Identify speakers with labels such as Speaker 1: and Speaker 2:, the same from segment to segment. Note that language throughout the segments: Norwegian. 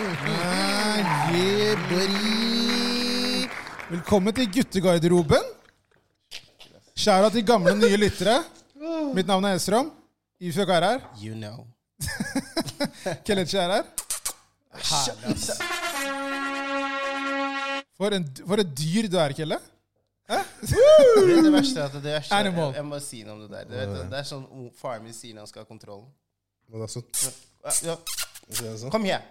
Speaker 1: Ah, yeah, buddy. Velkommen til guttegarderoben. Skjæra til gamle og nye lyttere. Mitt navn er Esrom. Ifjok er her.
Speaker 2: You know.
Speaker 1: Kelechi er her. For, en, for et dyr du er, Kelle.
Speaker 2: Det er det verste. At det verste jeg,
Speaker 1: Animal.
Speaker 2: jeg må si noe om det der. Du vet, det- det er sånn o- faren min sier når han skal ha kontrollen.
Speaker 3: Men det er sånn,
Speaker 2: Ja, ja.
Speaker 3: det er sånn.
Speaker 2: Kom her.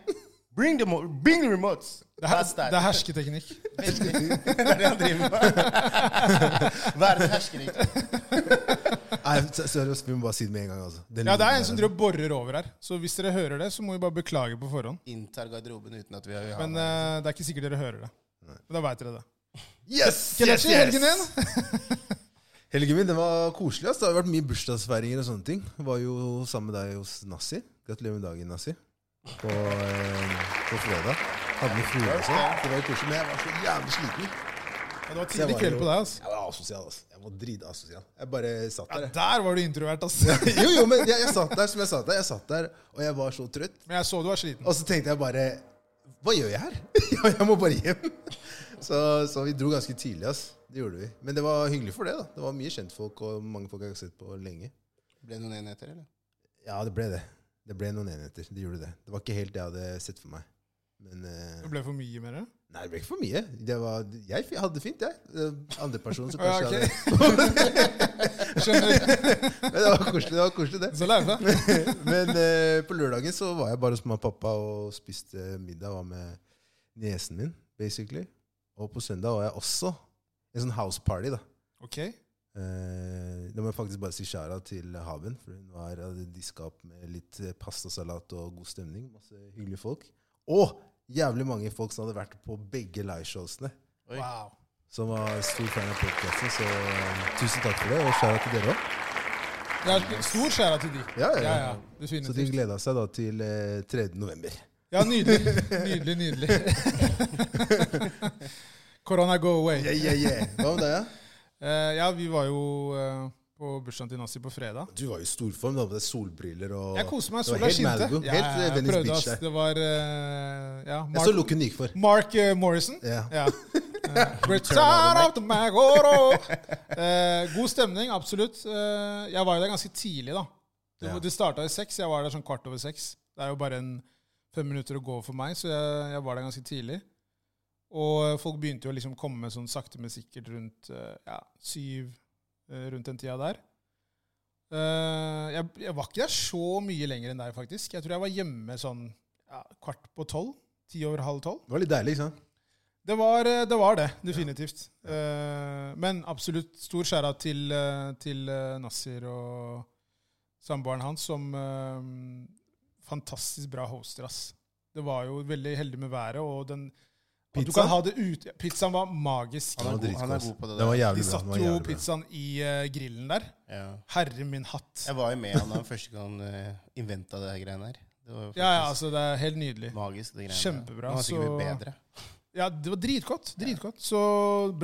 Speaker 2: Bring the, mo- bring the remotes.
Speaker 1: Det er,
Speaker 2: That's that.
Speaker 1: det er hersketeknikk.
Speaker 2: Veldig. Det er det han driver med. Verdens herskeriktig.
Speaker 3: Nei, se- seriøst, vi må bare si det med en gang. altså. Den
Speaker 1: Ja, det er
Speaker 3: lyden
Speaker 1: en som
Speaker 3: der,
Speaker 1: driver og borer over her. Så hvis dere hører det, så må vi bare beklage på forhånd.
Speaker 2: Inntar garderoben uten at vi har
Speaker 1: Men eh, det er ikke sikkert dere hører det. Men da veit dere det.
Speaker 3: Yes, yes,
Speaker 1: Kelechi,
Speaker 3: yes!
Speaker 1: helgen din.
Speaker 3: Helgen min den var koselig. ass. Det har vært mye bursdagsfeiringer og sånne ting. Var jo sammen med deg hos Nassi. Gratulerer med dagen, Nassi. På, eh, på fredag. Hadde med frue også. sånn. Det var jo koselig, men jeg var så jævlig sliten.
Speaker 1: Ja, det var
Speaker 3: Så jeg
Speaker 1: tidlig
Speaker 3: var
Speaker 1: kveld
Speaker 3: jo-
Speaker 1: på deg. altså.
Speaker 3: Jeg var asosial, altså. Jeg var dritasosial. Jeg bare satt der.
Speaker 1: Ja,
Speaker 3: jeg.
Speaker 1: der var du introvert, altså.
Speaker 3: jo, jo, men jeg, jeg satt der som jeg satt der. Jeg satt der, og jeg var så trøtt.
Speaker 1: Men jeg så du var sliten.
Speaker 3: Og så tenkte jeg bare Hva gjør jeg her? jeg må bare hjem. Så, så vi dro ganske tidlig, ass. Det gjorde vi. Men det var hyggelig for det, da. Det var mye kjentfolk, og mange folk jeg har sett på lenge.
Speaker 2: Ble det noen enheter, eller?
Speaker 3: Ja, det ble det. Det ble noen enheter. Det gjorde det. Det var ikke helt det jeg hadde sett for meg. Men eh,
Speaker 1: Det ble for mye med det.
Speaker 3: Nei, det ble ikke for mye. Det var, jeg fi- hadde det fint, jeg. Eh, Andre person som
Speaker 1: Ja,
Speaker 3: kanskje
Speaker 1: ok.
Speaker 3: hadde
Speaker 1: Skjønner du?
Speaker 3: Men det var koselig, det. var koselig det.
Speaker 1: Så lærte jeg.
Speaker 3: Men eh, på lørdagen så var jeg bare hos mamma og pappa og spiste middag var med niesen min, basically. Og på søndag var jeg også en sånn house party, da.
Speaker 1: Ok.
Speaker 3: Eh, da må jeg faktisk bare si skjæra til Haben, for hun var, hadde diska opp med litt eh, pastasalat og god stemning. Masse hyggelige folk. Og jævlig mange folk som hadde vært på begge liveshowsene.
Speaker 1: Wow.
Speaker 3: Som var stor fan av podkasten, så eh, tusen takk for det, og skjæra til dere òg.
Speaker 1: Det er stor skjæra til de.
Speaker 3: Ja, ja, ja. Så de
Speaker 1: Definitivt.
Speaker 3: gleda seg da til eh, 3. november.
Speaker 1: Ja, nydelig. Nydelig, nydelig. Korona go away.
Speaker 3: Yeah, yeah, yeah. Hva med deg, ja?
Speaker 1: Eh, ja, vi var jo eh, på bursdagen til Nazi på fredag.
Speaker 3: Du var jo i storform. da, med solbriller og
Speaker 1: Jeg koste meg.
Speaker 3: Det var
Speaker 1: Sola
Speaker 3: helt
Speaker 1: skinte.
Speaker 3: Malibu,
Speaker 1: Ja,
Speaker 3: helt, eh,
Speaker 1: jeg
Speaker 3: Venice
Speaker 1: prøvde,
Speaker 3: Beach
Speaker 1: ass.
Speaker 3: der.
Speaker 1: Det var eh, ja,
Speaker 3: Jeg så
Speaker 1: Mark,
Speaker 3: looken du gik for.
Speaker 1: Mark eh, Morrison.
Speaker 3: Ja.
Speaker 1: Ja. Eh, Return of the Magoro! Eh, god stemning, absolutt. Eh, jeg var jo der ganske tidlig, da. Det,
Speaker 3: Ja.
Speaker 1: det starta i seks, jeg var der sånn kvart over seks. Det er jo bare en fem minutter å gå for meg, så jeg, jeg var der ganske tidlig. Og folk begynte jo å liksom komme sånn sakte, men sikkert rundt eh, ja, syv, eh, rundt den tida der. Eh, jeg, jeg var ikke der så mye lenger enn deg, faktisk. Jeg tror jeg var hjemme sånn ja, kvart på tolv. Ti over halv tolv.
Speaker 3: Det var litt deilig, ikke sant?
Speaker 1: Det var eh, det, var det definitivt. Eh, men absolutt stor skjæra til, eh, til eh, Nasir og samboeren hans, som eh, fantastisk bra hoster, ass. Det var jo veldig heldig med været, og den at Du
Speaker 3: Pizza?
Speaker 1: kan ha det ut, pizzaen var magisk.
Speaker 2: Han er
Speaker 3: Den
Speaker 2: god-
Speaker 3: dritgod,
Speaker 2: han er
Speaker 3: ass.
Speaker 2: god på det
Speaker 3: Den var
Speaker 2: der.
Speaker 3: jævlig
Speaker 1: De
Speaker 3: bra. den
Speaker 1: satte
Speaker 3: var
Speaker 1: jo
Speaker 3: jævlig bra.
Speaker 1: pizzaen i eh, grillen der.
Speaker 2: Ja.
Speaker 1: Herre min hatt.
Speaker 2: Jeg var jo med han da han første gang eh, inventa det her greiene her. Det var jo
Speaker 1: Ja, ja,
Speaker 2: faktisk
Speaker 1: altså, det er helt nydelig.
Speaker 2: magisk, det greiene.
Speaker 1: Kjempebra,
Speaker 2: Han har sikkert blitt
Speaker 1: så-
Speaker 2: bedre.
Speaker 1: Ja, det var dritgodt. dritgodt. Så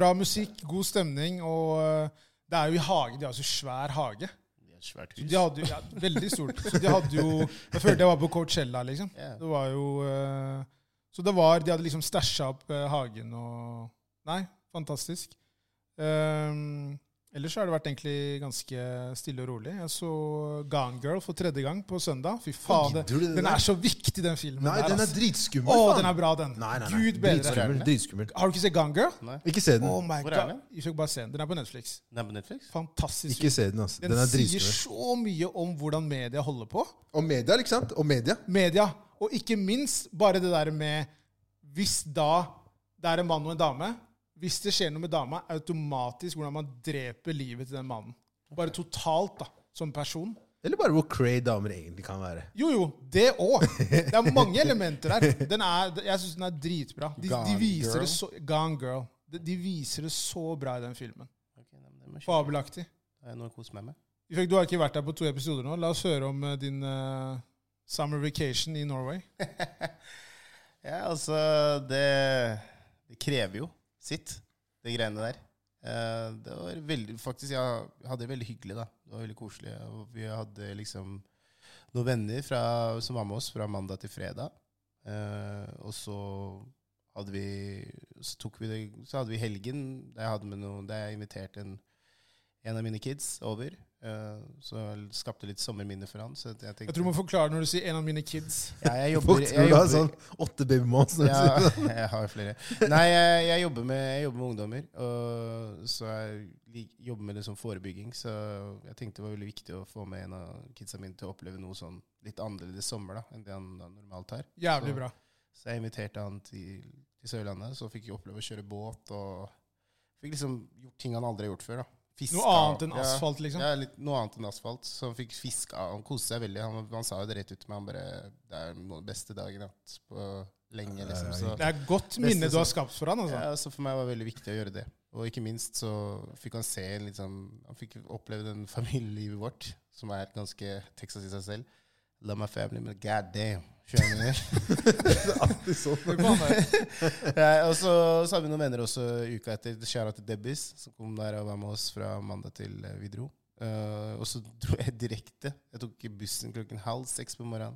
Speaker 1: bra musikk, god stemning, og eh, det er jo i hage. De har så svær hage.
Speaker 2: Det er et svært
Speaker 1: Så
Speaker 2: hus.
Speaker 1: de hadde jo, ja, Veldig stort. Så de hadde jo Jeg følte jeg var på Coachella, liksom.
Speaker 2: Ja.
Speaker 1: Det var jo eh, Så det var De hadde liksom stæsja opp eh, hagen og Nei, fantastisk. Ehm, ellers så har det vært egentlig ganske stille og rolig. Jeg så Gone Girl for tredje gang på søndag. Fy faen, det,
Speaker 3: Gidder du det
Speaker 1: den
Speaker 3: der?
Speaker 1: er så viktig, den filmen.
Speaker 3: Nei,
Speaker 1: der,
Speaker 3: den er
Speaker 1: ass.
Speaker 3: dritskummel.
Speaker 1: Å,
Speaker 3: faen.
Speaker 1: den er bra, den.
Speaker 3: Nei, nei, nei.
Speaker 1: Gud bedre.
Speaker 3: Dritskummel. dritskummel.
Speaker 1: Har du ikke sett Gone Girl?
Speaker 2: Nei.
Speaker 3: Ikke se den.
Speaker 1: Oh my
Speaker 2: Hvor er
Speaker 1: god.
Speaker 2: den?
Speaker 1: Vi fikk bare se den. Den er på Netflix.
Speaker 2: Den er på Netflix?
Speaker 1: Fantastisk.
Speaker 3: Ikke se den, altså.
Speaker 1: den
Speaker 3: Den er
Speaker 1: sier
Speaker 3: dritskummel.
Speaker 1: så mye om hvordan media holder på.
Speaker 3: Og media, ikke sant? Og media.
Speaker 1: media. Og ikke minst bare det der med Hvis da det er en mann og en dame Hvis det skjer noe med dama, automatisk hvordan man dreper livet til den mannen. Bare totalt, da. Som person.
Speaker 3: Eller bare hvor cray damer egentlig kan være.
Speaker 1: Jo, jo. Det òg. Det er mange elementer der. Den er, jeg syns den er dritbra. De, de
Speaker 2: Gone
Speaker 1: viser
Speaker 2: Girl.
Speaker 1: det så, Gone Girl. De, de viser det så bra i den filmen.
Speaker 2: Ok, nei, men det må jeg kjøpe.
Speaker 1: Fabelaktig.
Speaker 2: Da har jeg noe å kose meg med.
Speaker 1: Ifjok, Du har ikke vært der på to episoder nå. La oss høre om eh, din eh, summer vacation i Norway.
Speaker 2: Ja, altså det, det krever jo sitt, de greiene der. Eh, det var veldig, faktisk, Jeg hadde det veldig hyggelig. da. Det var veldig koselig. Og Vi hadde liksom noen venner fra, som var med oss fra mandag til fredag. Eh, og så hadde vi Så tok vi det Så hadde vi helgen der jeg, hadde med noe, der jeg inviterte en, en av mine kids over. Eh, så jeg skapte litt sommerminner for han. Så jeg tenkte
Speaker 1: Jeg tror du må forklare når du sier 'en av mine kids'.
Speaker 2: ja, jeg jobber,
Speaker 3: Folk
Speaker 2: jeg
Speaker 3: tror du har
Speaker 2: jobber,
Speaker 3: sånn åtte sånn. babymoms. når du sier det.
Speaker 2: ja, jeg har flere. Nei, jeg, jeg, jobber, med, jeg jobber med ungdommer. Og så jeg lik- jobber med det som forebygging. Så jeg tenkte det var veldig viktig å få med en av kidsa mine til å oppleve noe sånn litt annerledes sommer da, enn det han da normalt har.
Speaker 1: Jævlig
Speaker 2: Så-
Speaker 1: bra.
Speaker 2: Så jeg inviterte han til, til Sørlandet. Så fikk jeg oppleve å kjøre båt og fikk liksom gjort ting han aldri har gjort før. da. Fiska.
Speaker 1: Noe annet enn
Speaker 2: Ja.
Speaker 1: asfalt, liksom.
Speaker 2: Ja, litt, noe annet enn asfalt. Så han fikk fiska. Han koste seg veldig. Han, han sa jo det rett ut til meg. Han bare Det er noen av de beste dagen jeg har hatt på lenge, liksom. Så
Speaker 1: Det er et godt
Speaker 2: Beste
Speaker 1: minne du har
Speaker 2: som-
Speaker 1: skapt for han, altså.
Speaker 2: ja, så for meg var det veldig viktig å gjøre det. Og ikke minst så fikk han se en litt sånn- Han fikk oppleve den familielivet vårt, som er ganske Texas i seg selv. Love my family, men god damn. Skjønner du?
Speaker 3: Det er sånn.
Speaker 1: Hør på han der.
Speaker 2: Ja, og så, så hadde vi noen venner også uka etter. Kjære til Debbis, som kom der og var med oss fra mandag til eh, vi dro. Eh, og så dro jeg direkte. Jeg tok bussen klokken halv seks på morgenen.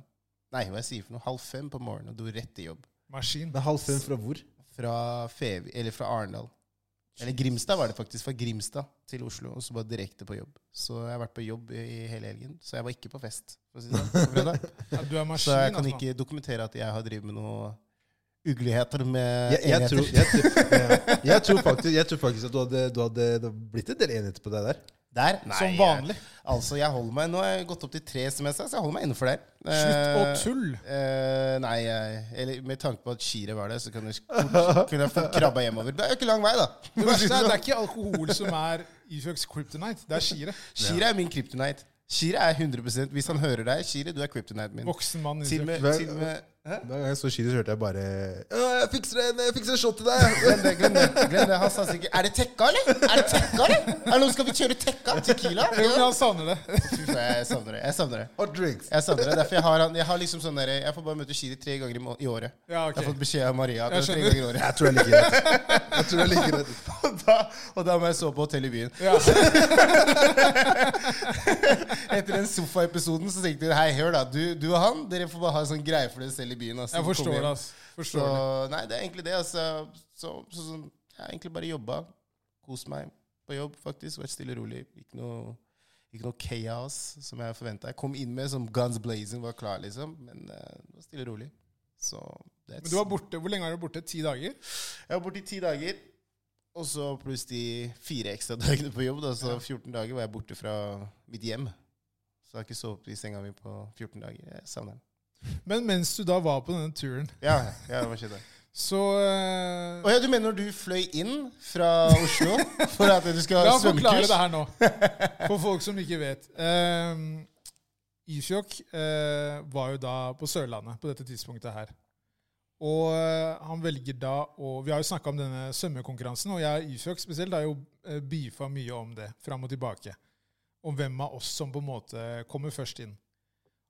Speaker 2: Nei, hva jeg sier for noe? Halv fem på morgenen og dro rett til jobb.
Speaker 1: Maskin.
Speaker 3: Men halv fem fra hvor?
Speaker 2: Fra, Fev, eller fra Arendal. Eller Grimstad var det faktisk. Fra Grimstad til Oslo, og så bare direkte på jobb. Så jeg har vært på jobb i i hele helgen. Så jeg var ikke på fest, for å si det sånn. på fredag.
Speaker 1: Ja, du er maskin,
Speaker 2: Så jeg kan
Speaker 1: altså. mann.
Speaker 2: ikke dokumentere at jeg har drevet med noe ugligheter med
Speaker 3: Jeg, jeg, tror, jeg, tror, ja. jeg, tror faktisk, jeg tror faktisk at du hadde, du hadde det hadde blitt en del enheter på deg der.
Speaker 2: Der?
Speaker 1: Som
Speaker 2: jeg-
Speaker 1: vanlig.
Speaker 2: Altså, jeg holder meg, Nå har jeg gått opp til tre, som jeg sa, så jeg holder meg innenfor der.
Speaker 1: Slutt å
Speaker 2: Eh,
Speaker 1: tulle.
Speaker 2: eh, nei, jeg, eller med tanke på at Shire var der, så kunne jeg, kunne jeg fort krabba hjemover. Det er jo ikke lang vei, da.
Speaker 1: Det verste er, det er ikke alkohol som er Ifjøks kryptonite. Det er skiret.
Speaker 2: Shire er min kryptonite. Shire er 100 Hvis han hører deg, Shire, du er kryptonite min.
Speaker 1: Voksen mann.
Speaker 2: Til
Speaker 1: Ifjøk.
Speaker 2: og med,
Speaker 3: Vel-
Speaker 2: til og med Hæ?
Speaker 3: Da jeg så Chile, så hørte jeg bare «Ja, jeg fikser, en, jeg fikser en shot til deg!
Speaker 2: Glem det, glem det. glem det. Han sa sikkert Er det tekka, eller? Er det tekka, eller? Er det noen skal vi kjøre tekka? Tequila?
Speaker 1: Jo, men
Speaker 2: Ja.
Speaker 1: han savner det.
Speaker 2: Fy faen, Jeg savner det. Jeg savner det.
Speaker 3: Hot drinks.
Speaker 2: Jeg savner det. Derfor jeg har han Jeg, har liksom sånn der, jeg får bare møte Shiri tre ganger i, må- i året.
Speaker 1: Ja,
Speaker 2: Jeg har
Speaker 1: ok.
Speaker 2: fått beskjed av Maria at
Speaker 1: Jeg
Speaker 2: det er tre
Speaker 1: skjønner.
Speaker 2: ganger i året.
Speaker 3: Jeg tror jeg liker det. Jeg tror jeg liker det.
Speaker 2: Og da, og da må jeg sove på hotell i byen.
Speaker 1: Ja.
Speaker 2: Etter den sofaepisoden så tenkte jeg hei, hør da, du, du og han, dere får bare ha en sånn greie for dere selv i byen. Altså,
Speaker 1: Jeg forstår
Speaker 2: Kom
Speaker 1: det,
Speaker 2: hjem.
Speaker 1: altså.
Speaker 2: Så,
Speaker 1: Forstår det.
Speaker 2: nei, det er egentlig det. Altså. Så, så, så, jeg har egentlig bare jobba. Kost meg på jobb, faktisk. Vært stille og rolig. Ikke noe, ikke noe kaos som jeg forventa. Jeg kom inn med som guns blazing, var klar, liksom. Men eh, det var stille og rolig. Så that's-
Speaker 1: Men du var borte, Hvor lenge var du borte? Ti dager?
Speaker 2: Jeg var borte i ti dager. Og så pluss de fire ekstra dagene på jobb. Da, så 14 dager var jeg borte fra mitt hjem. Så jeg har ikke sovet i senga mi på 14 dager. Jeg savner den.
Speaker 1: Men mens du da var på denne turen,
Speaker 2: Ja, ja, hva skjedde?
Speaker 1: så eh,
Speaker 2: Å ja, du mener når du fløy inn fra Oslo for at du skal
Speaker 1: La
Speaker 2: ha
Speaker 1: meg forklare
Speaker 2: svømmekurs?
Speaker 1: det her nå, for folk som ikke vet. Um, Ifjok eh, var jo da på Sørlandet på dette tidspunktet her. Og eh, han velger da å Vi har jo snakka om denne svømmekonkurransen, og jeg og Ifjok spesielt har jo eh, beefa mye om det fram og tilbake. Om hvem av oss som på en måte kommer først inn.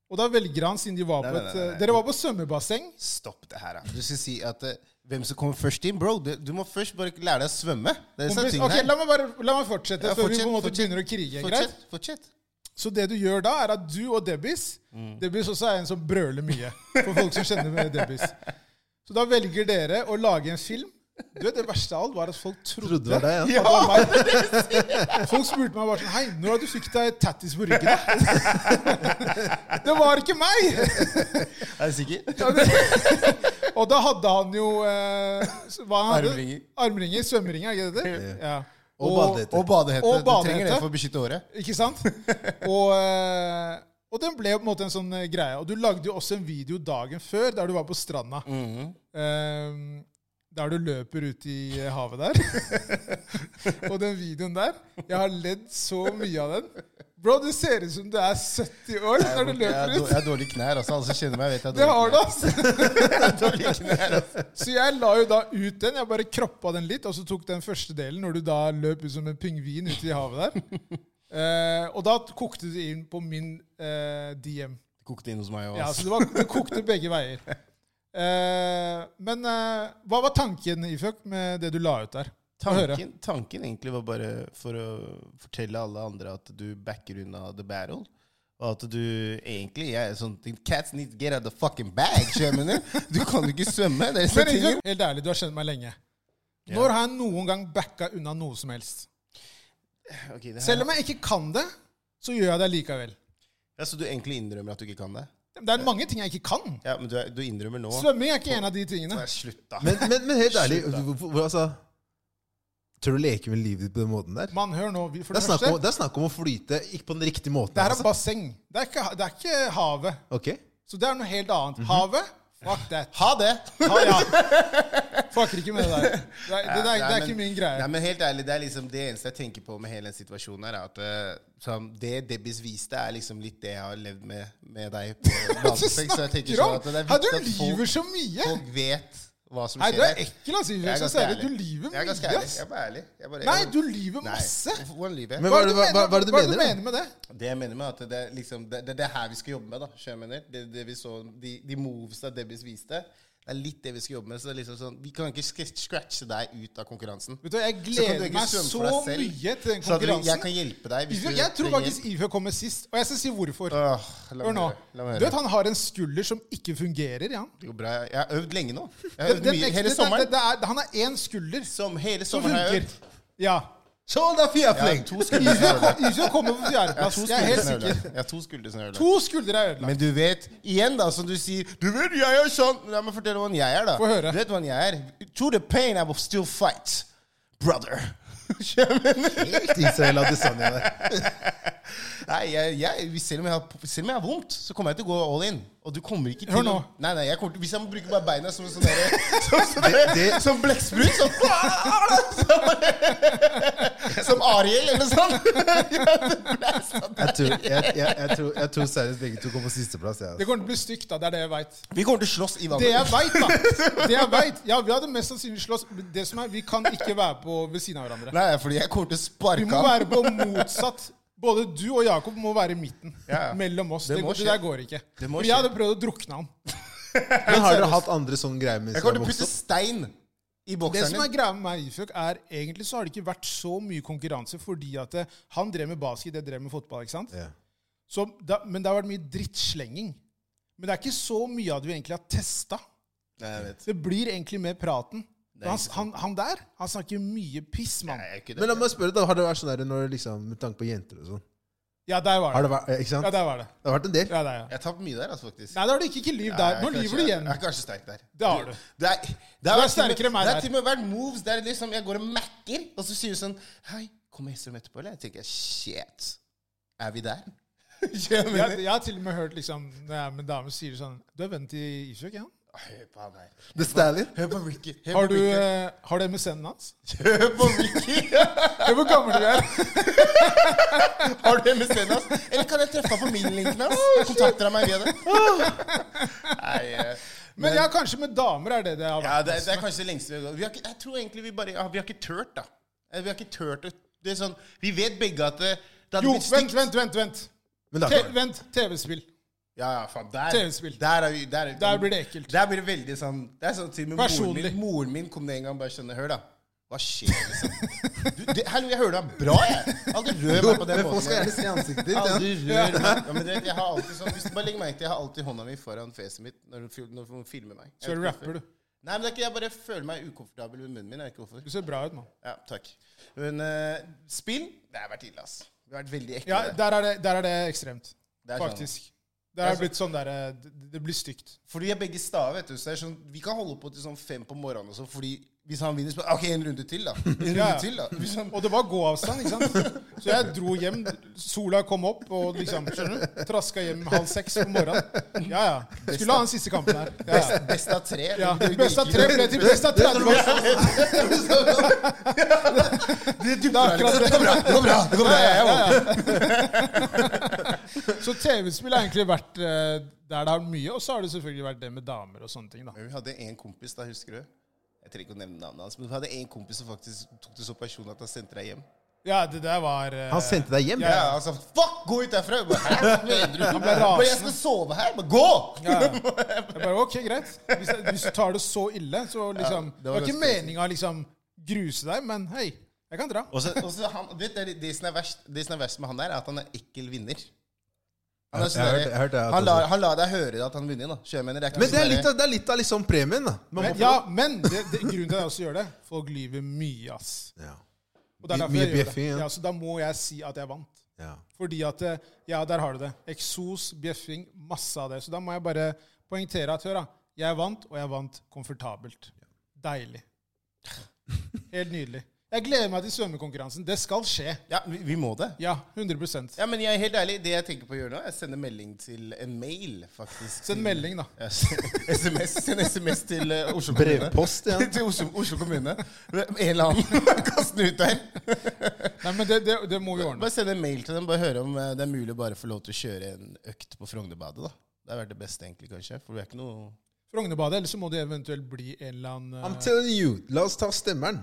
Speaker 1: Og da velger han, siden de var
Speaker 2: Nei,
Speaker 1: på
Speaker 2: nei,
Speaker 1: et
Speaker 2: nei, nei.
Speaker 1: eh, Dere var på svømmebasseng.
Speaker 2: Stopp det her, da. Du skal si at eh, hvem som kommer først inn. Bro, du, du må først bare lære deg å svømme. Det er sånn
Speaker 1: Kompis,
Speaker 2: ting
Speaker 1: ok,
Speaker 2: her.
Speaker 1: la meg bare la meg fortsette
Speaker 2: Ja,
Speaker 1: før vi på
Speaker 2: fortsett,
Speaker 1: en måte
Speaker 2: fortsett.
Speaker 1: begynner å krige. Greit?
Speaker 2: Fortsett. fortsett.
Speaker 1: Så det du gjør da, er at du og Debbis Debbis også er en som brøler mye. For folk som kjenner med Debbis. Så da velger dere å lage en film. Du vet, Det verste av alt var at folk trodde
Speaker 3: Trodde det var deg, ja.
Speaker 1: at det var meg. Folk spurte meg bare sånn Hei, når var det du fikk deg tattis på ryggen? da?» Det var ikke meg!
Speaker 2: Er du sikker?
Speaker 1: Ja, det- Og da hadde han jo eh, hva han hadde?
Speaker 2: Armringer.
Speaker 1: Armringer. Svømmeringer, er det ikke det?
Speaker 3: Ja.
Speaker 1: Ja.
Speaker 3: Og badehette.
Speaker 2: Og badehette.
Speaker 1: Og
Speaker 2: Du trenger
Speaker 1: badehette.
Speaker 2: det for å beskytte håret.
Speaker 1: Ikke sant? Og, eh, og den ble på en måte en sånn eh, greie. Og du lagde jo også en video dagen før der du var på stranda.
Speaker 2: Mhm.
Speaker 1: Eh, der du løper ut i eh, havet der. og den videoen der Jeg har ledd så mye av den. Bro, du ser ut som du er 70 år når du
Speaker 2: Jeg har
Speaker 1: løper
Speaker 2: dår-
Speaker 1: ut.
Speaker 2: jeg har dårlige knær, altså. Alle som kjenner meg, vet jeg
Speaker 1: Det har du,
Speaker 2: knær.
Speaker 1: altså!
Speaker 2: Jeg har dårlige knær, altså.
Speaker 1: Så jeg la jo da ut den. Jeg bare kroppa den litt, og så tok den første delen når du da løp ut som en pingvin ute i havet der. Eh, og da kokte det inn på min eh, DM.
Speaker 2: Det kokte inn hos meg òg,
Speaker 1: Ja,
Speaker 2: altså.
Speaker 1: så det, var, det kokte begge veier. Eh, men eh, hva var tanken, Ifjok, med det du la ut der? Få høre.
Speaker 2: Tanken, tanken egentlig var bare for å fortelle alle andre at du backer unna The Battle. Og at du egentlig jeg er sånn Cats need to get out of the fucking bag, skjønner du? Du kan jo ikke svømme. Det er sånne
Speaker 1: Men
Speaker 2: ting.
Speaker 1: Ingrid, helt ærlig, du har kjent meg lenge. Når har jeg noen gang backa unna noe som helst?
Speaker 2: Ok, det her-
Speaker 1: Selv om jeg ikke kan det, så gjør jeg det likevel.
Speaker 2: ja, så du egentlig innrømmer at du ikke kan det?
Speaker 1: Det er mange ting jeg ikke kan.
Speaker 2: Ja, men du, er, du innrømmer nå.
Speaker 1: Svømming er ikke en av de tingene.
Speaker 2: Nei, Slutt, da.
Speaker 3: Men, men, men helt ærlig,
Speaker 2: Slutt, da.
Speaker 3: hvorfor, hvor- altså Tør du å leke med livet ditt på den måten der?
Speaker 1: Mann, hør nå. vi- For
Speaker 3: Det
Speaker 1: det
Speaker 3: er snakk om,
Speaker 1: første,
Speaker 3: det er snakk om å flyte, ikke på den riktige måten.
Speaker 1: det her er
Speaker 3: altså.
Speaker 1: basseng. Det er ikke, det er ikke havet.
Speaker 3: Ok?
Speaker 1: Så det er noe helt annet. Havet? Fuck that.
Speaker 2: Mhm. ha det!
Speaker 1: Ha, ja. Fucker ikke med det der. Det, er- det, der, det er
Speaker 2: Nei,
Speaker 1: ikke
Speaker 2: men-
Speaker 1: min
Speaker 2: Nei,
Speaker 1: greie.
Speaker 2: men helt ærlig, Det er liksom det eneste jeg tenker på med hele den situasjonen, her, er at eh, som det Debbis viste, er liksom litt det jeg har levd med med deg. på
Speaker 1: Hva du
Speaker 2: Landsbygd, så jeg tenker
Speaker 1: snakker om?
Speaker 2: sånn at det er
Speaker 1: Hæ, du
Speaker 2: viktig at
Speaker 1: lyver
Speaker 2: folk,
Speaker 1: så mye!
Speaker 2: folk vet hva som
Speaker 1: Nei,
Speaker 2: skjer.
Speaker 1: du er
Speaker 2: her.
Speaker 1: ekkel, altså.
Speaker 2: Jeg er
Speaker 1: Ingrid. Så
Speaker 2: ganske
Speaker 1: ser
Speaker 2: ærlig.
Speaker 1: Du lyver
Speaker 2: Jeg er
Speaker 1: mye,
Speaker 2: ganske ærlig.
Speaker 1: ass.
Speaker 2: Jeg er bare ærlig. Jeg bare,
Speaker 1: Nei,
Speaker 2: jeg-
Speaker 1: du lyver
Speaker 2: Nei.
Speaker 1: masse.
Speaker 2: Hvorfor- Hvordan lyver jeg?
Speaker 3: Men hva er det, hva, hva, hva er det du
Speaker 1: hva er det
Speaker 3: mener?
Speaker 1: du
Speaker 3: da?
Speaker 1: mener med det?
Speaker 2: Det jeg mener med at det er liksom, det, det, det er her vi skal jobbe med. da, skjønner jeg mener. Det, det vi så, De, de movesa Debbis viste, det er litt det vi skal jobbe med. så det er liksom sånn, Vi kan ikke sk- scratche deg ut av konkurransen.
Speaker 1: Vet du, hva, Jeg
Speaker 2: Så kan du
Speaker 1: gleder
Speaker 2: ikke
Speaker 1: meg så
Speaker 2: svømme for deg selv.
Speaker 1: mye til den
Speaker 2: Så at du- jeg
Speaker 1: konkurransen.
Speaker 2: kan hjelpe deg hvis
Speaker 1: Ifjø-
Speaker 2: du
Speaker 1: Jeg tror
Speaker 2: trenger
Speaker 1: faktisk Ifjør kommer sist, og jeg skal si hvorfor.
Speaker 2: Åh, la
Speaker 1: Hør
Speaker 2: meg
Speaker 1: nå.
Speaker 2: høre. La meg
Speaker 1: Du vet
Speaker 2: høre.
Speaker 1: han har en skulder som ikke fungerer, ja.
Speaker 2: Det går bra. Jeg har øvd lenge nå. Jeg har
Speaker 1: Den,
Speaker 2: øvd
Speaker 1: den,
Speaker 2: Eh, mye,
Speaker 1: ekte- det-
Speaker 2: Hele
Speaker 1: det-
Speaker 2: sommeren.
Speaker 1: det er- han har én skulder
Speaker 2: Som, hele
Speaker 1: som
Speaker 2: sommeren har jeg
Speaker 1: funker.
Speaker 2: øvd.
Speaker 1: Ja.
Speaker 3: Skjold er
Speaker 2: Jeg har
Speaker 3: fjærfleng!
Speaker 2: to skuldre som er ødelagt.
Speaker 1: Ifjør kommer på
Speaker 2: Jeg har
Speaker 1: fjerdeplass.
Speaker 2: to
Speaker 1: Jeg er
Speaker 2: skuldre
Speaker 1: helt
Speaker 2: som er
Speaker 1: sikker.
Speaker 2: ødelagt. Jeg har to skuldre som er ødelagt.
Speaker 1: To skuldre er ødelagt.
Speaker 2: Men du vet, igjen da, som du sier Du vet, jeg er sånn La meg fortelle hvordan jeg er, da.
Speaker 1: Få høre.
Speaker 2: Du vet hvordan jeg er. To the pain, I will still fight. Brother. Skjønner du?
Speaker 3: Helt Israel Adesanya der.
Speaker 2: Nei, jeg, jeg, selv, om jeg har, selv om jeg har vondt, så kommer jeg til å gå all in. Og du kommer ikke til
Speaker 1: Hør nå.
Speaker 2: å- Nei, nei, jeg kommer til, Hvis jeg må bruke bare beina som en sånn derre Som, sånn derre-
Speaker 3: det-
Speaker 2: som blekksprut sånn, som, som Ariel eller sånn.
Speaker 3: Jeg tror, jeg, jeg, jeg tror, jeg tror seriøst begge to kommer på sisteplass. Jeg,
Speaker 1: Det
Speaker 3: altså.
Speaker 1: kommer til å bli stygt, da. Det er det jeg veit.
Speaker 2: Vi kommer til å slåss i
Speaker 1: Det
Speaker 2: vannet.
Speaker 1: jeg vet, da. Det jeg vet. Ja, vi hadde mest sannsynlig slåss. men Det som er, vi kan ikke være på ved siden av hverandre.
Speaker 2: Nei, fordi jeg kommer til å
Speaker 1: Vi
Speaker 2: sparke
Speaker 1: må være på motsatt. Både du og Jakob må være i midten.
Speaker 2: Ja, ja.
Speaker 1: Mellom oss.
Speaker 2: Det
Speaker 1: Det,
Speaker 2: må
Speaker 1: det
Speaker 2: skje.
Speaker 1: der går ikke.
Speaker 2: Det må
Speaker 1: Men
Speaker 2: skje.
Speaker 1: jeg hadde prøvd å drukne han.
Speaker 3: Men har dere hatt andre sånne greier mens
Speaker 2: Jeg
Speaker 3: dere
Speaker 2: kommer til
Speaker 3: har
Speaker 2: å
Speaker 3: vokst
Speaker 2: putte
Speaker 3: opp?
Speaker 2: stein i
Speaker 1: Det
Speaker 2: bokseren
Speaker 1: som er greia med meg og Ifjok, er egentlig så har det ikke vært så mye konkurranse fordi at eh, han drev med basket, jeg drev med fotball. ikke sant?
Speaker 3: Ja.
Speaker 1: Så, da, men det har vært mye drittslenging. Men det er ikke så mye av det vi egentlig har testa.
Speaker 2: Nei, jeg vet.
Speaker 1: Det blir egentlig mer praten.
Speaker 2: er
Speaker 1: Han,
Speaker 2: ikke
Speaker 1: han, han der han snakker mye piss, mann.
Speaker 2: Nei, jeg er ikke det.
Speaker 3: Men la meg spørre, da, har det vært sånn der når liksom, med tanke på jenter og sånn
Speaker 1: Ja, der var
Speaker 3: Har
Speaker 1: det.
Speaker 3: det vært, eh, Ikke sant?
Speaker 1: Ja, der var det.
Speaker 3: Det har vært en del.
Speaker 1: Ja, der, ja.
Speaker 2: jeg har tapt mye der, altså, faktisk.
Speaker 1: Nei, da har du ikke, ikke liv der. Nå
Speaker 2: Jeg er
Speaker 1: lyver
Speaker 2: kanskje-
Speaker 1: du igjen.
Speaker 2: Jeg er kanskje sterk der.
Speaker 1: Det har du.
Speaker 2: Det er, det
Speaker 1: Du er
Speaker 2: har til og med-
Speaker 1: sterkere enn meg
Speaker 2: Det
Speaker 1: der.
Speaker 2: har til og med vært moves der liksom jeg går og macker, og så sier du sånn Hei, kommer Hesselum etterpå, eller? Jeg tenker shit. Er vi der? Skjønner
Speaker 1: Jeg,
Speaker 2: du?
Speaker 1: jeg har til og med hørt liksom, når jeg er med damer, sier sånn Du er vennen til Ifjok, ja?
Speaker 2: Hør på han her.
Speaker 3: The Stalin.
Speaker 2: Hør på Ricky. Hør
Speaker 1: Har
Speaker 2: på
Speaker 1: du,
Speaker 2: Ricky.
Speaker 1: eh, har du MSN-en hans?
Speaker 2: Hør på Ricky.
Speaker 1: Ja, Hvor gammel du er?
Speaker 2: Har du MSN, ass? Eller kan jeg treffe han på min linken, ass? Kontakter han meg via det? Nei, eh,
Speaker 1: Men ja, kanskje med damer er det det har vært.
Speaker 2: Ja, det, er- det er kanskje det lengste vi har gått. Vi har ikke, jeg tror egentlig vi bare ja, Vi har ikke turt, da. Eh, Vi har ikke turt å- det er sånn, Vi vet begge at det, det hadde
Speaker 1: Jo,
Speaker 2: blitt
Speaker 1: vent,
Speaker 2: stygt.
Speaker 1: vent, vent. vent.
Speaker 3: Men det
Speaker 1: Te
Speaker 3: har ikke vært.
Speaker 1: vent, TV-spill.
Speaker 2: Ja, ja, faen, der,
Speaker 1: TV-spill.
Speaker 2: Der, er vi, der, er,
Speaker 1: Der blir det ekkelt.
Speaker 2: Der blir det veldig sånn Det er sånn til og med moren
Speaker 1: Personlig.
Speaker 2: min, moren min kom ned en gang og bare skjønner Hør, da. Hva skjer, liksom? Du, det, hallo, jeg hører deg bra, jeg. Aldri rør meg på den
Speaker 3: Men folk
Speaker 2: måten.
Speaker 3: skal gjerne se ansiktet ditt. ja.
Speaker 2: Aldri rør meg. Ja, men det, jeg har alltid sånn, hvis du bare legger merke til, jeg har alltid hånda mi foran fjeset mitt når hun, fil- når hun filmer meg. Jeg
Speaker 1: Så
Speaker 2: vet ikke hvorfor.
Speaker 1: rapper du.
Speaker 2: Nei, men det er ikke, jeg bare føler meg ukomfortabel med munnen min. Jeg vet ikke hvorfor.
Speaker 1: Du ser bra ut, mann.
Speaker 2: Ja, takk. Men eh, spill Det har vært ille, ass. Det har vært veldig ekle.
Speaker 1: Ja, der er det, der er det ekstremt.
Speaker 2: Det er sånn.
Speaker 1: Faktisk. Det er blitt sånn der, eh, det- Det blir stygt.
Speaker 2: For vi er begge sta, vet du. Så det er sånn, vi kan holde på til sånn fem på morgenen også, fordi hvis han vinner, så bare, OK, en runde til, da. En runde
Speaker 1: Ja, ja.
Speaker 2: til, da. Hvis han,
Speaker 1: Og det var gåavstand, ikke sant? Så jeg dro hjem. Sola kom opp, og liksom, skjønner du? Traska hjem halv seks på morgenen. Ja, ja. Skulle ha den siste kampen her. Ja, ja.
Speaker 2: best av tre.
Speaker 1: Ja,
Speaker 2: Det- det-
Speaker 1: Best av tre ble til best av 30.
Speaker 2: Det er dypt
Speaker 1: Det er akkurat det.
Speaker 2: Det går bra. Det går bra. Det går bra.
Speaker 1: Ja,
Speaker 2: Jeg
Speaker 1: ja,
Speaker 2: vant.
Speaker 1: ja. Så TV-spill har egentlig vært eh, der det har vært mye, og så har det selvfølgelig vært det med damer og sånne ting, da.
Speaker 2: Men vi hadde en kompis, da, husker du? Jeg trenger ikke å nevne navnet hans, men vi hadde en kompis som faktisk tok det så personlig at han sendte deg hjem.
Speaker 1: Ja, det der var eh,
Speaker 3: Han sendte deg hjem.
Speaker 1: Ja,
Speaker 2: Ja, han sa 'fuck, gå ut derfra'. Jeg bare, Hæ? Hva mener
Speaker 1: ble
Speaker 2: du?
Speaker 1: rasende.
Speaker 2: Bare, jeg skal sove her. Bare gå!
Speaker 1: ja, ja. Jeg bare OK, greit. Hvis, jeg, hvis du tar det så ille, så liksom
Speaker 2: det
Speaker 1: Det
Speaker 2: var
Speaker 1: var ikke
Speaker 2: ganske crazy.
Speaker 1: meninga å liksom gruse deg, men hei, jeg kan dra.
Speaker 2: Og så, og så han, du vet, det, det, som er verst, det som er verst med han der, er at han er ekkel vinner. Han, er
Speaker 3: Jeg har hørt- jeg har hørt
Speaker 2: sånn
Speaker 3: det, jeg
Speaker 2: der,
Speaker 3: har
Speaker 2: han,
Speaker 3: hørt
Speaker 2: lar,
Speaker 3: det.
Speaker 2: han lar deg høre at han vinner. da. Sjømenner er ikke
Speaker 3: Men det er
Speaker 2: sånn
Speaker 3: litt
Speaker 2: der-
Speaker 3: av, det er litt av liksom premien, da. Man må
Speaker 1: Men,
Speaker 3: få
Speaker 1: ja, men det, det, grunnen til at jeg også gjør det Folk lyver mye, ass.
Speaker 3: lov- ja.
Speaker 1: Og det er derfor
Speaker 3: Mye-
Speaker 1: jeg gjør
Speaker 3: mye
Speaker 1: det.
Speaker 3: bjeffing, ja.
Speaker 1: Ja, så da må jeg si at jeg vant.
Speaker 3: Ja.
Speaker 1: Fordi at eh, Ja, der har du det. Eksos, bjeffing, masse av det. Så da må jeg bare poengtere at hør, da. Jeg vant, og jeg vant komfortabelt. Deilig. Helt nydelig. Jeg gleder meg til svømmekonkurransen. Det skal skje.
Speaker 2: Ja, vi, vi må det.
Speaker 1: Ja, 100
Speaker 2: Ja, men jeg er helt ærlig, det jeg tenker på å gjøre nå, er å sende melding til en mail, faktisk.
Speaker 1: Send melding, da.
Speaker 2: Ja, SMS, send SMS til eh, Oslo kommune.
Speaker 3: Brevpost, ja.
Speaker 2: til Oslo, Oslo kommune. En eller annen. Kast den ut der.
Speaker 1: Nei, men det, det, det må vi ordne.
Speaker 2: Bare send en mail til dem. Bare høre om eh, det er mulig å bare få lov til å kjøre en økt på Frognerbadet. da. Det har vært det beste, egentlig, kanskje. For det er ikke noe
Speaker 1: Frognerbadet, eller så må det eventuelt bli en eller annen eh,
Speaker 3: I'm telling you, la oss ta stemmeren.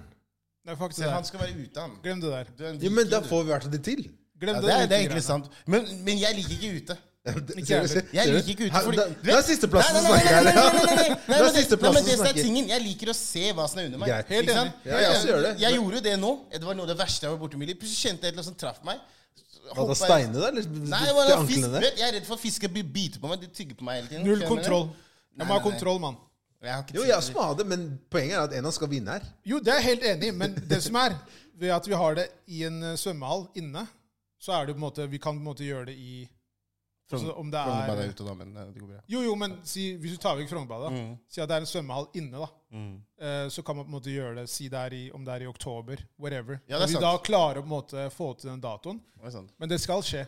Speaker 1: Nei, fuck det
Speaker 2: Se, Han
Speaker 1: der.
Speaker 2: skal være ute, han.
Speaker 1: Glem det der.
Speaker 2: Du er en
Speaker 3: Jo, men
Speaker 2: viking,
Speaker 3: da
Speaker 2: du.
Speaker 3: får vi i hvert fall det til.
Speaker 1: Glem
Speaker 2: ja, det, er, det er
Speaker 1: ute-greiene.
Speaker 2: egentlig sant. Men, men jeg liker ikke ute.
Speaker 1: Ikke
Speaker 3: Ser du-
Speaker 1: heller.
Speaker 3: ser-
Speaker 2: Jeg
Speaker 3: ser du?
Speaker 2: liker ikke ute,
Speaker 3: Her-
Speaker 2: fordi-
Speaker 3: da- Det er sisteplassen
Speaker 2: Nei,
Speaker 3: som
Speaker 2: nei, nei,
Speaker 3: snakker
Speaker 2: nei, nei, nei,
Speaker 3: her.
Speaker 2: nei, nei, nei, nei,
Speaker 3: Det er
Speaker 2: men det- nei,
Speaker 3: sisteplassen
Speaker 2: men
Speaker 3: som
Speaker 2: det som er
Speaker 3: snakker.
Speaker 2: tingen. Jeg liker å se hva som er under meg.
Speaker 3: Greit.
Speaker 1: Helt
Speaker 2: Ikke sant?
Speaker 1: enig.
Speaker 3: Ja, jeg også gjør det.
Speaker 2: Jeg gjorde jo det nå. Det var noe av det verste jeg var borti. Plutselig kjente jeg et eller annet som traff meg.
Speaker 3: Hva da,
Speaker 2: Hoppet-
Speaker 3: steine der? Eller
Speaker 2: Nei,
Speaker 3: til
Speaker 2: det var noe fisk.
Speaker 3: anklene der?
Speaker 2: Vet, Jeg er redd for at fisk skal bi- bite på meg. De tygger på meg hele tiden.
Speaker 1: Null
Speaker 2: Skjønner du?
Speaker 1: kontroll. Jeg
Speaker 2: Nei,
Speaker 1: må ha
Speaker 2: nei, nei.
Speaker 1: kontroll, mann.
Speaker 2: Jeg har ikke
Speaker 3: Jo,
Speaker 2: tid
Speaker 3: jeg
Speaker 2: til
Speaker 3: også må ha det, men poenget er at en av oss skal vinne her.
Speaker 1: Jo, det er jeg helt enig i, men det som er, ved at vi har det i en eh, svømmehall inne, så er det jo på en måte Vi kan på en måte gjøre det i
Speaker 2: Frogn-
Speaker 1: altså, Om det
Speaker 2: Frogner bare
Speaker 1: er
Speaker 2: er ute da, men eh, det går bra.
Speaker 1: Jo, jo, men si, hvis du tar vekk Frognerbadet, da,
Speaker 2: Mm.
Speaker 1: si at det er en svømmehall inne, da.
Speaker 2: Mm.
Speaker 1: eh, Så kan man på en måte gjøre det si det er i, om det er i oktober, whatever.
Speaker 2: Ja, det
Speaker 1: Når
Speaker 2: er
Speaker 1: vi
Speaker 2: sant.
Speaker 1: da klarer å på en måte få til den datoen.
Speaker 2: Det var sant.
Speaker 1: Men det skal skje.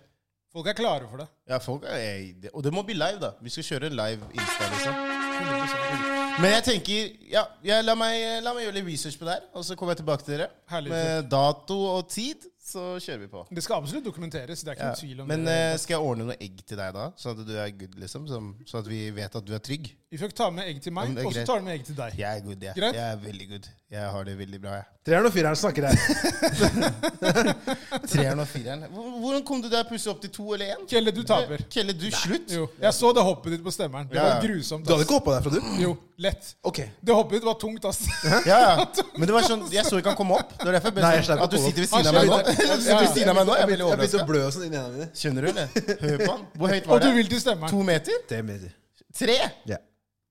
Speaker 1: Folk er klare for det.
Speaker 2: Ja, folk er, eh, det- Og det må bli live, da. Vi skal kjøre live Insta. liksom.
Speaker 1: 100%.
Speaker 2: Men jeg tenker Ja, jeg, la, meg, la meg gjøre litt research på det her, og så kommer jeg tilbake til dere.
Speaker 1: Herlig.
Speaker 2: Med dato og tid, så kjører vi på.
Speaker 1: Det skal absolutt dokumenteres. Det er ikke
Speaker 2: Ja.
Speaker 1: noen tvil om
Speaker 2: Men
Speaker 1: det.
Speaker 2: eh, skal jeg ordne noe egg til deg da, sånn at du er good, liksom? Sånn- Sånn at vi vet at du er trygg?
Speaker 1: Vi fikk ta med egg til meg,
Speaker 2: men det er
Speaker 1: og så
Speaker 2: greit.
Speaker 1: tar du med egg til deg.
Speaker 2: Jeg er good, jeg.
Speaker 1: Greit.
Speaker 2: Jeg er veldig good. Jeg har det veldig bra, jeg.
Speaker 3: Treeren og fireren snakker her.
Speaker 2: Treeren og fireren. Hvor- Hvordan kom du der plutselig opp til to eller én?
Speaker 1: Kjelle, du taper.
Speaker 2: Kjelle, du slutt.
Speaker 1: Jo, jeg så det hoppet ditt på stemmeren. Det
Speaker 2: Ja,
Speaker 1: var
Speaker 2: ja.
Speaker 1: grusomt.
Speaker 3: Du hadde
Speaker 1: Ass.
Speaker 3: ikke hoppa derfra, du?
Speaker 1: Jo, lett.
Speaker 3: Ok.
Speaker 1: Det hoppet ditt var tungt, ass.
Speaker 2: Ja, ja. Men det var sånn, jeg så ikke han komme opp. Det var derfor jeg ble
Speaker 3: Nei, jeg
Speaker 2: sånn
Speaker 3: slapp
Speaker 2: at du
Speaker 3: å komme
Speaker 2: sitter ved
Speaker 1: opp.
Speaker 2: siden av meg nå.
Speaker 1: Han
Speaker 2: Du
Speaker 1: skjønner.
Speaker 2: sitter ved siden av meg nå, jeg er
Speaker 3: Jeg
Speaker 2: veldig
Speaker 3: begynte å
Speaker 2: overrasket.
Speaker 3: blø og sånn inni hendene mine.
Speaker 2: Skjønner du, eller? Hør på han. Hvor høyt
Speaker 1: Og
Speaker 2: var
Speaker 1: du
Speaker 2: det?
Speaker 1: vil til stemmeren.
Speaker 2: To meter?
Speaker 3: Det er meter.
Speaker 2: Tre?
Speaker 3: Ja.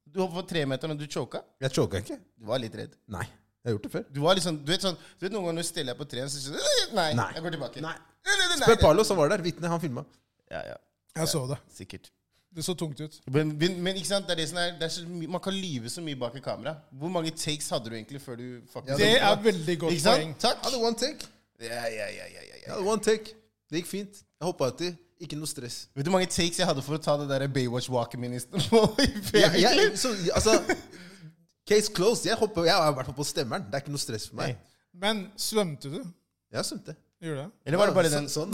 Speaker 2: Du hoppet på tremeteren og du choka?
Speaker 3: Jeg choka ikke.
Speaker 2: Du var litt redd.
Speaker 3: Nei. Jeg har gjort det før.
Speaker 2: Du var litt sånn, du vet sånn, du vet noen ganger når du stiller deg på treet, så sier du «Øh, nei,
Speaker 3: Nei.
Speaker 2: jeg går tilbake. Øh,
Speaker 3: Nei.
Speaker 2: Nei, nei, nei,
Speaker 3: Spør
Speaker 2: nei.
Speaker 3: Parlo, som var der. Vitne, han filma.
Speaker 2: Ja, ja,
Speaker 1: Jeg så det.
Speaker 2: sikkert.
Speaker 1: Det så tungt ut.
Speaker 2: Men, men, men ikke sant, det er det som er, det er så mye, man kan lyve så mye bak i kamera. Hvor mange takes hadde du egentlig før du faktisk...
Speaker 1: Det er veldig
Speaker 2: Ikke
Speaker 1: godt poeng.
Speaker 2: sant? Takk.
Speaker 3: Hadde one take.
Speaker 2: Ja, ja, ja, ja, ja,
Speaker 3: Jeg
Speaker 2: ja.
Speaker 3: hadde one take. Det gikk fint. Jeg hoppa uti. Ikke noe stress.
Speaker 2: Vet du hvor mange takes jeg hadde for å ta det der Baywatch-walket min i stedet på?
Speaker 3: Jeg, jeg, så, altså Case closed. Jeg hopper, jeg er i hvert fall på stemmeren. Det er ikke noe stress for meg.
Speaker 1: Men svømte du?
Speaker 3: Jeg har svømt, det.
Speaker 1: Gjorde du det?
Speaker 2: Eller var det bare
Speaker 3: Ja,
Speaker 2: den?
Speaker 3: så- Sånn.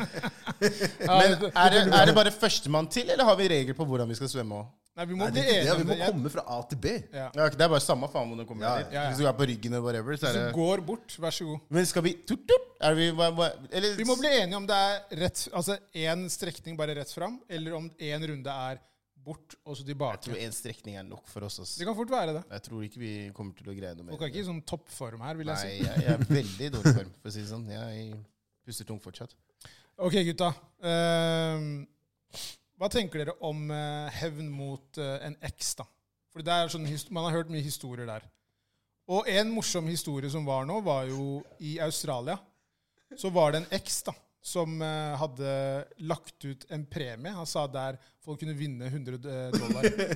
Speaker 2: Men er det, er det bare førstemann til, eller har vi regler på hvordan vi skal svømme òg?
Speaker 1: Nei, vi må
Speaker 3: Nei,
Speaker 1: bli
Speaker 3: det,
Speaker 1: enige
Speaker 3: ja, vi
Speaker 1: om
Speaker 3: må
Speaker 1: det. Jeg-
Speaker 3: komme fra A til B.
Speaker 1: Ja.
Speaker 2: Ja, ok, det er bare samme faen hvor du kommer
Speaker 3: Ja,
Speaker 2: dit.
Speaker 1: ja, ja.
Speaker 2: Hvis du er på ryggen og whatever, så er
Speaker 1: Du
Speaker 2: det
Speaker 1: går bort. Vær så god.
Speaker 2: Men skal vi tut, tut, Er vi hva, hva, Eller
Speaker 1: Vi må bli enige om det er rett, altså én strekning bare rett fram, eller om én runde er bort og så
Speaker 2: Jeg tror
Speaker 1: tilbake.
Speaker 2: én strekning er nok for oss. ass.
Speaker 1: Det kan fort være det.
Speaker 2: Jeg tror ikke vi kommer til å greie noe mer.
Speaker 1: Folk er ikke i sånn toppform her, vil jeg
Speaker 2: Nei,
Speaker 1: si.
Speaker 2: jeg, jeg er veldig i dårlig form, for å si det sånn. Jeg puster tungt fortsatt.
Speaker 1: Ok, gutta. Ehm, hva tenker dere om eh, hevn mot eh, en eks, da? Fordi det er sånn, his- Man har hørt mye historier der. Og en morsom historie som var nå, var jo i Australia. Så var det en eks da, som eh, hadde lagt ut en premie. Han sa der folk kunne vinne 100 dollar.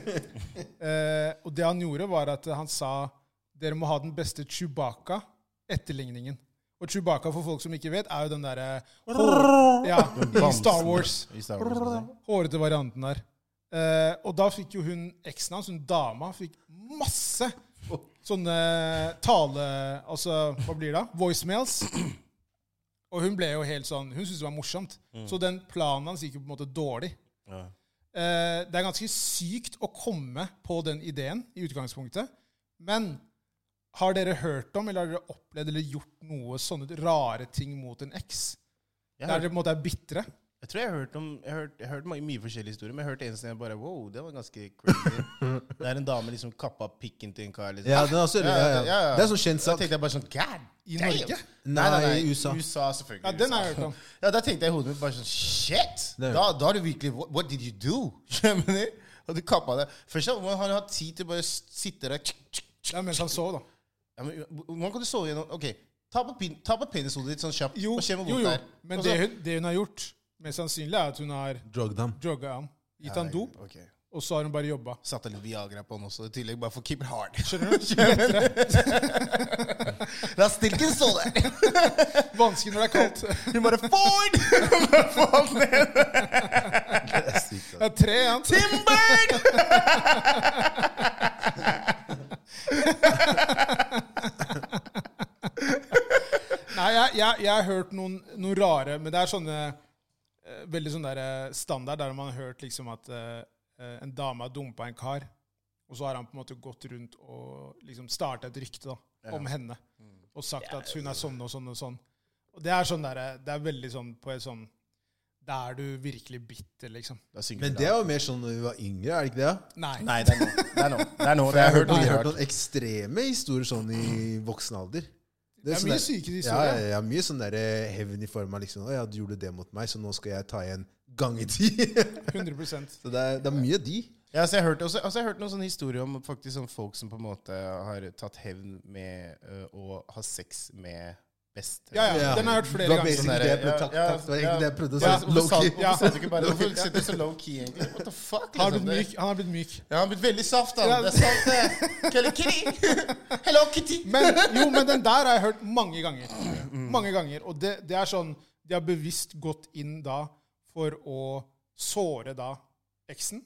Speaker 1: Eh, og det han gjorde, var at han sa dere må ha den beste Chewbacca-etterligningen. Og Chewbacca, for folk som ikke vet, er jo den derre ja, i Star Wars.
Speaker 2: I Star Wars altså. må jeg si.
Speaker 1: Hårete varianten der. Eh, og da fikk jo hun eksen hans, hun dama, fikk masse sånne tale... Altså, hva blir det? da? Voicemails. Og hun ble jo helt sånn Hun syntes det var morsomt.
Speaker 2: Mm.
Speaker 1: Så den planen hans gikk jo på en måte dårlig. Eh, det er ganske sykt å komme på den ideen i utgangspunktet. Men har dere hørt om, eller har dere opplevd eller gjort noe sånne rare ting mot en eks?
Speaker 2: Jeg
Speaker 1: Der
Speaker 2: har-
Speaker 1: dere på en måte er bitre?
Speaker 2: jeg Jeg tror jeg har hørt om Jeg har hørt, jeg har hørt mange, mye forskjellige historier, men jeg har hørt en som jeg bare Wow, det var ganske crazy. det er en dame liksom kappa pikken til en kar. Liksom.
Speaker 3: Ja, den er også, ja, ja, ja. Det er sånn kjent
Speaker 2: Da
Speaker 3: sak.
Speaker 2: tenkte jeg bare sånn God
Speaker 1: I
Speaker 2: damn!
Speaker 1: Norge?
Speaker 2: Nei, nei, nei,
Speaker 3: Nei, i USA.
Speaker 2: USA selvfølgelig.
Speaker 1: Ja, den har jeg hørt om.
Speaker 2: Ja, da tenkte jeg i hodet mitt bare sånn Shit!
Speaker 3: er
Speaker 2: Da, da har du virkelig What, what did you do? Skjønner du? Og du kappa det. Først av alt, hvordan har du hatt tid til å bare s- sitte der tsk, tsk, tsk.
Speaker 1: Det er mens han sov, da.
Speaker 2: ja, men, Hvordan kan du sove gjennom Ok, ta på, pin, ta på penishodet ditt sånn kjapt.
Speaker 1: Jo,
Speaker 2: og se hvor
Speaker 1: jo,
Speaker 2: vondt
Speaker 1: jo.
Speaker 2: det er.
Speaker 1: Men
Speaker 2: Og
Speaker 1: det
Speaker 2: så-
Speaker 1: hun, det hun har gjort, mest sannsynlig er at hun har
Speaker 3: Drug them.
Speaker 1: jogga han. Gitt han dop,
Speaker 2: Ok.
Speaker 1: og så har hun bare jobba.
Speaker 2: Satte litt Viagra på den også i tillegg, bare for keep it hard.
Speaker 1: Skjønner du? Det er lettere.
Speaker 2: La stilken stå der!
Speaker 1: Vanskelig når det er kaldt.
Speaker 2: Hun bare Ford! Falt ned.
Speaker 1: Det er tre, ja.
Speaker 2: Timber!
Speaker 1: Nei, jeg, jeg, jeg har hørt noen, noen rare Men det er sånne eh, veldig sånn der eh, standard der man har hørt liksom at eh, eh, en dame har dumpa en kar, og så har han på en måte gått rundt og liksom starta et rykte da, om henne og sagt at hun er sånn og sånn og sånn. Og det er sånn der, eh, det er veldig sånn på et sånn Da er du virkelig bitter, liksom.
Speaker 3: Men det er jo mer sånn når vi var yngre, er det ikke det?
Speaker 1: Nei.
Speaker 2: Nei, det er nå. Det er nå. Det er nå.
Speaker 3: For jeg har hørt,
Speaker 2: mye
Speaker 3: jeg har
Speaker 2: rart.
Speaker 3: hørt noen ekstreme historier sånn i voksen alder.
Speaker 1: Det er
Speaker 3: sånn
Speaker 1: mye
Speaker 3: der-
Speaker 1: syke
Speaker 3: Ja,
Speaker 1: historier.
Speaker 3: ja, ja, mye sånn der eh, hevn i form av liksom Å ja, du gjorde det mot meg, så nå skal jeg ta igjen gang i ti.
Speaker 1: 100
Speaker 3: så det er, det er mye de.
Speaker 2: Ja, altså, jeg har hørt, også, altså, jeg har hørt noen sånne historier om faktisk sånn folk som på en måte har tatt hevn med øh, å ha sex med best.
Speaker 1: Ja, ja. Den har jeg hørt flere
Speaker 3: Det var
Speaker 1: ganger.
Speaker 3: basically
Speaker 2: Sånn der,
Speaker 3: det jeg prøvde-
Speaker 2: ja,
Speaker 3: takk,
Speaker 2: ja,
Speaker 3: takk, det var
Speaker 2: ja.
Speaker 3: egentlig det jeg prøvde å
Speaker 1: Ja,
Speaker 3: si.
Speaker 2: Hvorfor sa,
Speaker 3: Low-key.
Speaker 2: hvorfor sa du ikke bare
Speaker 1: Low-key.
Speaker 2: Hvorfor sitter du så low key, egentlig? What the fuck?
Speaker 1: Han har
Speaker 2: liksom?
Speaker 1: blitt
Speaker 2: Det-
Speaker 1: myk. Han har blitt myk.
Speaker 2: Ja, han har blitt veldig saft, han.
Speaker 1: Ja.
Speaker 2: Det er sant, det. Hello, Kitty. Hello, Kitty.
Speaker 1: Men, jo, men den der har jeg hørt mange ganger. Mange ganger. Og det, det er sånn De har bevisst gått inn da for å såre da eksen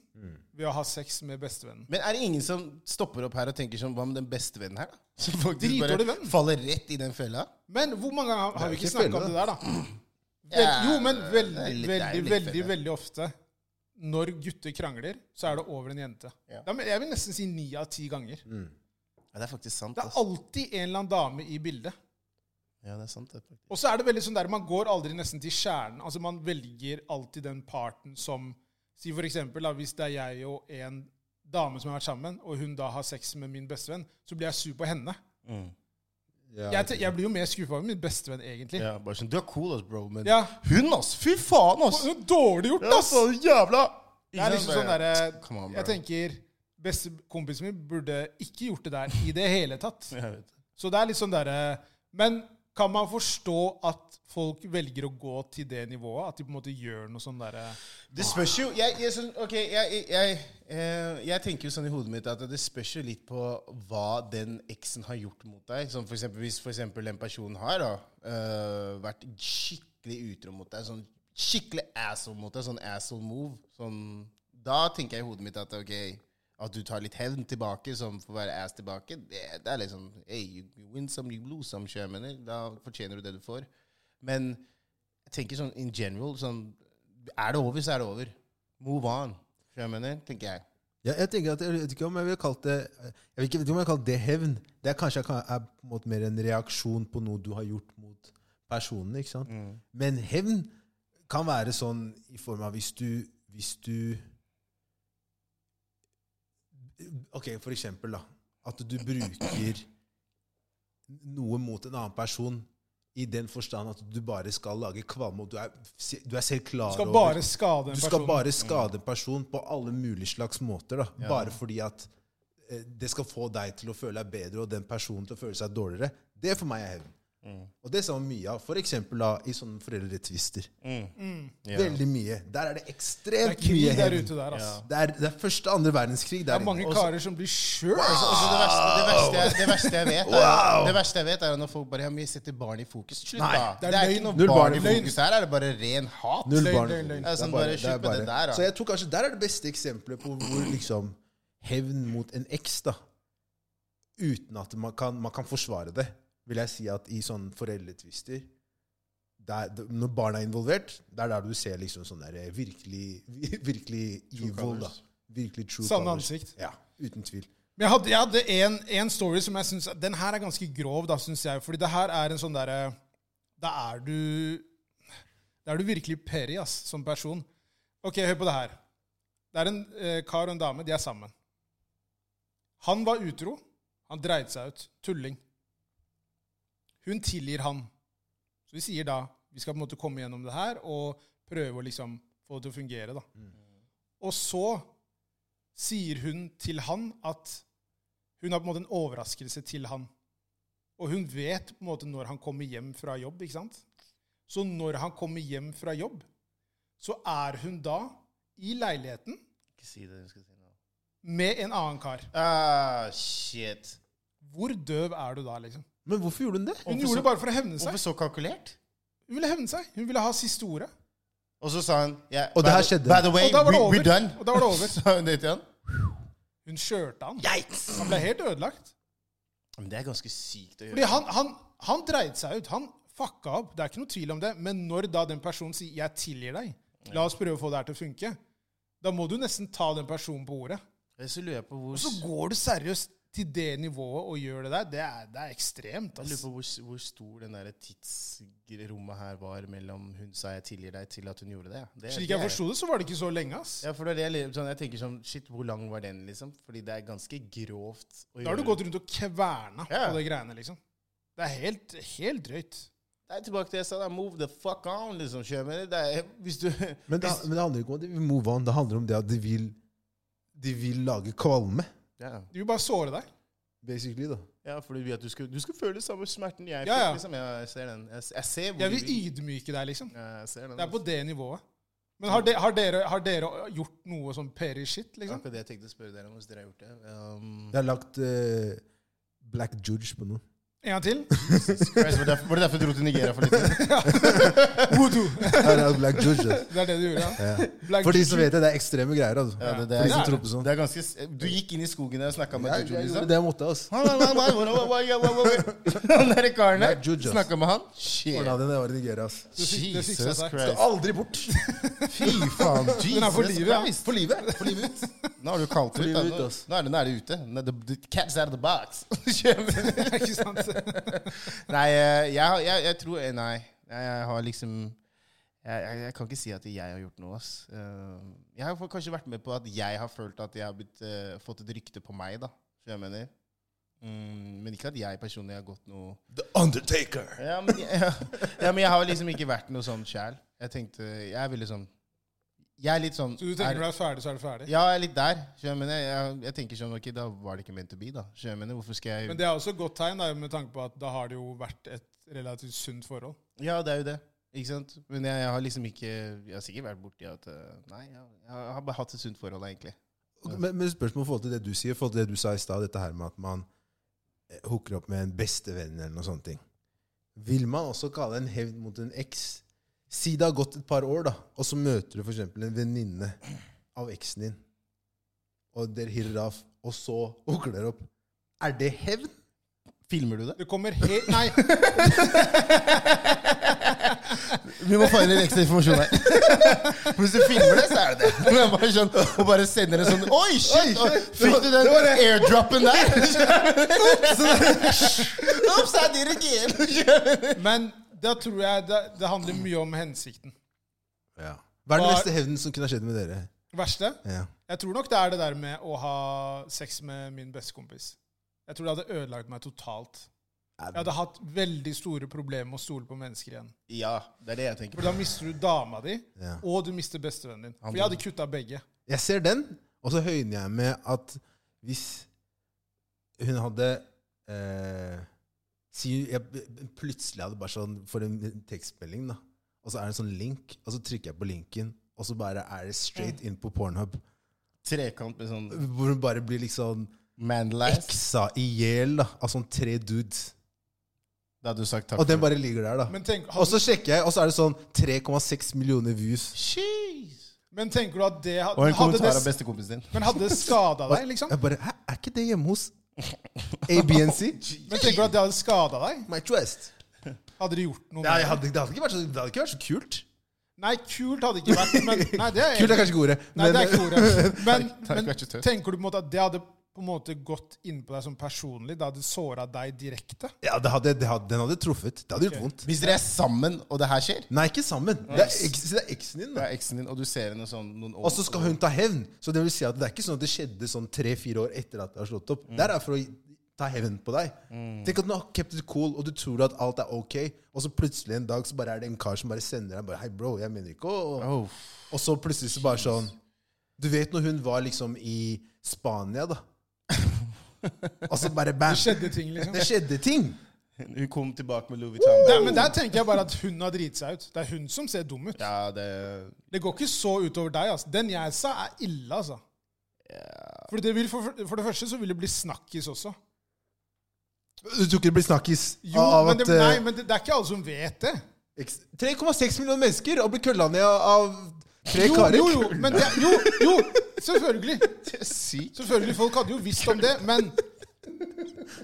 Speaker 1: ved å ha sex med bestevennen.
Speaker 2: Men er det ingen som stopper opp her og tenker sånn Hva med den beste vennen her, da? Som faktisk
Speaker 1: Dritdårlig
Speaker 2: bare
Speaker 1: venn.
Speaker 2: faller rett i den fella?
Speaker 1: Men hvor mange ganger har
Speaker 3: er
Speaker 1: vi
Speaker 3: ikke
Speaker 1: ikke snakka om det
Speaker 3: felle,
Speaker 1: der, da? Vel, jo, men veldig,
Speaker 2: det er litt- det er
Speaker 1: veldig,
Speaker 2: litt
Speaker 1: veldig
Speaker 2: felle.
Speaker 1: veldig ofte når gutter krangler, så er det over en jente.
Speaker 2: Ja. Mm.
Speaker 1: Da- men Jeg vil nesten si ni av ti ganger.
Speaker 2: Ja, det er faktisk sant.
Speaker 1: Det er
Speaker 2: Altså.
Speaker 1: alltid en eller annen dame i bildet.
Speaker 2: Ja, det er sant, det.
Speaker 1: Og så er det veldig sånn der, Man går aldri nesten til kjernen. Altså Man velger alltid den parten som Si for eksempel, da, Hvis det er jeg og en dame som har vært sammen, og hun da har sex med min bestevenn, så blir jeg sur på henne.
Speaker 3: Ja,
Speaker 1: Jeg, te- jeg blir jo mer skuffa over min bestevenn, egentlig.
Speaker 2: Ja, bare sånn, Du er cool, ass, bro, men
Speaker 1: Ja.
Speaker 2: hun, ass! Fy faen, ass!
Speaker 1: Så dårlig gjort,
Speaker 2: Ja,
Speaker 1: ass!
Speaker 2: så jævla
Speaker 1: Det er liksom sånn
Speaker 2: Come
Speaker 1: derre
Speaker 2: on, bro.
Speaker 1: Jeg tenker Beste kompisen min burde ikke gjort det der i det hele tatt.
Speaker 2: Jeg vet.
Speaker 1: Så det er litt sånn derre Men kan man forstå at folk velger å gå til det nivået? At de på en måte gjør noe sånn derre
Speaker 2: Det spørs jo jeg, jeg, sånn, ok, jeg, jeg, jeg, eh, jeg tenker jo sånn i hodet mitt at det spørs jo litt på hva den eksen har gjort mot deg. Som for eksempel, hvis for eksempel en person har da, eh, vært skikkelig utro mot deg, sånn skikkelig asshole mot deg, sånn asshole move, sånn, da tenker jeg i hodet mitt at ok, at du tar litt hevn tilbake, som for å være ass tilbake, det, det er liksom hey, you, you win some, you lose some, sjø, jeg mener. Da fortjener du det du får. Men jeg tenker sånn in general sånn, Er det over, så er det over. Move on. Skjønner du hva Jeg mener, tenker jeg.
Speaker 3: Ja, jeg tenker at, jeg vet ikke om jeg ville kalt det Jeg vet ikke, vet ikke om jeg ville kalt det hevn. Det er kanskje kan- er på en måte mer en reaksjon på noe du har gjort mot personen. ikke sant?
Speaker 1: Mm.
Speaker 3: Men hevn kan være sånn i form av hvis du, hvis du Ok, for eksempel, da. At du bruker noe mot en annen person i den forstand at du bare skal lage kvalme, og du er, du er selv klar
Speaker 1: Du skal
Speaker 3: over
Speaker 1: bare skade en
Speaker 3: du
Speaker 1: person. Mm.
Speaker 3: skal bare skade en person på alle mulige slags måter. Da. Bare fordi at eh, det skal få deg til å føle deg bedre, og den personen til å føle seg dårligere. Det for meg er hevn.
Speaker 1: Mm.
Speaker 3: Og det ser man mye av. For eksempel da, i sånne foreldretvister. Veldig mye. Der er det
Speaker 1: Mm. Det er
Speaker 3: ekstremt
Speaker 1: krig
Speaker 3: mye
Speaker 1: der
Speaker 3: hevn.
Speaker 1: ute der, altså.
Speaker 3: Det er, det er første og andre verdenskrig
Speaker 1: Det
Speaker 3: der
Speaker 1: er mange
Speaker 3: inne.
Speaker 1: karer som blir sjøl.
Speaker 2: Altså, det, verste, det, verste jeg, det, verste jeg vet, er,
Speaker 3: Wow!
Speaker 2: det verste jeg vet, er når folk bare ja, men jeg setter barn i fokus. Slutt,
Speaker 3: Nei,
Speaker 2: da.
Speaker 1: det er
Speaker 2: Det er
Speaker 1: løgn.
Speaker 2: ikke noe
Speaker 3: Null
Speaker 2: barn i
Speaker 3: barn i
Speaker 2: fokus her. Er det bare ren hat?
Speaker 3: Null
Speaker 1: Løgn,
Speaker 3: barn.
Speaker 1: løgn, løgn.
Speaker 3: Det er
Speaker 2: Sånn,
Speaker 3: bare-
Speaker 2: bare
Speaker 3: det er
Speaker 2: slutt med det
Speaker 3: bare-
Speaker 2: der, da.
Speaker 3: Så jeg tror kanskje der er det beste eksempelet på hvor liksom hevn mot en eks, da, uten at man kan, man kan forsvare det, vil jeg si at i sånne foreldretvister der, når barn er involvert, det er der du ser liksom sånn der virkelig, virkelig evil, da.
Speaker 2: colours.
Speaker 3: Virkelig true
Speaker 1: Sanne
Speaker 3: colours.
Speaker 1: ansikt.
Speaker 3: Ja, uten tvil.
Speaker 1: Men jeg hadde, jeg hadde en, en story som jeg syns Den her er ganske grov, da, syns jeg. Fordi det her er en sånn derre Da er du Det Da er du virkelig peri ass, som person. Ok, hør på det her. Det er en eh, kar og en dame. De er sammen. Han var utro. Han dreide seg ut. Tulling. Hun tilgir han. Så vi sier da vi skal på en måte komme gjennom det her og prøve å liksom få det til å fungere. da. Og så sier hun til han at hun har på en måte en overraskelse til han. Og hun vet på en måte når han kommer hjem fra jobb. ikke sant? Så når han kommer hjem fra jobb, så er hun da i leiligheten
Speaker 2: Ikke si det. Jeg skal si noe.
Speaker 1: med en annen kar.
Speaker 2: Ah, shit.
Speaker 1: Hvor døv er du da, liksom?
Speaker 3: Men hvorfor gjorde hun det?
Speaker 1: Hun
Speaker 2: Hvorfor
Speaker 1: gjorde
Speaker 2: så-
Speaker 1: det bare for å hevne seg.
Speaker 2: Hvorfor så kalkulert?
Speaker 1: Hun ville hevne seg. Hun ville ha siste ordet.
Speaker 2: Og så sa han ja,
Speaker 3: Og det
Speaker 2: by
Speaker 3: her
Speaker 2: the-
Speaker 3: skjedde.
Speaker 2: By the way,
Speaker 1: Og da var det
Speaker 2: we,
Speaker 1: over.
Speaker 2: we're done.
Speaker 1: Og da var det over.
Speaker 2: Sa hun det til han?
Speaker 1: Hun kjørte han.
Speaker 2: Yikes!
Speaker 1: Han ble helt ødelagt.
Speaker 2: Men det er ganske sykt å gjøre.
Speaker 1: Fordi han, han, han dreide seg ut. Han fucka opp. Det er ikke noe tvil om det. Men når da den personen sier 'jeg tilgir deg', la oss prøve å få det her til å funke, da må du nesten ta den personen på ordet.
Speaker 2: Ellers så lurer jeg på hvor,
Speaker 1: Og så går du seriøst til det nivået og gjør det der. Det er, det er ekstremt.
Speaker 2: jeg lurer
Speaker 1: ass.
Speaker 2: på hvor, hvor stor den der tidsrommet her var mellom hun sa 'jeg tilgir deg' til at hun gjorde det. det
Speaker 1: Slik
Speaker 2: det
Speaker 1: jeg
Speaker 2: er-
Speaker 1: forsto det, så var det ikke så lenge. ass.
Speaker 2: Ja, for det er det jeg, lurer- sånn, jeg tenker sånn Shit, hvor lang var den, liksom? Fordi det er ganske grovt å gjøre.
Speaker 1: Da har du gått rundt og kverna
Speaker 2: Ja.
Speaker 1: på de greiene, liksom. Det er helt, helt drøyt.
Speaker 2: Det er tilbake til det jeg sa, da. Move the fuck on, liksom. Kjør med det. det er, hvis du
Speaker 3: Men det, men det handler ikke om at de vil move on. Det handler om det at de vil, de vil lage kvalme,
Speaker 2: ja.
Speaker 1: De vil bare såre deg.
Speaker 3: basically. da.
Speaker 2: ja, for du vil at du skal, du skal føle samme smerten jeg
Speaker 1: Ja,
Speaker 2: fikk,
Speaker 1: ja.
Speaker 2: liksom. Ja, jeg ser den. Jeg, jeg ser hvor
Speaker 1: Jeg
Speaker 2: du
Speaker 1: vil ydmyke deg, liksom.
Speaker 2: Ja, jeg ser den.
Speaker 1: Det er på det nivået. Men har, de, har, dere, har dere gjort noe sånn peri shit,
Speaker 2: Det er
Speaker 1: liksom?
Speaker 2: akkurat det jeg tenkte å spørre dere om, hvis dere har gjort det. Um,
Speaker 3: Jeg har lagt eh, black judge på noen.
Speaker 1: En gang til?
Speaker 2: Christ, var, det derfor, var det derfor du dro til Nigeria for litt siden?
Speaker 1: Voodoo!
Speaker 3: Jeg har lagt black judge, da.
Speaker 1: Det er det du gjorde, ja.
Speaker 3: Ja.
Speaker 1: Black
Speaker 3: For de som vet det, det er ekstreme greier. altså.
Speaker 2: Ja, det- det er-
Speaker 3: For de som
Speaker 1: det er
Speaker 3: tror på sånn.
Speaker 2: Det er ganske, s- du gikk inn i skogen der og snakka med
Speaker 3: Jeg,
Speaker 2: Juju,
Speaker 3: jeg gjorde
Speaker 2: liksom?
Speaker 3: det jeg måtte. altså.
Speaker 2: Han han- han- han- han- han- han derre karen
Speaker 3: Nei, Juju,
Speaker 2: der.
Speaker 3: ass.
Speaker 2: Snakka med han? Shit.
Speaker 3: Ordna det da jeg var i Nigeria. altså.
Speaker 1: Det sik- det siksa
Speaker 2: Jesus
Speaker 1: seg.
Speaker 2: Christ.
Speaker 3: Aldri bort!
Speaker 2: Fy faen.
Speaker 1: Den er for
Speaker 2: Jesus
Speaker 1: livet, ja.
Speaker 2: Christ.
Speaker 3: For livet! For livet ut.
Speaker 2: Nå har du kalt det
Speaker 3: For
Speaker 2: ut. da.
Speaker 3: livet ut,
Speaker 2: Nå,
Speaker 3: ass.
Speaker 2: nå, er det, nå er det ute. Nå, the, the cat's out of the box. Skjønner du?
Speaker 1: Ikke sant?
Speaker 2: nei, eh, jeg, har- jeg, jeg tror eh, Nei. Jeg, jeg har liksom jeg, jeg, jeg kan ikke si at jeg har gjort noe. ass. Eh, Jeg har fått- kanskje vært med på at jeg har følt at jeg har blitt, eh, fått et rykte på meg. da. Skjønner du hva jeg mener. Mm, men ikke at jeg personlig har gått noe
Speaker 3: The Undertaker.
Speaker 2: Ja, men, ja, ja, men jeg har liksom ikke vært noe sånn sjæl. Jeg tenkte Jeg er veldig sånn Jeg er litt sånn
Speaker 1: Så du
Speaker 2: er-
Speaker 1: tenker når du er ferdig, så er du ferdig?
Speaker 2: Ja, jeg er litt der. skjønner du, Men jeg, jeg, jeg tenker sånn, ok, da var det ikke meant to be, da. Skjønner du, Men hvorfor skal jeg
Speaker 1: Men det er også et godt tegn, da, med tanke på at da har det jo vært et relativt sunt forhold.
Speaker 2: Ja, det er jo det. Ikke sant? Men jeg, jeg har liksom ikke Jeg har sikkert vært borti at eh, Nei, jeg, jeg har bare hatt et sunt forhold, egentlig.
Speaker 3: Men, men spørsmål i forhold til det du sier, i forhold til det du sa i stad, dette her med at man eh, hooker opp med en bestevenn eller noe sånt. ting. Vil man også kalle en hevn mot en eks? Si det har gått et par år, da, og så møter du f.eks. en venninne av eksen din, og dere hirer av, og så hooker dere opp. Er det hevn?
Speaker 2: Filmer du det?
Speaker 1: Det kommer helt Nei,
Speaker 2: Vi må få inn litt ekstra informasjon her. Hvis du filmer det, så er det det. Men jeg bare sånn, og bare sender en sånn Oi, shit! Fikk du den airdroppen der? Ops, I did it again.
Speaker 1: men da tror jeg det, det handler mye om hensikten.
Speaker 3: Ja. Hva er den
Speaker 1: Hva-
Speaker 3: beste hevnen som kunne ha skjedd med dere?
Speaker 1: Verste?
Speaker 3: Ja.
Speaker 1: Jeg tror nok det er det der med å ha sex med min bestekompis. Jeg tror det hadde ødelagt meg totalt. Jeg hadde hatt veldig store problemer med å stole på mennesker igjen.
Speaker 2: Ja, det er det jeg tenker.
Speaker 1: For da mister du dama di,
Speaker 3: Ja.
Speaker 1: og du mister bestevennen din. For jeg hadde kutta begge.
Speaker 3: Jeg ser den, og så høyner jeg med at hvis hun hadde eh, si, jeg, Plutselig hadde bare sånn For en tekstmelding, da. Og så er det en sånn link, og så trykker jeg på linken, og så bare er det straight inn på Pornhub.
Speaker 2: Trekant med sånn
Speaker 3: Hvor hun bare blir liksom
Speaker 2: mandlice.
Speaker 3: eksa i hjel da, av sånn tre dudes.
Speaker 2: Da hadde du sagt takk.
Speaker 3: Og den bare ligger der, da.
Speaker 1: Men, tenk,
Speaker 3: Og så sjekker jeg, og så er det sånn 3,6 millioner views.
Speaker 2: Jeez.
Speaker 1: men tenker du at det
Speaker 2: Og
Speaker 1: hadde, hadde
Speaker 2: en
Speaker 1: det,
Speaker 2: kommentar av bestekompisen din.
Speaker 1: Men hadde det skada deg, liksom?
Speaker 3: Jeg bare Hæ, er ikke det hjemme hos ABNC?
Speaker 1: Men tenker du at det hadde skada deg?
Speaker 3: My twist.
Speaker 1: Hadde du gjort noe
Speaker 3: Nei,
Speaker 1: med
Speaker 3: jeg
Speaker 1: det?
Speaker 3: hadde, det, hadde ikke vært så, det hadde ikke vært så kult.
Speaker 1: Nei, kult hadde ikke vært men, Nei, det er
Speaker 3: Kult er kanskje ikke ordet.
Speaker 1: Nei, det er ikke ordet. Men,
Speaker 2: Takk,
Speaker 1: men
Speaker 2: vær så snill.
Speaker 1: tenker du på en måte at det hadde på på en måte gått innpå deg som personlig? Det hadde såra deg direkte?
Speaker 3: Ja, det hadde, det hadde, Den hadde truffet. Det hadde gjort
Speaker 1: Ok.
Speaker 3: vondt.
Speaker 2: Hvis dere er sammen, og det her skjer
Speaker 3: Nei, ikke sammen. Det er, eks, det er eksen din.
Speaker 2: Det
Speaker 3: da.
Speaker 2: er eksen din, og du ser henne sånn noen år
Speaker 3: Og så skal hun ta hevn. Så det vil si at det er ikke sånn at det skjedde sånn tre-fire år etter at det har slått opp. Det er
Speaker 1: Mm.
Speaker 3: for å ta hevn på deg. Tenk at du har kept it cool, og du tror at alt er ok, og så plutselig en dag så bare er det en kar som bare sender deg bare Hei, bro, jeg mener ikke å
Speaker 2: Oh.
Speaker 3: Og så plutselig så bare sånn Du vet når hun var liksom i Spania, da. Og så bare bam.
Speaker 1: Det skjedde ting, liksom.
Speaker 3: Det skjedde ting.
Speaker 2: Hun kom tilbake med Louis Vuitton.
Speaker 1: Nei, men Der tenker jeg bare at hun har driti seg ut. Det er hun som ser dum ut.
Speaker 2: Ja, det
Speaker 1: Det går ikke så utover deg. altså. Den jeg sa, er ille, altså. For det, vil for, for det første så vil det bli snakkis også.
Speaker 3: Du tror ikke det blir snakkis
Speaker 1: Jo,
Speaker 3: av
Speaker 1: men,
Speaker 3: at
Speaker 1: det, nei, men det, det er ikke alle som vet det.
Speaker 3: eh, eks- 3,6 millioner mennesker og blir kølla ned av tre
Speaker 1: Jo,
Speaker 3: karer?
Speaker 1: jo, jo, men det, jo, jo, selvfølgelig.
Speaker 2: Det er sykt.
Speaker 1: Selvfølgelig, Folk hadde jo visst om det, men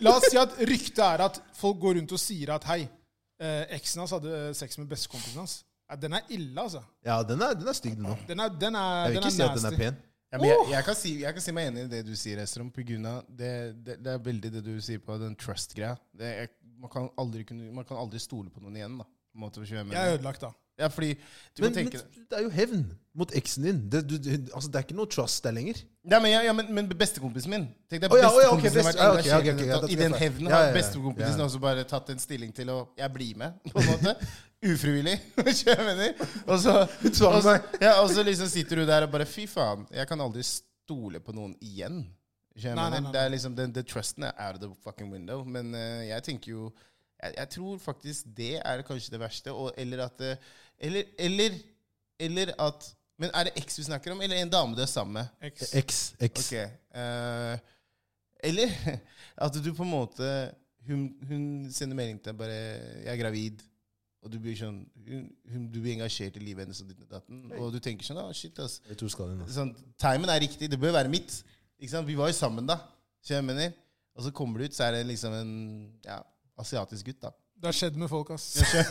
Speaker 1: la oss si at ryktet er at folk går rundt og sier at hei, eh, eksen hans hadde eh, sex med bestekompisen hans. Ja, den er ille, altså.
Speaker 3: Ja, den er, den er stygg, den òg.
Speaker 1: Den er, den er,
Speaker 3: Jeg vil
Speaker 1: den
Speaker 3: ikke
Speaker 1: er
Speaker 3: si at den er
Speaker 1: nasty.
Speaker 3: pen.
Speaker 2: Ja, men jeg, jeg, kan si, jeg kan si meg enig i det du sier, Estrom. På grunn av det, det, det er veldig det du sier på den trust-greia. Det er- Man, kan aldri kunne- man kan aldri stole på noen igjen, da. På en måte, hvis jeg mener.
Speaker 1: Jeg er ødelagt, da.
Speaker 2: Ja, fordi du
Speaker 3: Men,
Speaker 2: må
Speaker 3: men
Speaker 2: tenke
Speaker 3: det er jo hevn mot eksen din. Det, du, du, altså, det er ikke noe trust der lenger.
Speaker 2: Nei, men, ja, ja, men, men bestekompisen min Tenk deg
Speaker 3: Å, ja, å, ja, ok,
Speaker 2: bestekompisen har vært
Speaker 3: best- ja,
Speaker 2: engasjert
Speaker 3: ok,
Speaker 2: i det,
Speaker 3: ok, ok, ja, da
Speaker 2: I
Speaker 3: tror jeg
Speaker 2: den
Speaker 3: feil.
Speaker 2: hevnen
Speaker 3: Ja, ja,
Speaker 2: har
Speaker 3: ja.
Speaker 2: bestekompisen
Speaker 3: Ja.
Speaker 2: også bare tatt en stilling til å Jeg blir med, på en måte. Ufrivillig, hvis jeg mener. Og så, og,
Speaker 3: tvang
Speaker 2: så- ja, og så liksom sitter du der og bare Fy faen, jeg kan aldri stole på noen igjen. Hvis jeg
Speaker 1: Nei, nei,
Speaker 2: mener.
Speaker 1: nei,
Speaker 2: Det er liksom, den, den trusten er out of the fucking window. Men eh, jeg tenker jo jeg, jeg tror faktisk det er kanskje det verste. Og, eller at det, eller, eller, eller at Men er det eks vi snakker om, eller en dame du er sammen med?
Speaker 1: Eks.
Speaker 3: Eks, eks.
Speaker 2: Ok. eh, eller at du på en måte Hun, hun sender melding til deg bare 'Jeg er gravid', og du blir sånn hun, hun, Du blir engasjert i livet hennes og ditt og datten, og du tenker sånn ah, 'Shit, ass'.
Speaker 3: Jeg tror skal den, altså.
Speaker 2: Sånn, timen er riktig. Det bør være mitt. Ikke sant? Vi var jo sammen da. Så jeg mener. Og så kommer du ut, så er det liksom en ja, asiatisk gutt, da.
Speaker 1: Det har skjedd med folk, ass.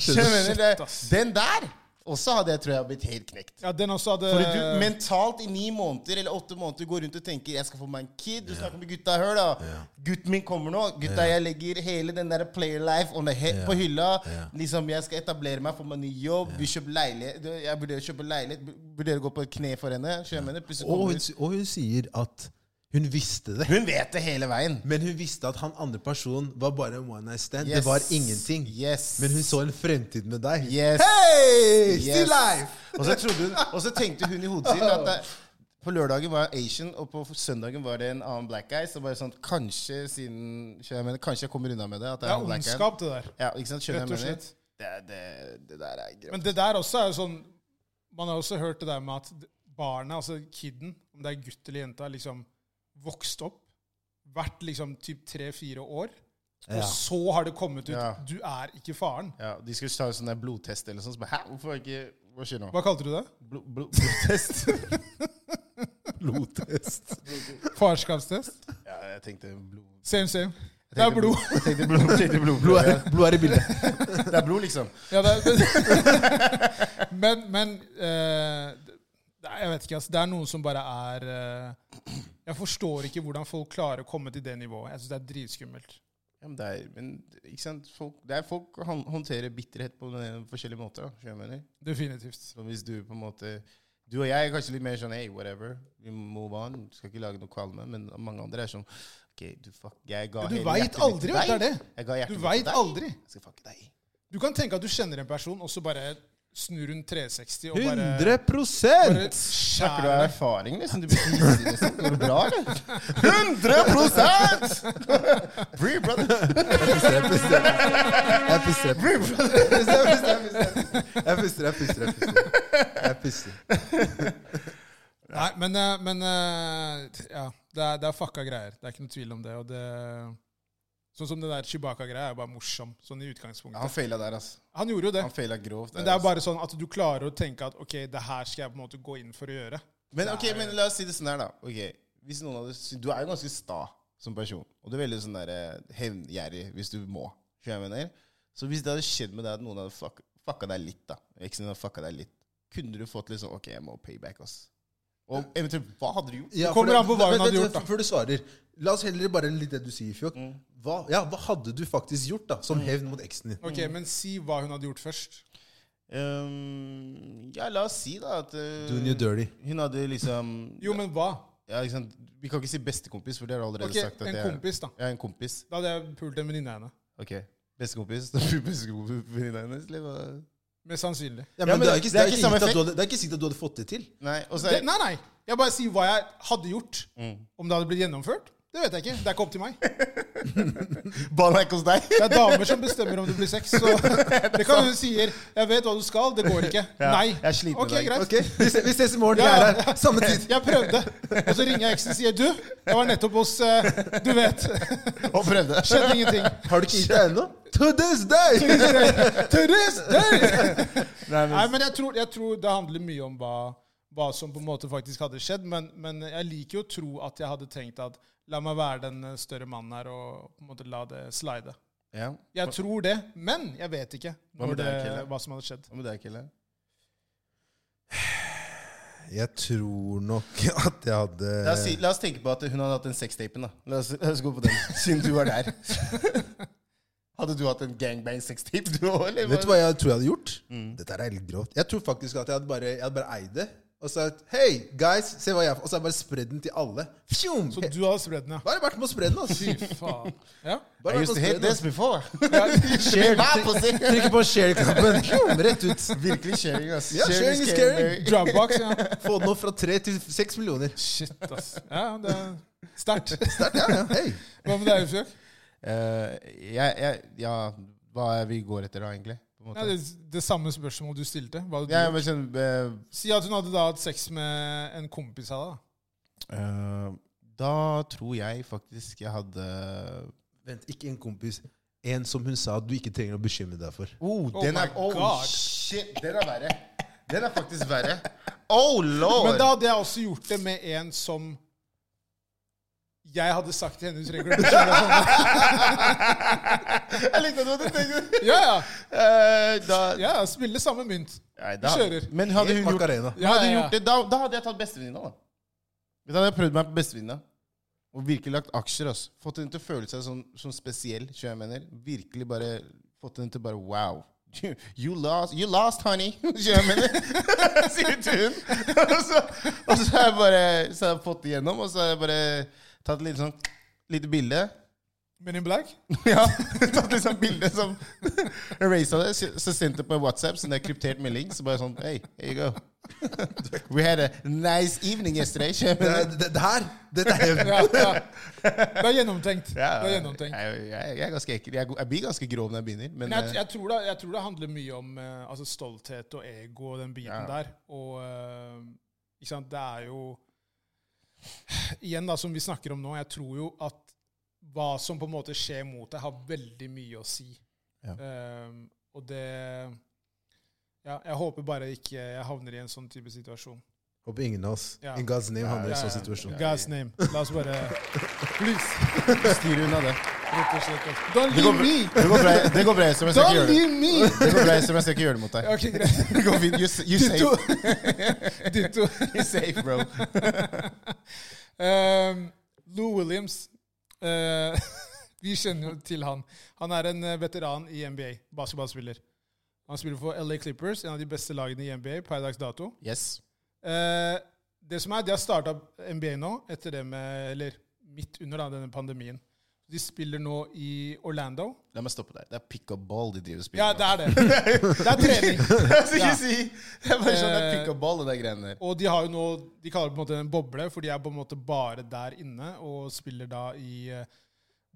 Speaker 2: Så jeg mener, det,
Speaker 1: ass.
Speaker 2: den der også hadde jeg tror jeg blitt helt knekt.
Speaker 1: Ja, den også hadde
Speaker 2: Fordi
Speaker 3: Eh.
Speaker 2: du mentalt i ni måneder eller åtte måneder går rundt og tenker 'jeg skal få meg en kid'. Du snakker med gutta her, da. Gutten min kommer nå. Gutta, jeg legger hele den der player life on the he- på hylla. Liksom, Jeg skal etablere meg, få meg ny jobb. Vi kjøper leilighet. Du, Jeg vurderer å kjøpe leilighet. Vurderer å gå på kne for henne. Så jeg mener, plutselig
Speaker 3: Og
Speaker 2: kommer
Speaker 3: hun,
Speaker 2: hun
Speaker 3: og hun sier at hun visste det.
Speaker 2: Hun vet det hele veien.
Speaker 3: Men hun visste at han andre personen var bare en one night stand.
Speaker 2: Yes.
Speaker 3: Det var ingenting.
Speaker 2: Yes.
Speaker 3: Men hun så en fremtid med deg.
Speaker 2: Yes.
Speaker 3: Hei!
Speaker 2: Yes.
Speaker 3: Still life!
Speaker 2: Og så, trodde hun, og så tenkte hun i hodet sitt at det, på lørdagen var jeg Asian, og på søndagen var det en annen black guy. Så bare sånn, kanskje siden skjønner jeg mener, Kanskje jeg kommer unna med det. At det
Speaker 1: Det
Speaker 2: er
Speaker 1: er
Speaker 2: en black guy.
Speaker 1: ondskap, det der.
Speaker 2: Ja, ikke sant? Skjønner
Speaker 1: Rett
Speaker 2: jeg
Speaker 1: og
Speaker 2: mener?
Speaker 1: slett.
Speaker 2: Det, det, det der er grovt.
Speaker 1: Men det der også er jo sånn Man har også hørt det der med at barnet, altså kiden, om det er gutt eller jente, har liksom vokst opp, vært liksom typ tre-fire år, og
Speaker 3: Ja.
Speaker 1: så har det kommet ut
Speaker 2: Ja.
Speaker 1: Du er ikke faren.
Speaker 2: Ja, de skulle ta en sånn der blodtest eller sånn. Så bare, Hæ, hvorfor er ikke Hva skjer nå?
Speaker 1: Hva kalte du det?
Speaker 2: Blod, blod, blodtest?
Speaker 3: Blodtest.
Speaker 1: Farskapstest?
Speaker 2: ja, jeg tenkte blod.
Speaker 1: Same, same. Det er blod.
Speaker 2: Jeg tenkte blod, jeg tenkte blod,
Speaker 3: Blod er, blod er i bildet.
Speaker 2: Det er blod, liksom.
Speaker 1: Ja, det er, det. Men, men eh, det- Jeg vet ikke, altså. Det er noen som bare er eh, Jeg forstår ikke hvordan folk klarer å komme til det nivået. Jeg syns det er dritskummelt.
Speaker 2: Ja, men det er, men, ikke sant? Folk, det er folk hånd- håndterer bitterhet på eh, forskjellige måter. Da, skjønner jeg mener.
Speaker 1: Definitivt.
Speaker 2: Så hvis du på en måte Du og jeg er kanskje litt mer sånn hey, whatever. We move on. Skal ikke lage noe kvalme. Men mange andre er sånn OK, du fuck, jeg ga
Speaker 1: Du
Speaker 2: hele
Speaker 1: veit
Speaker 2: hjertet mitt
Speaker 1: aldri,
Speaker 2: til
Speaker 1: vet du, det
Speaker 2: deg.
Speaker 1: er det.
Speaker 2: Jeg ga hjertet
Speaker 1: Du
Speaker 2: mitt til
Speaker 1: veit
Speaker 2: deg.
Speaker 1: aldri.
Speaker 2: Jeg skal fucke deg.
Speaker 1: Du kan tenke at du kjenner en person, og så bare snur hun 360 og bare,
Speaker 3: 100
Speaker 1: bare
Speaker 2: Snakker du av
Speaker 1: skjærer
Speaker 2: erfaring, liksom? Du blir fnisig, liksom. Går det bra, eller? 100 Bree, brother.
Speaker 3: Jeg puster, jeg puster. Jeg puster, jeg puster.
Speaker 2: Bree, brother.
Speaker 3: Jeg puster, jeg puster. Jeg puster, jeg puster. Jeg puster. Jeg puster.
Speaker 1: Nei, men, eh, men eh, ja, det er, det er fucka greier. Det er ikke noe tvil om det. Og det sånn som det der Chewbacca-greia er bare morsom, sånn i utgangspunktet.
Speaker 2: Han feila der, altså.
Speaker 1: Han gjorde jo det.
Speaker 2: Han feila grovt.
Speaker 1: Men det er
Speaker 2: altså.
Speaker 1: bare sånn at du klarer å tenke at ok, det her skal jeg på en måte gå inn for å gjøre.
Speaker 2: Men ok, men la oss si det sånn her, da. Ok, hvis noen hadde sy- Du er jo ganske sta som person, og du er veldig sånn der eh, hevngjerrig hvis du må. skjønner du hva Jeg mener. Så hvis det hadde skjedd med deg at noen hadde fuck, fucka deg litt, da eksen din hadde fucka deg litt, kunne du fått litt sånn Ok, jeg må payback, ass. Og eventuelt, hva hadde du gjort?
Speaker 3: Ja,
Speaker 1: Det
Speaker 3: for
Speaker 1: kommer an på hva hun
Speaker 3: Vent,
Speaker 1: hadde
Speaker 3: vent,
Speaker 1: gjort, da.
Speaker 3: Før du svarer, la oss heller bare litt det du sier, Fjokk. Hva, ja, hva hadde du faktisk gjort da, som hevn mot eksen din?
Speaker 1: Ok,
Speaker 2: Mm.
Speaker 1: Men si hva hun hadde gjort først.
Speaker 2: Ehm, ja, la oss si da at eh,
Speaker 3: Doing you dirty.
Speaker 2: hun hadde liksom
Speaker 1: Jo, men hva?
Speaker 2: ja, ikke sant, Vi kan ikke si bestekompis, for det har du allerede
Speaker 1: Ok,
Speaker 2: sagt. At
Speaker 1: En
Speaker 2: det er-
Speaker 1: kompis, da.
Speaker 2: Ja, en kompis.
Speaker 1: Da hadde jeg pult en venninne av henne.
Speaker 2: Ok. Bestekompis. Da blir bestekompis-venninna hennes. eller hva?
Speaker 1: Mest sannsynlig.
Speaker 3: Ja,
Speaker 2: Ja,
Speaker 3: men det er ikke det er ikke
Speaker 2: samme
Speaker 3: sikkert at
Speaker 2: effekt.
Speaker 3: du hadde- det er ikke sikkert at du hadde fått det til.
Speaker 2: Nei, og så
Speaker 1: Det,
Speaker 2: er
Speaker 1: nei, nei. Jeg bare sier hva jeg hadde gjort.
Speaker 2: Mm.
Speaker 1: Om det hadde blitt gjennomført? Det vet jeg ikke. Det er ikke opp til meg. Det
Speaker 2: ballen er ikke hos deg.
Speaker 1: er damer som bestemmer om det blir sex. Så det kan hun sier 'Jeg vet hva du skal, det går ikke'.
Speaker 2: Ja,
Speaker 1: Nei.
Speaker 2: jeg er sliten i
Speaker 1: Ok,
Speaker 2: dag.
Speaker 1: greit.
Speaker 3: Ok, Vi ses, vi ses i morgen. Jeg er her. Samme tid.
Speaker 1: Jeg prøvde. Og så ringer jeg eksen og sier 'Du, jeg var nettopp hos eh, Du vet.
Speaker 2: Og prøvde.
Speaker 1: Skjedde ingenting.
Speaker 3: Har du ikke gitt deg ennå? To this day!
Speaker 1: To this day!
Speaker 2: Nei, men,
Speaker 1: Nei, men jeg tror, jeg tror det handler mye om hva, hva som på en måte faktisk hadde skjedd. Men, men jeg liker jo å tro at jeg hadde tenkt at la meg være den eh, større mannen her og på en måte la det slide.
Speaker 2: ja.
Speaker 1: Jeg tror det, men jeg vet ikke
Speaker 2: Hva med
Speaker 1: når det,
Speaker 2: deg, Kelle?
Speaker 1: hva som hadde skjedd.
Speaker 2: Hva med deg, Kille?
Speaker 3: Jeg tror nok at jeg hadde
Speaker 2: La oss, si, la oss tenke på at hun hadde hatt den sextapen. da. La oss, la oss gå på den, siden du var der. Hadde du hatt en gangbang-sextape, du òg?
Speaker 3: Vet du hva jeg tror jeg hadde gjort? Dette er helt grovt. Jeg tror faktisk at jeg hadde bare, jeg hadde bare eid det. Og sagt Hei, guys, se hva jeg Og så har jeg bare spredd den til alle. Fjom!
Speaker 1: Så du hadde spredd den, ja?
Speaker 3: Bare vært med å spre den, ass.
Speaker 1: Fy faen. Ja.
Speaker 3: Bare
Speaker 2: I used
Speaker 3: vært med
Speaker 2: to
Speaker 3: å spre
Speaker 2: hate
Speaker 3: den,
Speaker 2: this
Speaker 3: ass.
Speaker 2: before.
Speaker 3: Share.
Speaker 2: Hva på seg?
Speaker 3: Trykker på share-knappen. Fjom, Rett ut.
Speaker 2: Virkelig sharing, ass.
Speaker 3: Ja, sharing is
Speaker 1: Eh,
Speaker 3: caring.
Speaker 1: Dropbox, ja.
Speaker 3: Få den opp fra tre til seks millioner.
Speaker 1: Shit, ass. Ja, det er sterkt.
Speaker 3: Sterkt, ja. ja. Hei.
Speaker 1: Hva med deg, Ufjøk?
Speaker 2: Eh, jeg, jeg, ja, hva er vi går etter da, egentlig? På en
Speaker 1: Ja,
Speaker 2: måte.
Speaker 1: det, det samme spørsmålet du stilte. Hva
Speaker 2: jeg,
Speaker 1: hadde du?
Speaker 2: bare skjønner, eh,
Speaker 1: Si at hun hadde da hatt sex med en kompis av deg. da.
Speaker 2: Eh, da tror jeg faktisk jeg hadde
Speaker 3: Vent, ikke en kompis. En som hun sa at du ikke trenger å bekymre deg for.
Speaker 2: Oh, den
Speaker 1: my
Speaker 2: er Oh,
Speaker 1: God.
Speaker 2: shit! Den er verre. Den er faktisk verre. Oh, lord!
Speaker 1: Men da hadde jeg også gjort det med en som jeg hadde sagt til henne hun trenger å bekymre seg om.
Speaker 2: Jeg likte at du tenkte
Speaker 1: Ja, ja.
Speaker 2: Eh, da,
Speaker 1: ja, ja, Spille samme mynt.
Speaker 2: Nei, da
Speaker 1: Kjører.
Speaker 2: Men hadde hun gjort,
Speaker 3: Macarena.
Speaker 1: Ja, ja,
Speaker 2: hadde hun
Speaker 1: ja.
Speaker 2: gjort det, da, da hadde jeg tatt bestevenninna, da. Da hadde jeg prøvd meg på bestevenninna. Og virkelig lagt aksjer. ass. Fått henne til å føle seg sånn, sånn spesiell. skjønner jeg mener. Virkelig bare fått henne til bare wow. You, you lost, you lost, honey. skjønner jeg mener. Sier til hun. og, så, og så har jeg bare så har jeg fått det gjennom, og så har jeg bare tatt et lite sånn lite bilde.
Speaker 1: Men in black?
Speaker 2: Ja, tatt liksom bilde som Erasa det, så- så sendte det på WhatsApp, sånn der kryptert melding. Så bare sånn Hey, here you go. We had a nice evening yesterday. skjønner du?
Speaker 3: Det, det, det her, dette er hevn.
Speaker 1: Ja, ja. Det er gjennomtenkt. Det er
Speaker 2: jeg,
Speaker 1: gjennomtenkt.
Speaker 2: jeg, jeg er ganske ekkel. Jeg, jeg blir ganske grov når jeg begynner. Men,
Speaker 1: Men jeg,
Speaker 2: eh,
Speaker 1: jeg, tror det, jeg tror det handler mye om eh, altså stolthet og ego og den biten
Speaker 2: Ja.
Speaker 1: der. Og eh, ikke sant, det er jo Igjen, da, som vi snakker om nå, jeg tror jo at hva som på en måte skjer mot deg, har veldig mye å si.
Speaker 2: Ja.
Speaker 1: Eh, og det ja, Jeg håper bare ikke jeg havner i en sånn type situasjon.
Speaker 3: Håper ingen av oss
Speaker 1: Ja.
Speaker 3: in God's name havner i
Speaker 1: Ja,
Speaker 3: en sånn
Speaker 1: ja.
Speaker 3: situasjon.
Speaker 1: In God's name. La oss bare Please.
Speaker 2: styrer unna det.
Speaker 1: Rett og slett. Don't
Speaker 2: Det går,
Speaker 1: leave
Speaker 2: bra-
Speaker 1: me!
Speaker 2: det går bra, det går bra som jeg skal ikke
Speaker 1: Don't
Speaker 2: gjøre det.
Speaker 1: leave me!
Speaker 2: Det går bra som jeg skal ikke gjøre det mot deg.
Speaker 1: Ok, greit.
Speaker 2: Det går fint. You, you safe.
Speaker 1: Ditto. Ditto.
Speaker 2: You safe, bro.
Speaker 1: Ehm, Lou Williams. eh, vi kjenner jo til han. Han er en eh, veteran i NBA, basketballspiller. Han spiller for LA Clippers, en av de beste lagene i NBA per dags dato.
Speaker 2: Yes.
Speaker 1: Eh, det som er, De har starta NBA nå, etter det med, eller midt under da, denne pandemien. De spiller nå i Orlando.
Speaker 2: La meg stoppe der. Det er pick up ball de driver og spiller
Speaker 1: Ja,
Speaker 2: med.
Speaker 1: det er det. Det er trening.
Speaker 2: Jeg skal
Speaker 1: Ja.
Speaker 2: ikke si Det er bare sånn det er pick up ball, det der greiene der.
Speaker 1: Og de har jo nå De kaller det på en måte en boble, for de er på en måte bare der inne og spiller da i eh,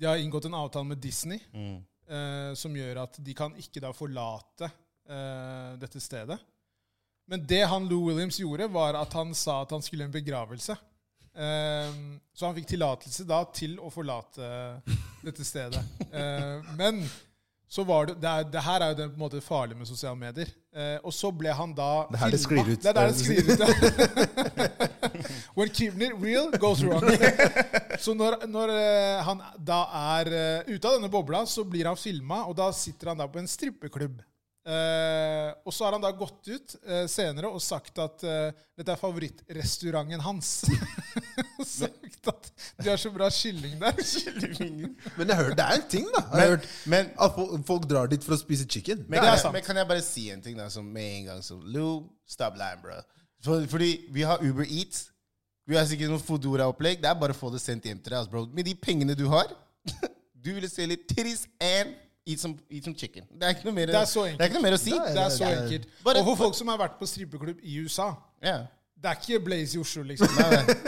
Speaker 1: De har inngått en avtale med Disney eh, som gjør at de kan ikke da forlate eh, dette stedet. Men det han Lou Williams gjorde, var at han sa at han skulle i en begravelse. Ehm, så han fikk tillatelse da til å forlate dette stedet. Eh, men så var det, det, er, det her er jo det på en måte farlige med sosiale medier. Eh, og så ble han da
Speaker 3: Det er her det
Speaker 1: filmet.
Speaker 3: sklir ut. eh,
Speaker 1: Det er der det sklir ut, ja. When Kibner real goes wrong. Så når, når eh, han da er eh, ute av denne bobla, så blir han filma, og da sitter han da på en strippeklubb. Eh, og så har han da gått ut eh, senere og sagt at eh, dette er favorittrestauranten hans. sagt at de har så bra kylling der.
Speaker 3: Men jeg har hørt det er en ting, da. Jeg har
Speaker 2: Men,
Speaker 3: hørt
Speaker 2: men,
Speaker 3: at fo- folk drar dit for å spise chicken.
Speaker 2: men,
Speaker 1: Det er
Speaker 2: kan jeg,
Speaker 1: sant.
Speaker 2: men kan jeg bare si en ting da, som med en gang som Lou, stop lying, bro. For, fordi vi har Uber Eats. Vi har sikkert noen Foodora-opplegg. Det er bare å få det sendt hjem til deg. ass, bro. Med de pengene du har Du ville selge titties and eat some, eat some chicken. Det er ikke noe mer,
Speaker 1: Det er så enkelt.
Speaker 2: det er ikke noe mer å si.
Speaker 1: Det er så enkelt.
Speaker 2: Bare-
Speaker 1: og for folk som har vært på strippeklubb i USA
Speaker 2: Ja.
Speaker 1: Det er ikke Blaze i Oslo, liksom.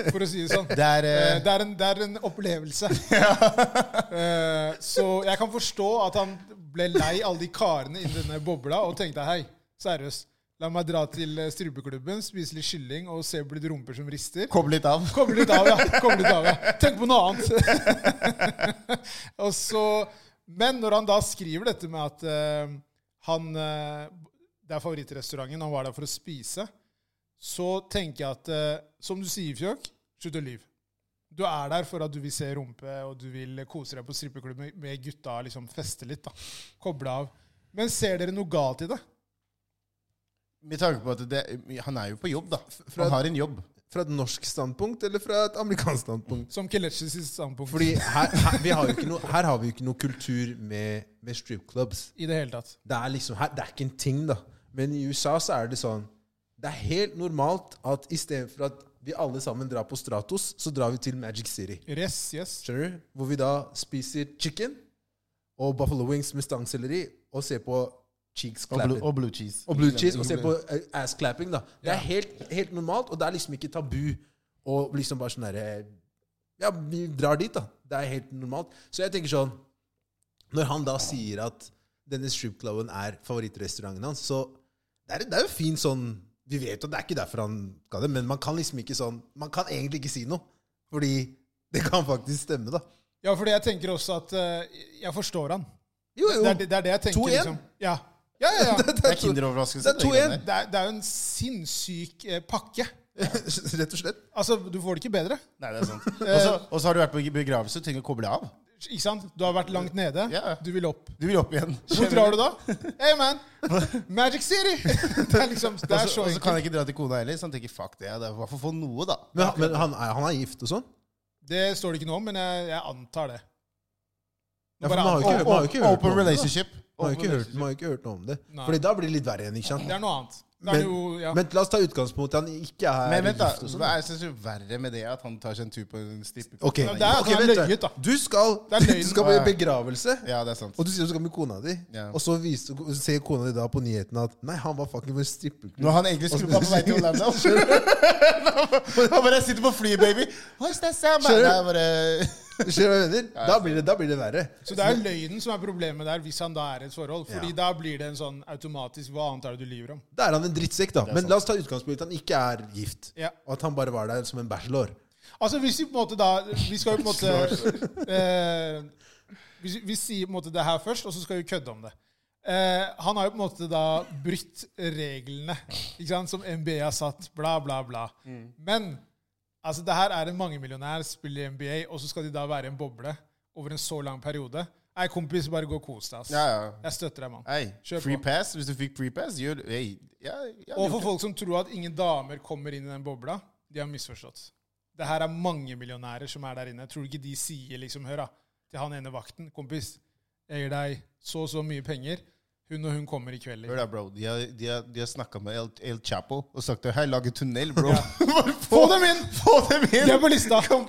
Speaker 1: For å si det sånn.
Speaker 2: Det er, eh,
Speaker 1: Eh, det er en, det er en opplevelse. Eh, så jeg kan forstå at han ble lei alle de karene i denne bobla og tenkte hei, seriøst, la meg dra til eh, strupeklubben, spise litt kylling og se på litt rumper som rister.
Speaker 2: Koble litt av.
Speaker 1: Koble litt av, ja. Koble litt av, ja. Tenk på noe annet. og så, men når han da skriver dette med at eh, han eh, Det er favorittrestauranten, han var der for å spise, så tenker jeg at eh, Som du sier, Fjokk, slutt å lyve. Du er der for at du vil se rumpe, og du vil kose deg på strippeklubb med- med gutta, liksom feste litt, da. Koble av. Men ser dere noe galt i det?
Speaker 2: Med tanke på at det, han er jo på jobb, da.
Speaker 3: fra-
Speaker 2: han har en jobb.
Speaker 3: Fra et norsk standpunkt eller fra et amerikansk standpunkt?
Speaker 1: Som Kelechi sitt standpunkt.
Speaker 3: Fordi her, her, vi har jo ikke noe, her har vi jo ikke noe kultur med, med stripclubs.
Speaker 1: I det hele tatt.
Speaker 3: Det er liksom her, det er ikke en ting, da. Men i USA så er det sånn Det er helt normalt at istedenfor at vi alle sammen drar på Stratos, så drar vi til Magic City.
Speaker 1: Yes, yes.
Speaker 3: Skjønner du? Hvor vi da spiser chicken og buffalo wings med stangselleri og ser på cheeks
Speaker 2: Og blue,
Speaker 3: clapping.
Speaker 2: og blue cheese.
Speaker 3: Og blue cheese og ser på eh, ass clapping, da. Det er helt, helt normalt, og det er liksom ikke tabu å liksom bare sånn derre Ja, vi drar dit, da. Det er helt normalt. Så jeg tenker sånn Når han da sier at denne stripcloven er favorittrestauranten hans, så det er, det er jo fint sånn Vi vet jo at det er ikke derfor han ga det, men man kan liksom ikke sånn Man kan egentlig ikke si noe. Fordi det kan faktisk stemme, da.
Speaker 1: Ja, fordi jeg tenker også at eh, Jeg forstår han.
Speaker 3: Jo, jo.
Speaker 1: Det er det, det, er det jeg tenker.
Speaker 3: 2-1?
Speaker 1: Liksom. Ja. ja, ja, ja.
Speaker 2: Det er kinderoverraskelse.
Speaker 3: Det er 2-1.
Speaker 1: Det er, det er jo en sinnssyk eh, pakke.
Speaker 3: Rett og slett.
Speaker 1: Altså, Du får det ikke bedre.
Speaker 2: Nei, det er sant. Og så- Og så har du vært på begravelse og trenger å koble av.
Speaker 1: Ikke sant? Du har vært langt nede.
Speaker 2: Ja.
Speaker 1: Du vil opp.
Speaker 2: Du vil opp igjen.
Speaker 1: Hvor drar du da? Hey, man! Magic City! Det er liksom, det er
Speaker 3: Altså,
Speaker 1: så
Speaker 2: Og så og så kan
Speaker 1: enkelt.
Speaker 2: jeg ikke dra til kona heller, så han tenker fuck det. Det er for å få noe, da.
Speaker 3: Men, men han, er, han er gift og sånn?
Speaker 1: Det står det ikke noe om, men jeg, jeg antar det.
Speaker 3: Ja, for
Speaker 1: Bare
Speaker 3: man har jo ikke,
Speaker 1: an-
Speaker 3: man har jo ikke hørt noe
Speaker 2: Open
Speaker 3: om det, da.
Speaker 2: relationship.
Speaker 3: Man har jo ikke
Speaker 2: Open
Speaker 3: hørt, man har jo ikke hørt noe om det.
Speaker 1: Nei.
Speaker 3: Fordi da blir det litt verre igjen. ikke sant?
Speaker 1: Det er noe annet. Det er
Speaker 3: Men,
Speaker 1: jo, ja.
Speaker 3: men la oss ta utgangspunkt i at han ikke er
Speaker 2: Men vent, da.
Speaker 3: gift og sånn.
Speaker 2: Hva er det som er verre med det at han tar seg en tur på en strippe?
Speaker 3: Ok,
Speaker 1: det er at
Speaker 3: ok,
Speaker 1: han
Speaker 3: vent
Speaker 1: løy ut, da.
Speaker 3: Du skal,
Speaker 1: Det er løgn.
Speaker 3: du skal på begravelse,
Speaker 2: Ja, det er sant.
Speaker 3: og du sier du skal med kona di.
Speaker 2: Ja.
Speaker 3: Og så viser, ser kona di da på nyheten at Nei, han var fucking på en strippeklubb.
Speaker 2: Når han egentlig skulle bare på vei til Orlando. Han bare sitter på flyet, baby. What's that sound?
Speaker 3: Skjønner du?
Speaker 2: Det er bare
Speaker 3: Skjønner du hva jeg mener? Da blir det, da blir det verre.
Speaker 1: Så det er løgnen som er problemet der, hvis han da er i et forhold. Fordi
Speaker 3: Ja.
Speaker 1: da blir det en sånn automatisk Hva annet er det du lyver om?
Speaker 3: Da er han en drittsekk, da. Men la oss ta utgangspunkt i at han ikke er gift,
Speaker 1: Ja.
Speaker 3: og at han bare var der som en bachelor.
Speaker 1: Altså hvis vi på en måte da Vi skal jo på en måte eh, vi, vi sier på en måte det her først, og så skal vi kødde om det. Eh, han har jo på en måte da brutt reglene ikke sant, som NBA har satt, bla, bla, bla. Men altså det her er en mangemillionær, spiller i NBA, og så skal de da være i en boble over en så lang periode. Nei, kompis, bare gå og kos deg. ass.
Speaker 2: Ja, ja.
Speaker 1: Jeg støtter deg, mann.
Speaker 2: Hei,
Speaker 1: Kjør på.
Speaker 2: free pass. Hvis du fikk free pass, gjør hey, ja, ja,
Speaker 1: Og for folk som tror at ingen damer kommer inn i den bobla, de har misforstått. Det her er mangemillionærer som er der inne. Tror du ikke de sier liksom, hør da, til han ene vakten, kompis, jeg gir deg så og så mye penger, hun og hun kommer i kveld. liksom."
Speaker 2: Hør da, bro. De har, de har, de har snakka med El, El Chapo og sagt hei, lag en tunnel, bro. Bare
Speaker 1: Få dem inn!
Speaker 2: Få dem inn!
Speaker 1: De er på lista!
Speaker 2: Kom,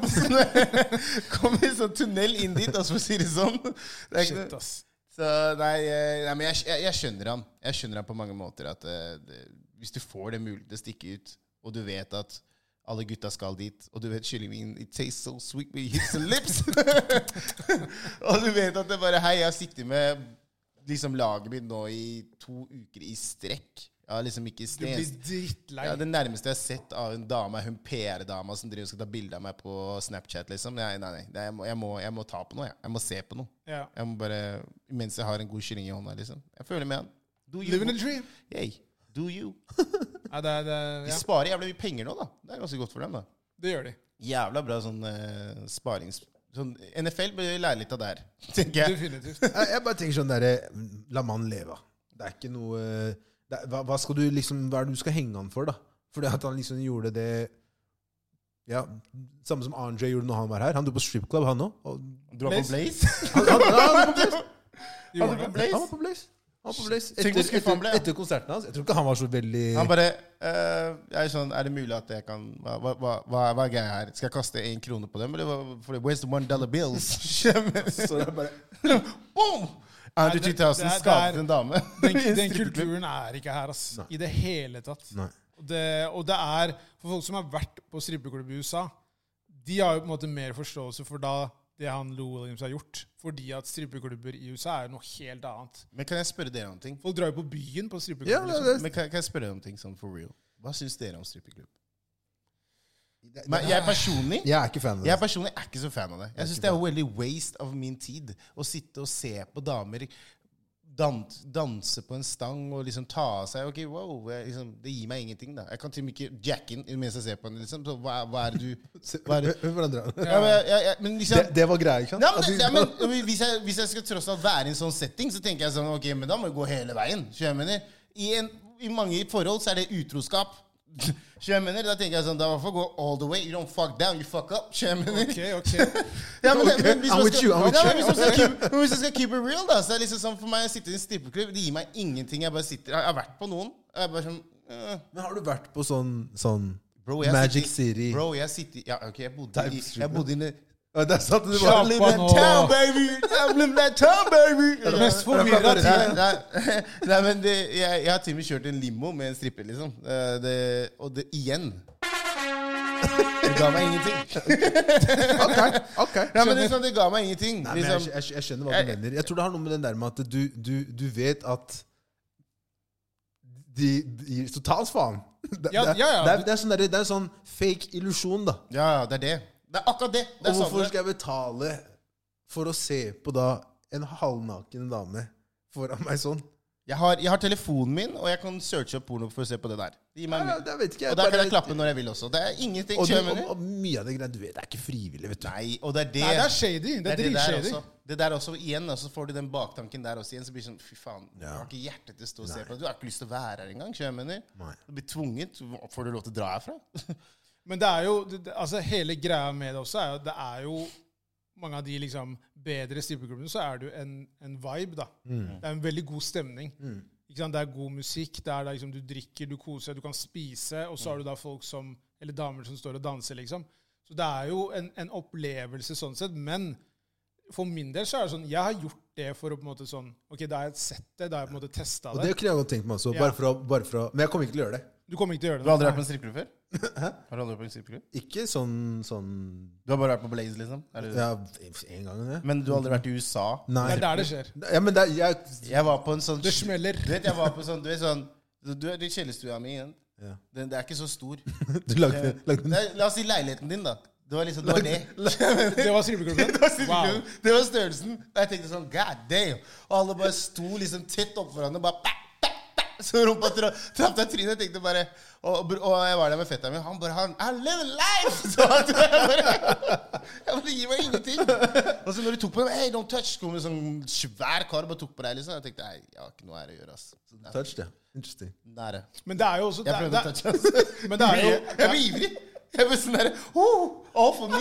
Speaker 2: kom i sånn tunnel inn dit, altså, for å si det sånn. Det er ikke,
Speaker 1: Shit,
Speaker 2: noe-
Speaker 1: ass.
Speaker 2: så nei, eh, nei men jeg, jeg, jeg skjønner han. Jeg skjønner han på mange måter. At eh, det, hvis du får det mulig til å stikke ut, og du vet at alle gutta skal dit, og du vet kyllingen It tastes so sweet with hips and lips. og du vet at det bare Hei, jeg har sittet med liksom laget mitt nå i to uker i strekk. Jeg har liksom ikke
Speaker 1: Du blir
Speaker 2: stens...
Speaker 1: drittlei.
Speaker 2: Ja, det nærmeste jeg har sett av en dame, er hun PR-dama som driver og skal ta bilde av meg på Snapchat. liksom. Nei, nei, nei. Det er- Jeg må, jeg må, jeg må ta på noe. Jeg, jeg må se på noe.
Speaker 1: Ja.
Speaker 2: Jeg må bare, Mens jeg har en god kylling i hånda, liksom. Jeg føler med han. Do you.
Speaker 1: Living a dream.
Speaker 2: Hey, do you.
Speaker 1: Ja, det, er- det, er-
Speaker 2: De
Speaker 1: ja,
Speaker 2: sparer jævla mye penger nå, da. Det er ganske godt for dem, da.
Speaker 1: det gjør de.
Speaker 2: Jævla bra sånn eh, sparings... Sånn, NFL bør lære litt av det her, tenker jeg.
Speaker 1: Definitivt.
Speaker 3: Jeg, jeg bare tenker sånn derre eh, La mannen leve. Det er ikke noe det er, hva, hva, skal du liksom, hva er det du skal henge han for, da? Fordi at han liksom gjorde det ja, Samme som RJ gjorde når han var her. Han dro på stripclub, han òg. Han,
Speaker 2: Du var på
Speaker 1: Blaze?
Speaker 2: Blaze?
Speaker 3: han, ja, han var på Blaze.
Speaker 2: Han var på Blaze?
Speaker 3: Han var på Blaze. Han var på Blaze.
Speaker 2: Tenk
Speaker 3: Etter,
Speaker 2: hvor skuffet han
Speaker 3: etter,
Speaker 2: ble, ja.
Speaker 3: etter konserten hans. Jeg tror ikke han var så veldig
Speaker 2: Han bare eh, jeg er, sånn, er det mulig at jeg kan Hva, hva, hva- hva, hva er greia her? Skal jeg kaste én krone på dem? Eller hva, for det- where's the one dollar bills?
Speaker 3: så det er bare,
Speaker 2: Boom! Andrew
Speaker 1: det-
Speaker 2: 2000
Speaker 1: det er- det
Speaker 2: skadet
Speaker 1: er-
Speaker 2: en dame.
Speaker 1: Den,
Speaker 2: i en
Speaker 1: den
Speaker 2: strippeklubb.
Speaker 1: kulturen er ikke her, ass.
Speaker 3: Nei.
Speaker 1: I det hele tatt.
Speaker 3: Nei.
Speaker 1: Og det, og det er For folk som har vært på strippeklubb i USA, de har jo på en måte mer forståelse for da det han Lou Williams har gjort. Fordi at strippeklubber i USA er jo noe helt annet.
Speaker 2: Men kan jeg spørre dere om ting?
Speaker 1: Folk drar jo på byen på strippeklubb.
Speaker 3: Ja,
Speaker 1: liksom.
Speaker 3: det, det,
Speaker 2: Men kan, kan jeg spørre dere om ting sånn for real? Hva syns dere om strippeklubb?
Speaker 3: det,
Speaker 2: Men jeg personlig
Speaker 3: jeg er ikke fan av det.
Speaker 2: Jeg personlig er ikke så fan av det. Jeg syns det er veldig waste av min tid å sitte og se på damer dan danse på en stang og liksom ta av seg Ok, wow, jeg, liksom, Det gir meg ingenting, da. Jeg kan til og med ikke jacke inn mens jeg ser på henne. Liksom. Så hva, hva er det du
Speaker 3: Se-
Speaker 2: hva er det?
Speaker 3: hør på den dra-
Speaker 2: Ja, men, jeg, jeg, men liksom
Speaker 3: Det, det var greia, ikke sant?
Speaker 2: Nei, men,
Speaker 3: At
Speaker 2: det,
Speaker 3: du-
Speaker 2: nei, men, men hvis, jeg, hvis jeg skal tross alt være i en sånn setting, så tenker jeg sånn Ok, men da må jeg gå hele veien. Skjønner jeg mener? I, en, I mange forhold så er det utroskap. Skjønner jeg mener? Da tenker jeg sånn Da må jeg få gå all the way. You don't fuck down, you fuck up. Skjønner jeg mener?
Speaker 1: Ok, ok.
Speaker 2: Ja, men,
Speaker 3: Ok,
Speaker 2: men hvis
Speaker 3: I'm
Speaker 2: man
Speaker 3: with
Speaker 2: skal,
Speaker 3: you, I'm
Speaker 2: Ja,
Speaker 3: with you.
Speaker 2: men hvis man skal keep, men hvis man skal keep it real, da, så er det liksom sånn for meg å sitte i en strippeklubb Det gir meg ingenting. Jeg bare sitter Jeg har vært på noen. og Jeg er bare sånn eh.
Speaker 3: Men har du vært på sånn, sånn
Speaker 2: Bro, jeg sitter,
Speaker 3: Magic
Speaker 2: i-
Speaker 3: City?
Speaker 2: Bro, jeg sitter i- Ja, ok, jeg bodde i Jeg bodde i
Speaker 3: Ja, Der satt du
Speaker 1: Slapp
Speaker 3: bare.
Speaker 1: av
Speaker 2: Live that
Speaker 1: nå.
Speaker 2: town, baby! I'm living that town, baby!
Speaker 1: Mest forvirra
Speaker 2: Nei,
Speaker 1: tid.
Speaker 2: nei, nei, men det, jeg, jeg har til og med kjørt en limo med en stripper, liksom. Eh, Det, og det igjen. Det ga meg ingenting.
Speaker 3: Ok, ok.
Speaker 2: Nei, men liksom, det ga meg ingenting.
Speaker 3: Nei, men jeg,
Speaker 2: Liksom.
Speaker 3: jeg, jeg skjønner hva du mener. Jeg tror det har noe med den der med at du, du, du vet at de, de gir totalt faen. Det,
Speaker 1: Ja,
Speaker 3: det-
Speaker 1: ja, ja.
Speaker 3: Det, er, det, er sånn der, det er en sånn fake illusjon, da.
Speaker 2: Ja, ja, det er det. Det er akkurat det. det
Speaker 3: Og
Speaker 2: er sånn.
Speaker 3: hvorfor
Speaker 2: samme.
Speaker 3: skal jeg betale for å se på da en halvnaken dame foran meg sånn?
Speaker 2: Jeg har, jeg har telefonen min, og jeg kan searche opp porno for å se på det der. Det gir meg
Speaker 3: Ja,
Speaker 2: mye.
Speaker 3: det vet ikke jeg.
Speaker 2: Og der kan jeg
Speaker 3: Bare-
Speaker 2: klappe når jeg vil også. Det er ingenting.
Speaker 3: og, du,
Speaker 2: skjønner
Speaker 3: og,
Speaker 2: jeg mener?
Speaker 3: og mye av det greiene du vet, det er ikke frivillig, vet du.
Speaker 2: Nei, og det er det.
Speaker 1: Nei, det er shady. Det er
Speaker 2: det der
Speaker 1: dritshady.
Speaker 2: også. Det der også igjen, og så får du den baktanken der også igjen. Så blir det sånn Fy faen, du
Speaker 3: Ja.
Speaker 2: har ikke hjerte til å stå og se på. det. Du har ikke lyst til å være her engang. skjønner jeg mener?
Speaker 3: Nei.
Speaker 2: Du blir tvunget. Får du lov til å dra herfra?
Speaker 1: Men det er jo det, det- altså Hele greia med det også er jo det er jo mange av de liksom bedre strippeklubbene, så er det jo en, en vibe, da.
Speaker 2: Mm.
Speaker 1: Det er en veldig god stemning. Ikke sant? Det er god musikk. Det er da liksom Du drikker, du koser deg, du kan spise, og så har du da folk som Eller damer som står og danser, liksom. Så det er jo en, en opplevelse sånn sett. Men for min del så er det sånn Jeg har gjort det for å på en måte sånn Ok, da har jeg sett det, da har jeg på en måte testa
Speaker 3: Og
Speaker 1: det.
Speaker 3: det kunne jeg godt tenkt meg også.
Speaker 1: Ja.
Speaker 3: Bare for, å- bare for, å- men jeg kommer ikke til å gjøre det.
Speaker 1: Du kommer ikke til å gjøre det.
Speaker 2: Du har aldri vært på en strippeklubb før? Har du aldri vært på en strippeklubb?
Speaker 3: Ikke sånn, sånn
Speaker 2: Du har bare vært på Blaze, liksom? Er det-
Speaker 3: Ja, en gang. Ja.
Speaker 2: Men du har aldri vært i USA?
Speaker 1: Det
Speaker 3: Nei.
Speaker 1: er der det skjer.
Speaker 3: Ja, men det er jeg,
Speaker 2: Jeg var på en sånn
Speaker 1: Det smeller.
Speaker 2: Du vet, jeg var på sånn Du er sånn Du du er i kjellerstua mi igjen.
Speaker 3: Ja.
Speaker 2: Den, det er ikke så stor.
Speaker 3: Du lagde, lagde en
Speaker 2: Det er, la oss si leiligheten din, da. Det var liksom Det var det.
Speaker 1: Det var strippeklubben?
Speaker 2: Det var, styrken.
Speaker 1: Wow.
Speaker 2: det var størrelsen. Og jeg tenkte sånn God damn! Og alle bare sto liksom tett opp hverandre. Bare bæ, bæ, bæ. Så rumpa tra traff deg i trynet. Jeg tenkte bare og, br- og jeg var der med fetteren min. Han bare han, I live life! Så jeg bare, jeg bare gir meg ingenting. Og så når de tok på meg Hey, don't touch! Kom en sånn svær kar og bare tok på deg. liksom Jeg tenkte Nei, jeg har ikke noe her å gjøre, ass. Så det er
Speaker 3: touch, det. Interesting.
Speaker 2: Nære.
Speaker 1: Men det er jo også
Speaker 2: Jeg prøvde
Speaker 1: det,
Speaker 2: å
Speaker 1: det,
Speaker 2: touche, ass.
Speaker 1: Men det er jo
Speaker 2: Jeg blir ivrig. Jeg blir sånn derre oh, All for me!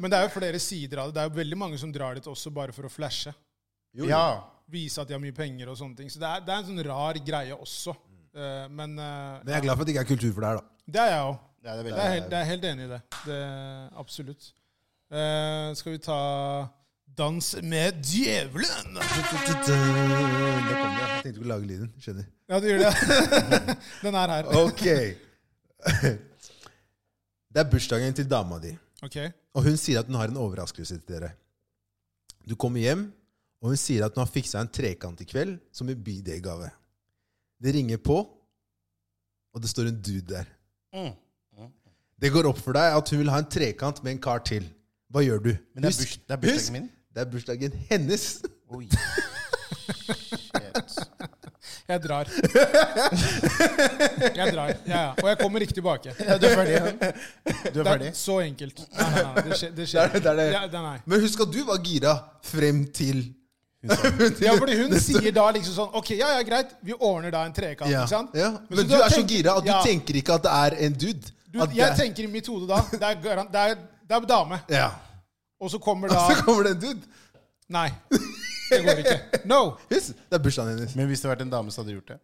Speaker 1: Men det er jo flere sider av det. Det er jo veldig mange som drar dit også bare for å flashe.
Speaker 2: ja.
Speaker 1: Vise at de har mye penger og sånne ting. Så det er, det er en sånn rar greie også. Eh, men eh,
Speaker 3: Men jeg er glad for at det ikke er kultur for det her, da.
Speaker 1: det er jeg òg.
Speaker 2: Ja, det er
Speaker 1: Jeg
Speaker 2: veldig
Speaker 1: er helt- jeg er helt enig i det. det absolutt. Eh, skal vi ta Dans med djevelen?
Speaker 3: Det kom det. Jeg tenkte du kunne lage lyden. Skjønner.
Speaker 1: Ja, du gjør det. Den er her.
Speaker 3: Ok. Det er bursdagen til dama di,
Speaker 1: Ok.
Speaker 3: og hun sier at hun har en overraskelse til dere. Du kommer hjem, og hun sier at hun har fiksa en trekant i kveld som en bidegave. Det ringer på, og det står en dude der.
Speaker 2: Mm.
Speaker 3: Det går opp for deg at hun vil ha en trekant med en kar til. Hva gjør du?
Speaker 2: Men det er burs- det er bursdagen min.
Speaker 3: Det er bursdagen hennes.
Speaker 2: Oi. Shit.
Speaker 1: Jeg drar. Jeg drar. Ja, ja. Og jeg kommer ikke tilbake.
Speaker 2: Ja, du er ferdig. ja. Du er
Speaker 1: Det
Speaker 2: ferdig.
Speaker 1: er så enkelt. Nei, nei, nei. Det skjer. Det
Speaker 3: Det
Speaker 1: skjer.
Speaker 3: er det- det er det.
Speaker 1: Ja, det- nei.
Speaker 3: Men husk at du var gira frem til
Speaker 2: Hun sa det.
Speaker 1: Ja, fordi hun sier da liksom sånn Ok, ja, ja, greit. Vi ordner da en trekant,
Speaker 3: ja.
Speaker 1: ikke sant?
Speaker 3: Ja.
Speaker 1: Men
Speaker 3: Men,
Speaker 1: så
Speaker 3: du er så
Speaker 1: tenker-
Speaker 3: gira at du
Speaker 1: ja.
Speaker 3: tenker ikke at det er en dude.
Speaker 1: Du,
Speaker 3: at det
Speaker 1: jeg
Speaker 3: er-
Speaker 1: tenker i mitt hode da Det er, garan- det er, det er dame.
Speaker 3: Ja.
Speaker 1: Og så kommer da
Speaker 3: Så kommer det en dude.
Speaker 1: Nei. Det går ikke. No.
Speaker 3: Yes, det er bursdagen hennes.
Speaker 2: Men hvis det hadde vært en dame, så hadde du gjort det.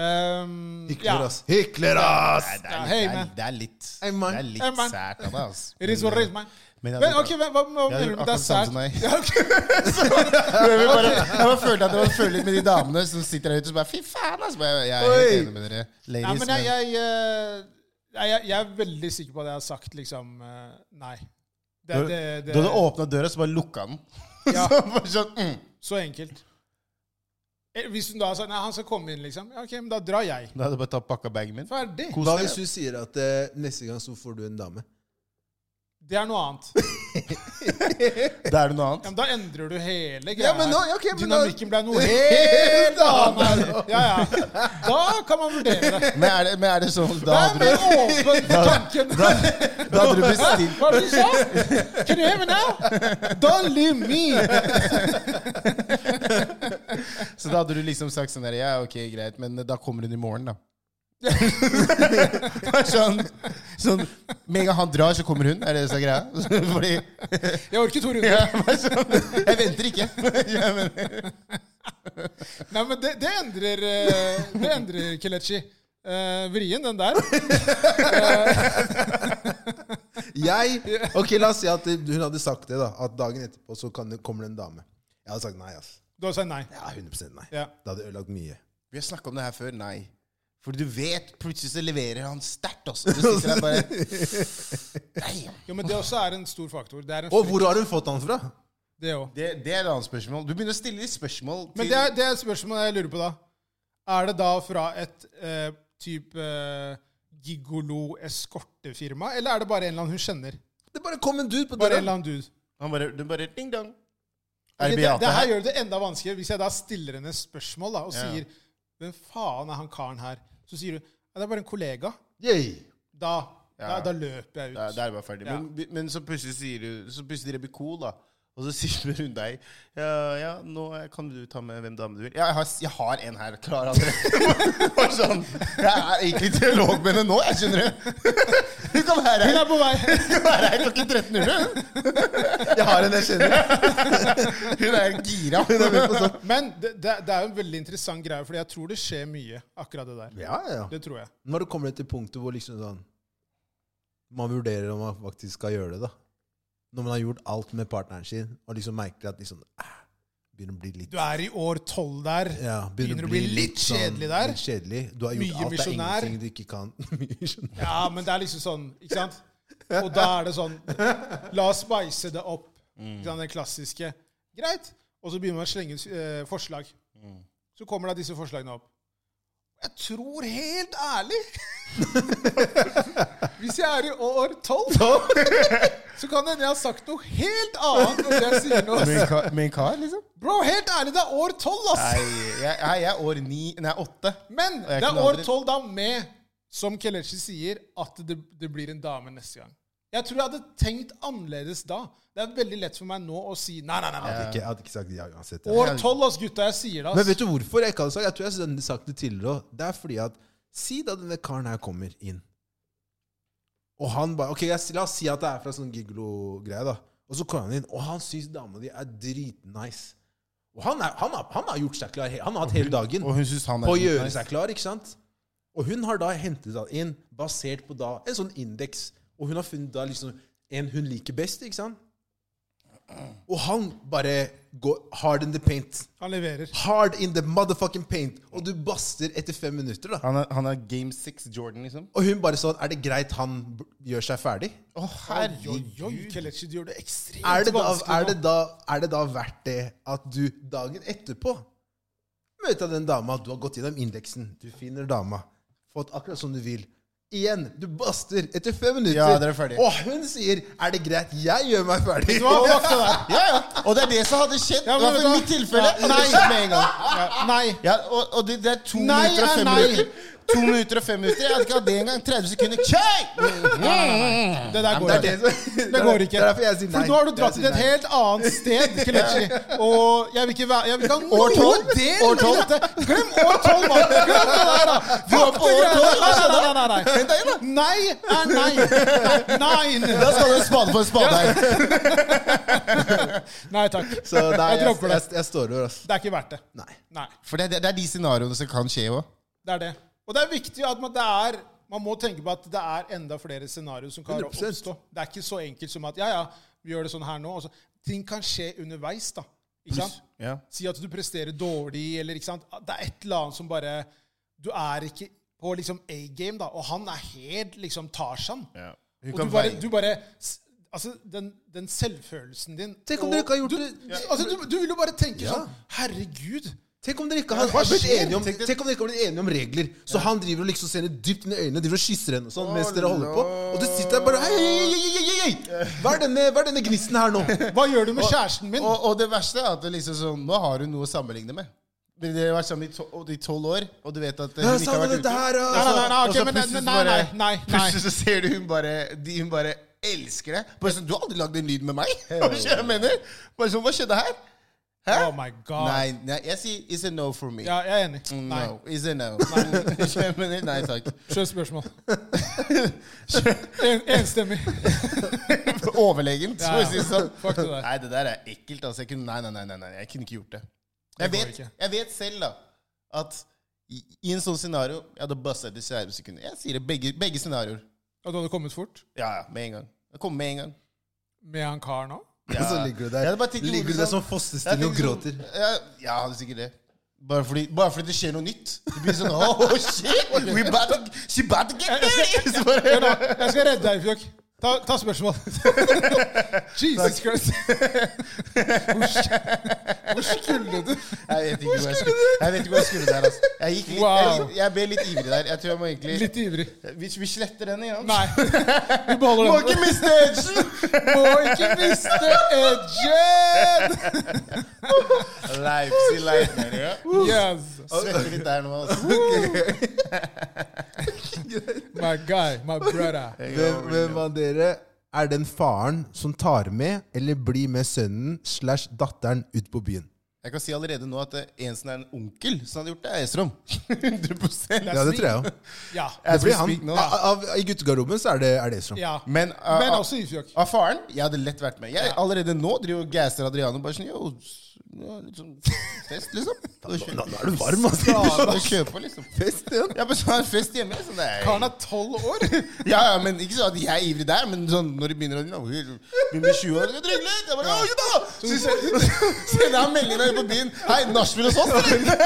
Speaker 1: Um, ja.
Speaker 3: Hykler, ass. Hykler, ass!
Speaker 2: Det
Speaker 1: Ja,
Speaker 2: er
Speaker 1: hei,
Speaker 2: litt, det
Speaker 1: man.
Speaker 2: er, det er litt,
Speaker 3: Hey, man.
Speaker 2: det er
Speaker 1: Hey,
Speaker 2: litt
Speaker 1: man.
Speaker 2: sært av deg, altså.
Speaker 1: It is what it is, man.
Speaker 2: Men jeg
Speaker 1: Men
Speaker 2: hadde-
Speaker 1: ok, hva, hva, hva mener du
Speaker 2: Jeg
Speaker 1: med
Speaker 2: gjorde
Speaker 1: det er
Speaker 2: akkurat samme
Speaker 1: sært?
Speaker 2: som deg.
Speaker 1: Ja, ok.
Speaker 2: Jeg vil bare, jeg bare føler at jeg bare føler litt med de damene som sitter der ute og bare Fy faen, altså! Bare, jeg er helt
Speaker 3: Oi.
Speaker 2: enig med dere.
Speaker 1: Nei,
Speaker 2: Ladies,
Speaker 1: men jeg, jeg, eh, nei, jeg, jeg er veldig sikker på at jeg har sagt liksom eh, nei. Det, det,
Speaker 2: Du
Speaker 1: det,
Speaker 2: hadde åpna døra, så bare lukka den.
Speaker 1: Ja.
Speaker 2: så bare sånn, mm.
Speaker 1: så enkelt. Eh, Hvis hun da sa nei, han skal komme inn, liksom. Ja, ok, men da drar jeg.
Speaker 2: Da hadde jeg bare tatt pakka bagen min.
Speaker 1: Ferdig.
Speaker 2: Kos
Speaker 3: Hva
Speaker 2: deg.
Speaker 3: hvis du sier at eh, neste gang så får du en dame?
Speaker 1: Det er noe annet.
Speaker 2: Da er det noe
Speaker 1: Ja,
Speaker 2: annet.
Speaker 1: men da endrer du hele greia.
Speaker 3: Ja, men nå- ja, ok, men da-
Speaker 1: Dynamikken ble noe helt annet. Ja, ja. Da kan man vurdere det.
Speaker 2: Men er det, men er det sånn da
Speaker 1: Vær
Speaker 2: hadde,
Speaker 1: mer
Speaker 2: du,
Speaker 1: åpen for tanken.
Speaker 2: da hadde du bestilt
Speaker 1: Hva var det du sa? Can you hear me now? Don't leave me.
Speaker 2: Så da hadde du liksom sagt sånn der Ja, ok, greit, men da kommer hun i morgen, da. sånn, sånn Med en gang han drar, så kommer hun. Er det det som er greia? Fordi
Speaker 1: Jeg orker to runder.
Speaker 2: ja, bare sånn, Jeg venter ikke. ja, men,
Speaker 1: Nei, men det, det endrer eh, Det endrer Kelechi. Eh, vrien, den der.
Speaker 3: Jeg Ok, la oss si at hun hadde sagt det, da. At dagen etterpå så kan det, kommer det en dame. Jeg hadde sagt nei, ass.
Speaker 1: Du har sagt nei.
Speaker 3: Ja, 100 nei.
Speaker 1: Ja.
Speaker 3: Det hadde ødelagt mye.
Speaker 2: vi har snakka om det her før. Nei. Fordi du vet, plutselig så leverer han sterkt, altså. Du sitter der bare Damn.
Speaker 1: Jo, men det også er en stor faktor. Det er en
Speaker 3: Og hvor har hun fått han fra?
Speaker 1: det også.
Speaker 2: Det, det er et annet spørsmål. Du begynner å stille litt spørsmål til
Speaker 1: Men det er, det er et spørsmål jeg lurer på, da. Er det da fra et eh, type eh, gigolo-eskortefirma, eller er det bare en eller annen hun kjenner?
Speaker 3: Det bare kom en dude på
Speaker 1: Bare
Speaker 3: døra.
Speaker 1: en eller annen dude.
Speaker 2: Han bare, du bare ding dong.
Speaker 1: Ok,
Speaker 2: Er det
Speaker 1: det, det
Speaker 2: Beate
Speaker 1: her
Speaker 2: her?
Speaker 1: gjør det enda vanskeligere hvis jeg da stiller henne spørsmål da, og
Speaker 2: Ja.
Speaker 1: sier Hvem faen er han karen her? Så sier hun Ja, det er bare en kollega.
Speaker 3: Yay.
Speaker 1: Da, da,
Speaker 2: Ja.
Speaker 1: da løper jeg ut.
Speaker 2: Da, da er det bare ferdig.
Speaker 1: Ja.
Speaker 2: Men, men så plutselig sier du Så plutselig dere blir cool, da. Og så sier hun deg ja, ja, nå eh, kan du ta med hvem dame du vil. Ja, jeg har, jeg har en her. Klar allerede. Bare sånn, jeg er egentlig i dialog med henne nå, jeg skjønner du. Hun kan være
Speaker 1: Hun
Speaker 2: her,
Speaker 1: er på vei!
Speaker 2: hun kan være her klokken 13.00.
Speaker 3: Jeg har en jeg kjenner.
Speaker 2: Hun er gira.
Speaker 3: Hun er med på sånn.
Speaker 1: Men det, det, det er jo en veldig interessant greie, Fordi jeg tror det skjer mye, akkurat det der.
Speaker 3: Ja, ja.
Speaker 1: Det tror jeg.
Speaker 3: Når det kommer til punktet hvor liksom sånn Man vurderer om man faktisk skal gjøre det, da. Når man har gjort alt med partneren sin, og liksom merker at liksom eh, Begynner å bli litt
Speaker 1: Du er i år tolv der.
Speaker 3: ja,
Speaker 1: begynner å bli litt sånn kjedelig der.
Speaker 3: Litt kjedelig. Du har
Speaker 1: Mye
Speaker 3: gjort alt. Det er
Speaker 1: misjonær.
Speaker 3: ingenting du ikke kan. Mye misjonær.
Speaker 1: Ja, men det er liksom sånn, ikke sant? Og da er det sånn La oss spice det opp. Ikke sant? Den klassiske. Greit. Og så begynner man å slenge ut eh, forslag. Så kommer da disse forslagene opp. Jeg tror helt ærlig Hvis jeg er i år tolv, så kan det hende jeg har sagt noe helt annet enn det jeg sier nå.
Speaker 2: Med en kar, med en kar liksom?
Speaker 1: Bro, helt ærlig, det er år tolv, ass!
Speaker 2: Nei, jeg, nei, jeg er år ni Nei, åtte.
Speaker 1: Men det
Speaker 2: jeg
Speaker 1: er
Speaker 2: kunne
Speaker 1: år
Speaker 2: aldri-
Speaker 1: tolv da med, som Kelechi sier, at det, det blir en dame neste gang. Jeg tror jeg hadde tenkt annerledes da. Det er veldig lett for meg nå å si nei, nei, nei.
Speaker 3: Jeg
Speaker 1: nei.
Speaker 3: hadde ikke, jeg hadde ikke sagt ja uansett. ja.
Speaker 1: År tolv, ass, gutta. Jeg sier det,
Speaker 3: Men
Speaker 1: ass.
Speaker 3: vet du hvorfor jeg ikke hadde sagt Jeg tror jeg hadde sagt det tidligere òg. Det er fordi at Si da denne karen her kommer inn, og han bare Ok, jeg, la oss si at det er fra sånn gigolo-greie, da. Og så kommer han inn, og han syns dama di er dritnice. Og han, er, han, har, han har gjort seg klar. he- Han har hatt hele dagen
Speaker 2: Og hun syns han er
Speaker 3: på å
Speaker 2: litt
Speaker 3: gjøre
Speaker 2: nice.
Speaker 3: seg klar, ikke sant? Og hun har da hentet han inn basert på da en sånn indeks, og hun har funnet da liksom en hun liker best, ikke sant? Og han bare går hard in the paint.
Speaker 1: Han leverer.
Speaker 3: Hard in the motherfucking paint. Og du baster etter fem minutter, da.
Speaker 2: Han er, han er Game 6 Jordan, liksom.
Speaker 3: Og hun bare sånn Er det greit han b- gjør seg ferdig?
Speaker 1: Oi, oi,
Speaker 2: Å,
Speaker 1: oi,
Speaker 2: herregud.
Speaker 1: Kelechi, du gjør det ekstremt
Speaker 3: Er det, da,
Speaker 1: vanskelig.
Speaker 3: er, det
Speaker 1: nå.
Speaker 3: da, er det da verdt det at du dagen etterpå møter den dama Du har gått gjennom indeksen, du finner dama, fått akkurat som du vil. Igjen, du baster etter fem minutter.
Speaker 2: Ja, dere er ferdig.
Speaker 3: Og hun sier 'Er det greit? Jeg gjør meg ferdig'.
Speaker 1: Hva var det der?
Speaker 2: Ja, ja. Og det er det som hadde skjedd.
Speaker 1: Ja,
Speaker 2: I
Speaker 1: men
Speaker 2: hvert
Speaker 1: vet
Speaker 2: fall i mitt
Speaker 1: du hva?
Speaker 2: tilfelle.
Speaker 1: Ja, nei.
Speaker 2: Nei med en gang.
Speaker 1: Ja, nei.
Speaker 2: Ja, og, og det, det er to
Speaker 1: Nei
Speaker 2: minutter og
Speaker 1: er
Speaker 2: fem
Speaker 1: nei.
Speaker 2: minutter. To minutter og fem minutter? Jeg hadde ikke hatt det engang. 30 sekunder. Kjøy!
Speaker 1: Nei, nei, nei. Det der går
Speaker 3: Det er
Speaker 1: ikke.
Speaker 3: det som
Speaker 1: Det går ikke.
Speaker 3: Det er derfor jeg sier nei.
Speaker 1: For nå har du
Speaker 3: Det er
Speaker 1: dratt
Speaker 3: jeg
Speaker 1: til et
Speaker 3: sier nei.
Speaker 1: helt annet sted, Kelechi. Og jeg vil ikke være jeg vil ikke ha noe
Speaker 2: tolv?
Speaker 1: del
Speaker 2: År tolv?
Speaker 1: i dette. Glem år tolv, mann! Glem det der, da! Få opp det
Speaker 2: År
Speaker 1: greiene der. Nei, nei, nei. nei. Nei er nei. Nei.
Speaker 2: Da skal du spade for en spade her.
Speaker 1: Nei takk.
Speaker 3: Så nei,
Speaker 1: Jeg
Speaker 3: jeg,
Speaker 1: dropper
Speaker 3: jeg,
Speaker 1: det.
Speaker 3: jeg, står over, ass.
Speaker 1: Det er ikke verdt det.
Speaker 3: Nei.
Speaker 1: Nei.
Speaker 2: For det, det, det er de scenarioene som kan skje òg.
Speaker 1: Det er det. Og det er viktig at man, det er, man må tenke på at det er enda flere scenarioer som kan
Speaker 3: 100%.
Speaker 1: oppstå. Det er ikke så enkelt som at ja, ja, vi gjør det sånn her nå. og så- ting kan skje underveis, da. Ikke sant?
Speaker 2: Ja.
Speaker 1: Si at du presterer dårlig, eller ikke sant? Det er et eller annet som bare Du er ikke på liksom A-game, da, og han er helt liksom Tarzan.
Speaker 2: Hun
Speaker 1: Og du
Speaker 2: kan
Speaker 1: bare,
Speaker 2: veie.
Speaker 1: du bare s- Altså, den, den selvfølelsen din
Speaker 3: Tenk om
Speaker 1: og
Speaker 3: dere ikke har gjort
Speaker 1: du,
Speaker 3: det-
Speaker 1: du- Altså, du, du vil jo bare tenke
Speaker 3: Ja.
Speaker 1: sånn Herregud.
Speaker 3: Tenk om dere ikke har
Speaker 1: Hva
Speaker 3: blitt
Speaker 1: skjer?
Speaker 3: enige om,
Speaker 1: Tenk
Speaker 3: tenk
Speaker 1: det-
Speaker 3: om dere ikke har blitt enige om regler. Så han driver og liksom ser henne dypt inn i øynene driver og kysser henne og sånn, mens
Speaker 2: Å,
Speaker 3: dere holder på. Og du sitter der bare hei, hei, hei, hei, hei, hei, hei. Hva er denne, hva er denne gnisten her nå?
Speaker 1: Hva gjør du med kjæresten min?
Speaker 2: Og, og det verste er at det liksom sånn, nå har hun noe å sammenligne med. Men Dere har vært sammen i to- og- i tolv år, og du vet at eh,
Speaker 3: Ja,
Speaker 2: hun ikke
Speaker 3: sa
Speaker 2: har
Speaker 3: du
Speaker 2: vært
Speaker 3: dette
Speaker 2: ute.
Speaker 3: her,
Speaker 1: Nei, nei,
Speaker 3: altså?
Speaker 1: nei, nei, ok,
Speaker 2: Og så
Speaker 1: men,
Speaker 2: plutselig
Speaker 1: men
Speaker 2: så
Speaker 1: nei, nei,
Speaker 2: bare-
Speaker 1: nei, nei.
Speaker 2: Plutselig så ser du hun bare de, Hun bare elsker det. Bare sånn, 'Du har aldri lagd en lyd med meg!' Hva skjer, jeg mener? Bare sånn, 'Hva skjedde her?' Hæ?
Speaker 1: Oh my god.
Speaker 2: Nei, Mm. nei, jeg sier 'It's a no for me'.
Speaker 1: Ja, jeg er enig. Nei.
Speaker 2: No, it's a no. Jeg mener, nei takk.
Speaker 1: Skjønt spørsmål. En, enstemmig.
Speaker 2: Overlegent,
Speaker 1: Ja,
Speaker 2: for å
Speaker 1: ja.
Speaker 2: si det sånn.
Speaker 1: Fuck det der.
Speaker 2: Nei, det der er ekkelt. Altså. Jeg kunne, nei, nei, nei, nei, nei, jeg kunne ikke gjort det. Jeg
Speaker 1: går
Speaker 2: vet,
Speaker 1: ikke.
Speaker 2: jeg vet selv da, at i, i en sånn scenario Jeg hadde busta etter 30 sekunder. Jeg sier det, begge, begge scenarioer.
Speaker 1: At du hadde kommet fort
Speaker 2: Ja, ja, med en gang. Jeg kom med en gang.
Speaker 1: med han karen òg?
Speaker 2: Ja.
Speaker 3: Og så ligger du
Speaker 2: Jeg hadde
Speaker 3: der,
Speaker 2: bare tenkt
Speaker 3: ligger du
Speaker 2: noe
Speaker 3: der som
Speaker 2: sånn- Jeg
Speaker 3: fosterstilling og
Speaker 2: tenkte
Speaker 3: gråter.
Speaker 2: sånn- Ja, ja, det er sikkert det. Bare fordi, bare fordi det skjer noe nytt. Det blir sånn Oh, shit! We about to, she about to get married! Så
Speaker 1: Hør nå,
Speaker 2: bare-
Speaker 1: jeg skal redde deg, Fjokk. Ta, ta spørsmål. Jesus Christ. Hvor, sk- hvor skulle du?
Speaker 2: Jeg vet ikke hvor jeg skulle, jeg vet ikke hvor jeg skulle der. Altså. Jeg, gikk litt,
Speaker 1: Wow.
Speaker 2: jeg, jeg ble litt ivrig der. Jeg tror jeg må egentlig
Speaker 1: Litt ivrig.
Speaker 2: Vi, vi sletter den igjen.
Speaker 1: Nei. Vi beholder
Speaker 2: Må
Speaker 1: den.
Speaker 2: ikke miste edgen!
Speaker 1: Må ikke miste edgen!
Speaker 2: Leipzig, Leipzig. Ja.
Speaker 1: Yes.
Speaker 2: Svetter litt der nå. Altså.
Speaker 1: My guy, my brother.
Speaker 3: Hvem, hvem av dere er den faren som tar med eller blir med sønnen slash datteren ut på byen?
Speaker 2: Jeg kan si allerede nå at eh, en som er en onkel som hadde gjort det, er Esrom. 100
Speaker 3: Ja, det tror jeg òg.
Speaker 1: Ja.
Speaker 3: Det blir han.
Speaker 2: Speak nå.
Speaker 3: Av, av, I guttegarderoben så er det, er det Esrom.
Speaker 1: ja.
Speaker 2: Men,
Speaker 3: uh,
Speaker 2: eh,
Speaker 1: Men
Speaker 2: ah,
Speaker 1: også i Fjokk.
Speaker 2: Av faren? Jeg hadde lett vært med. Jeg Allerede nå driver og gasser Adriano bare sånn Yo, s- ja, litt sånn fest, liksom. Og
Speaker 3: Nå,
Speaker 2: kjø-
Speaker 3: nå er du varm, altså. ass.
Speaker 2: Ja, og kjøper, liksom.
Speaker 3: Fest igjen.
Speaker 2: Jeg bare sånn, har fest hjemme. Sånn, nei.
Speaker 1: Karen er tolv år.
Speaker 2: Ja, ja, men Ikke sånn at jeg er ivrig der, men sånn når de begynner å nå, vi- Vi blir 20 år, skal drikke litt. Jeg bare, «Å, gutta!» Så sender jeg melding der på byen. Hei, nachspiel hos oss, eller?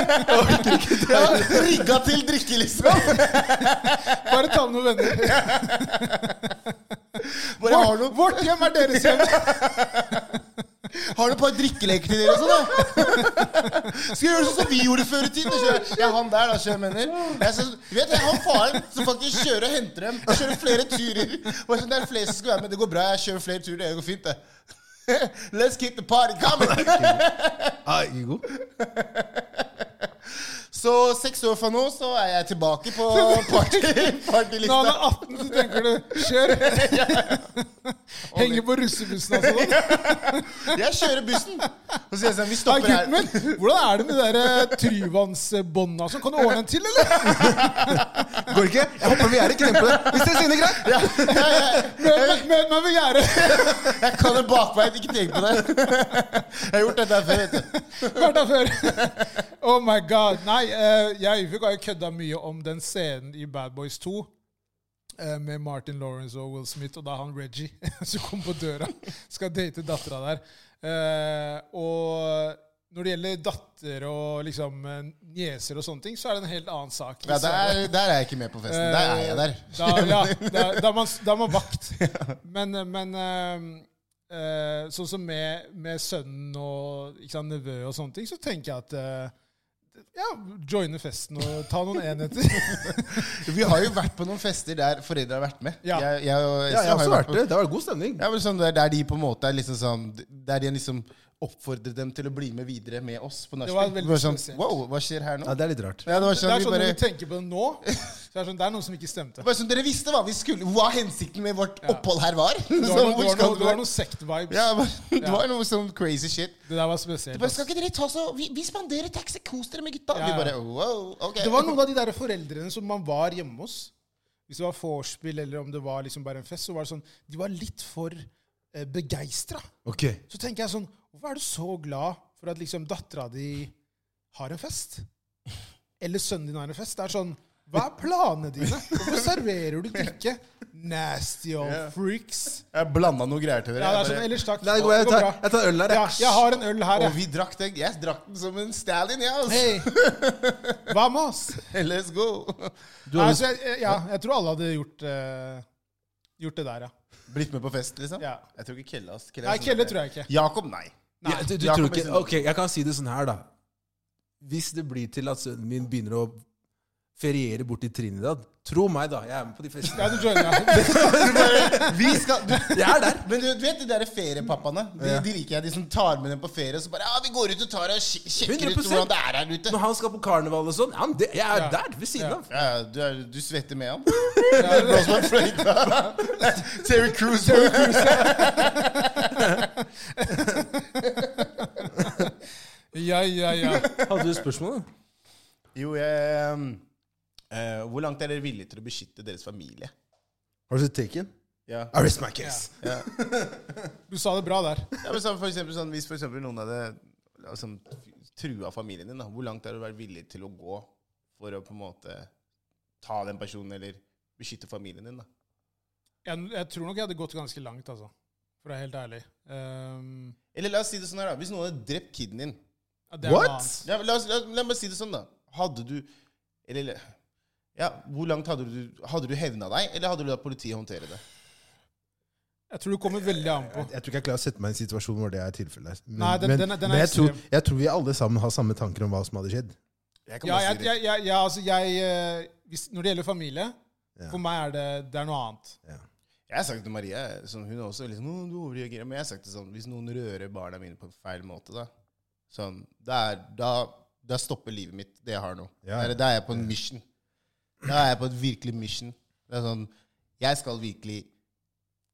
Speaker 2: Ja, rigga til drikke, liksom.
Speaker 1: Bare ta med noen venner.
Speaker 2: Bare, har,
Speaker 1: Vårt,
Speaker 2: du,
Speaker 1: vårt hjem er deres hjem.
Speaker 2: har du et par drikkeleker til dere og sånn, da? Skal jeg gjøre sånn som vi gjorde før i tiden? Kjøre, jeg er han der, da, kjører mener. Jeg, så, vet, du, jeg har faren som faktisk kjører og henter dem. Jeg kjører flere turer. Bare sånn, det er flere som skal være med. Det går bra, jeg kjører flere turer. Det går fint, det. Let's keep the party coming!
Speaker 3: Ja, ikke god.
Speaker 2: Så seks år fra nå så er jeg tilbake på party,
Speaker 1: Når han
Speaker 2: partylista.
Speaker 1: er 18, så tenker du kjør. Henger på russebussen og sånn.
Speaker 2: Jeg kjører bussen. Og så sier jeg sånn, vi
Speaker 1: Nei,
Speaker 2: stopper
Speaker 1: gutten
Speaker 2: her.
Speaker 1: min, hvordan er det med de der, eh, tryvannsbånda som Kan du ordne en til, eller?
Speaker 3: Går ikke? Jeg håper vi er i knempe. Hvis dere synes det er greit.
Speaker 2: Ja, jeg, jeg,
Speaker 1: Møt meg- møt meg ved gjerdet.
Speaker 2: jeg kan det bakveien, ikke tenk på det. Jeg har gjort dette her før, vet du.
Speaker 1: Vært der før. Oh my god. Nei, eh, jeg og Yfik har jo kødda mye om den scenen i Bad Boys 2. eh, Med Martin Lawrence og Will Smith, og da han Reggie som kom på døra. Skal date dattera der. Eh, Og når det gjelder datter og liksom eh, nieser og sånne ting, så er det en helt annen sak.
Speaker 2: Ja, der, der er jeg ikke med på festen. Der er jeg der.
Speaker 1: Da, ja, da, da, er man, da er man vakt. Men, men eh, eh, sånn som med, med sønnen og ikke sant, nevø og sånne ting, så tenker jeg at eh, ja, joine festen og ta noen enheter.
Speaker 2: Vi har jo vært på noen fester der foreldre har vært med.
Speaker 1: Ja.
Speaker 2: Jeg, jeg og
Speaker 3: Ja,
Speaker 2: Esra
Speaker 3: jeg har
Speaker 2: har
Speaker 3: også
Speaker 2: jo
Speaker 3: vært
Speaker 2: på-
Speaker 3: det. Det var god stemning.
Speaker 2: Ja, men sånn der, der de på en måte er liksom sånn Der de er liksom oppfordre dem til å bli med videre med oss på
Speaker 1: Det var
Speaker 2: nachspiel.
Speaker 1: veldig
Speaker 2: Bare sånn,
Speaker 1: spesielt.
Speaker 2: Wow, hva skjer her nå?
Speaker 3: Ja, det er litt rart.
Speaker 2: Ja, det var
Speaker 1: Det
Speaker 2: sånn,
Speaker 1: er
Speaker 2: vi
Speaker 1: sånn når
Speaker 2: bare,
Speaker 1: vi tenker på det nå, så er det, sånn, det er noe som ikke stemte.
Speaker 2: det var sånn, Dere visste hva vi skulle, hva hensikten med vårt
Speaker 1: Ja.
Speaker 2: opphold her var!
Speaker 1: Du
Speaker 2: Så
Speaker 1: har noe,
Speaker 2: sånn
Speaker 1: du
Speaker 2: hvor
Speaker 1: har noe,
Speaker 2: skal det
Speaker 1: du har
Speaker 2: gå?
Speaker 1: noe sekt-vibes.
Speaker 2: Ja, men, det
Speaker 1: Ja.
Speaker 2: var noe sånn crazy shit.
Speaker 1: Det der var spesielt.
Speaker 2: Det bare,
Speaker 1: ass.
Speaker 2: skal ikke dere ta så, Vi, vi spanderer taxi, kos dere med gutta!
Speaker 1: Ja,
Speaker 2: Vi
Speaker 1: ja.
Speaker 2: bare wow, ok.
Speaker 1: Det var noen av de der foreldrene som man var hjemme hos. Hvis det var vorspiel eller om det var liksom bare en fest, så var det sånn De var litt for eh, begeistra.
Speaker 3: Ok.
Speaker 1: Så tenker jeg sånn Hvorfor er du så glad for at liksom dattera di har en fest? Eller sønnen din har en fest? Det er sånn Hva er planene dine? Hvorfor serverer du drikke? Nasty
Speaker 2: Ja.
Speaker 1: old freaks.
Speaker 2: Jeg blanda noe greier til dere.
Speaker 1: Ja, det er
Speaker 2: jeg
Speaker 1: sånn,
Speaker 2: bare-
Speaker 1: ellers takk.
Speaker 3: Nei, det går,
Speaker 1: Det
Speaker 3: jeg,
Speaker 1: går
Speaker 3: tar,
Speaker 1: bra.
Speaker 3: jeg tar øl der,
Speaker 1: Ja,
Speaker 3: jeg.
Speaker 1: jeg har en øl her,
Speaker 2: og
Speaker 1: jeg.
Speaker 2: vi drakk den. Jeg drakk den som en Stalin, jeg. altså.
Speaker 1: Hey. Vamos!
Speaker 2: Let's go!
Speaker 3: Du
Speaker 1: Nei,
Speaker 3: har
Speaker 1: så Altså, jeg, jeg- ja, jeg tror alle hadde gjort, eh, gjort det der, ja.
Speaker 2: Blitt med på fest, liksom?
Speaker 1: Ja.
Speaker 2: Jeg tror ikke Kelle. ass. Kelle er
Speaker 1: Nei,
Speaker 2: sånn
Speaker 1: Kelle
Speaker 2: der-
Speaker 1: tror jeg ikke.
Speaker 2: Jakob, nei.
Speaker 3: ja, du, du
Speaker 2: Jakob
Speaker 3: tror
Speaker 2: er
Speaker 3: ikke
Speaker 2: sånn-
Speaker 3: Ok, jeg kan si det sånn her, da. Hvis det blir til at sønnen min begynner å feriere bort til Trinidad Tro meg, da. Jeg er med på de
Speaker 1: Ja,
Speaker 3: festene.
Speaker 1: du joiner, ja.
Speaker 2: Vi skal du,
Speaker 3: Jeg er der.
Speaker 2: Men du, du vet de der feriepappaene? De,
Speaker 3: Ja.
Speaker 2: de liker jeg, de som tar med dem på ferie. Og så bare ja, 'Vi går ut og tar og sj- sjekker ut
Speaker 3: 100%
Speaker 2: hvordan det er her ute'.
Speaker 3: Når han skal på karneval og sånn, ja, men det, jeg er
Speaker 1: Ja.
Speaker 3: der, ved siden
Speaker 1: Ja.
Speaker 3: av.
Speaker 2: Ja, du, er, du svetter med han.
Speaker 1: Ja,
Speaker 2: Blås meg fløyta. Terry Crews.
Speaker 1: Ja, ja, ja.
Speaker 3: Hadde du spørsmål, da?
Speaker 2: Jo, jeg eh, Hvor langt er dere villige til å beskytte deres familie?
Speaker 3: Har du sett Taken?
Speaker 2: Ja.
Speaker 3: I rest my case.
Speaker 1: Du sa det bra der.
Speaker 2: Ja, men sånn, for eksempel, sånn, hvis for eksempel noen hadde liksom, trua familien din, da, hvor langt er du vært villig til å gå for å på en måte ta den personen eller beskytte familien din? da?
Speaker 1: Jeg, jeg tror nok jeg hadde gått ganske langt, altså. For å være helt ærlig. Ehm,
Speaker 2: Eller la oss si det sånn her, da. Hvis noen hadde drept kiden din
Speaker 1: ja, det er noe
Speaker 3: What?
Speaker 1: annet.
Speaker 2: ja, men la, oss, la, la meg si det sånn, da. Hadde du Eller ja, hvor langt hadde du Hadde du hevna deg, eller hadde du latt politiet håndtere det?
Speaker 1: Jeg tror det kommer veldig an på.
Speaker 3: Jeg tror ikke jeg klarer å sette meg i en situasjon hvor det er tilfellet. Men,
Speaker 1: Nei, den-
Speaker 3: men,
Speaker 1: den er- den er
Speaker 3: men jeg, tror,
Speaker 1: ekstrem.
Speaker 3: jeg tror vi alle sammen har samme tanker om hva som hadde skjedd.
Speaker 2: Jeg
Speaker 1: Ja, jeg, jeg, jeg, jeg, altså, jeg eh, hvis, Når det gjelder familie,
Speaker 3: Ja.
Speaker 1: for meg er det, det er noe annet.
Speaker 2: Jeg har sagt til Maria sånn, Hun er også liksom, «Å, du overreagerer. Men jeg har sagt det sånn Hvis noen rører barna mine på en feil måte, da sånn, da, er, da, da stopper livet mitt, det jeg har nå.
Speaker 3: Ja.
Speaker 2: Da er- Da er jeg på en mission. Da er jeg på et virkelig mission. Det er sånn Jeg skal virkelig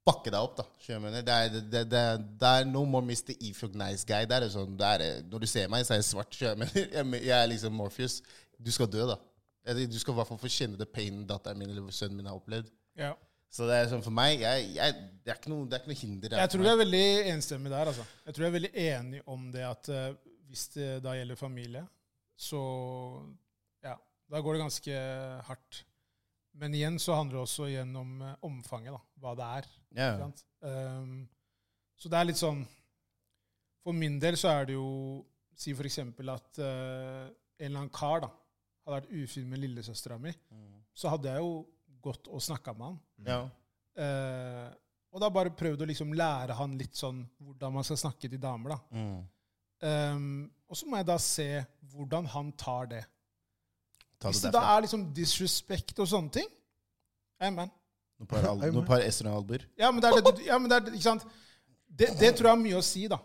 Speaker 2: bakke deg opp, da. Skjønner du hva jeg mener? Det er, det, det, det, er- det er no more Mr. Efrog Nice Guy. Det er det sånn, det er, det- når du ser meg, så er jeg svart. Skjønner du hva jeg mener? Jeg, jeg er liksom Morpheus. Du skal dø, da. Eller Du skal i hvert fall få kjenne det painen datteren min eller sønnen min har opplevd.
Speaker 1: Ja.
Speaker 2: Så det er sånn for meg jeg, jeg, det, er ikke noe, det er ikke noe hinder. der
Speaker 1: Jeg
Speaker 2: for
Speaker 1: tror vi
Speaker 2: meg.
Speaker 1: er veldig enstemmige der. Altså. Jeg tror vi er veldig enige om det at eh, hvis det da gjelder familie, så ja, da går det ganske hardt. Men igjen så handler det også igjen om eh, omfanget, da, hva det er.
Speaker 2: ja.
Speaker 1: Ikke sant? Ehm, så det er litt sånn For min del så er det jo Si for eksempel at eh, en eller annen kar da, hadde vært ufin med lillesøstera mi, så hadde jeg jo gått og snakka med han.
Speaker 2: Ja.
Speaker 1: Eh, og da bare prøvd å liksom lære han litt sånn hvordan man skal snakke til damer. da.
Speaker 2: Mm.
Speaker 1: Ehm, og så må jeg da se hvordan han tar det.
Speaker 2: Ta
Speaker 1: Hvis
Speaker 2: det
Speaker 1: det da
Speaker 2: derfra.
Speaker 1: er liksom disrespect og sånne ting Amen.
Speaker 2: Noen par, al- noen par s albuer.
Speaker 1: Ja, men det er det, du- ja, men det, er, det- ikke sant? Det, det tror jeg har mye å si, da.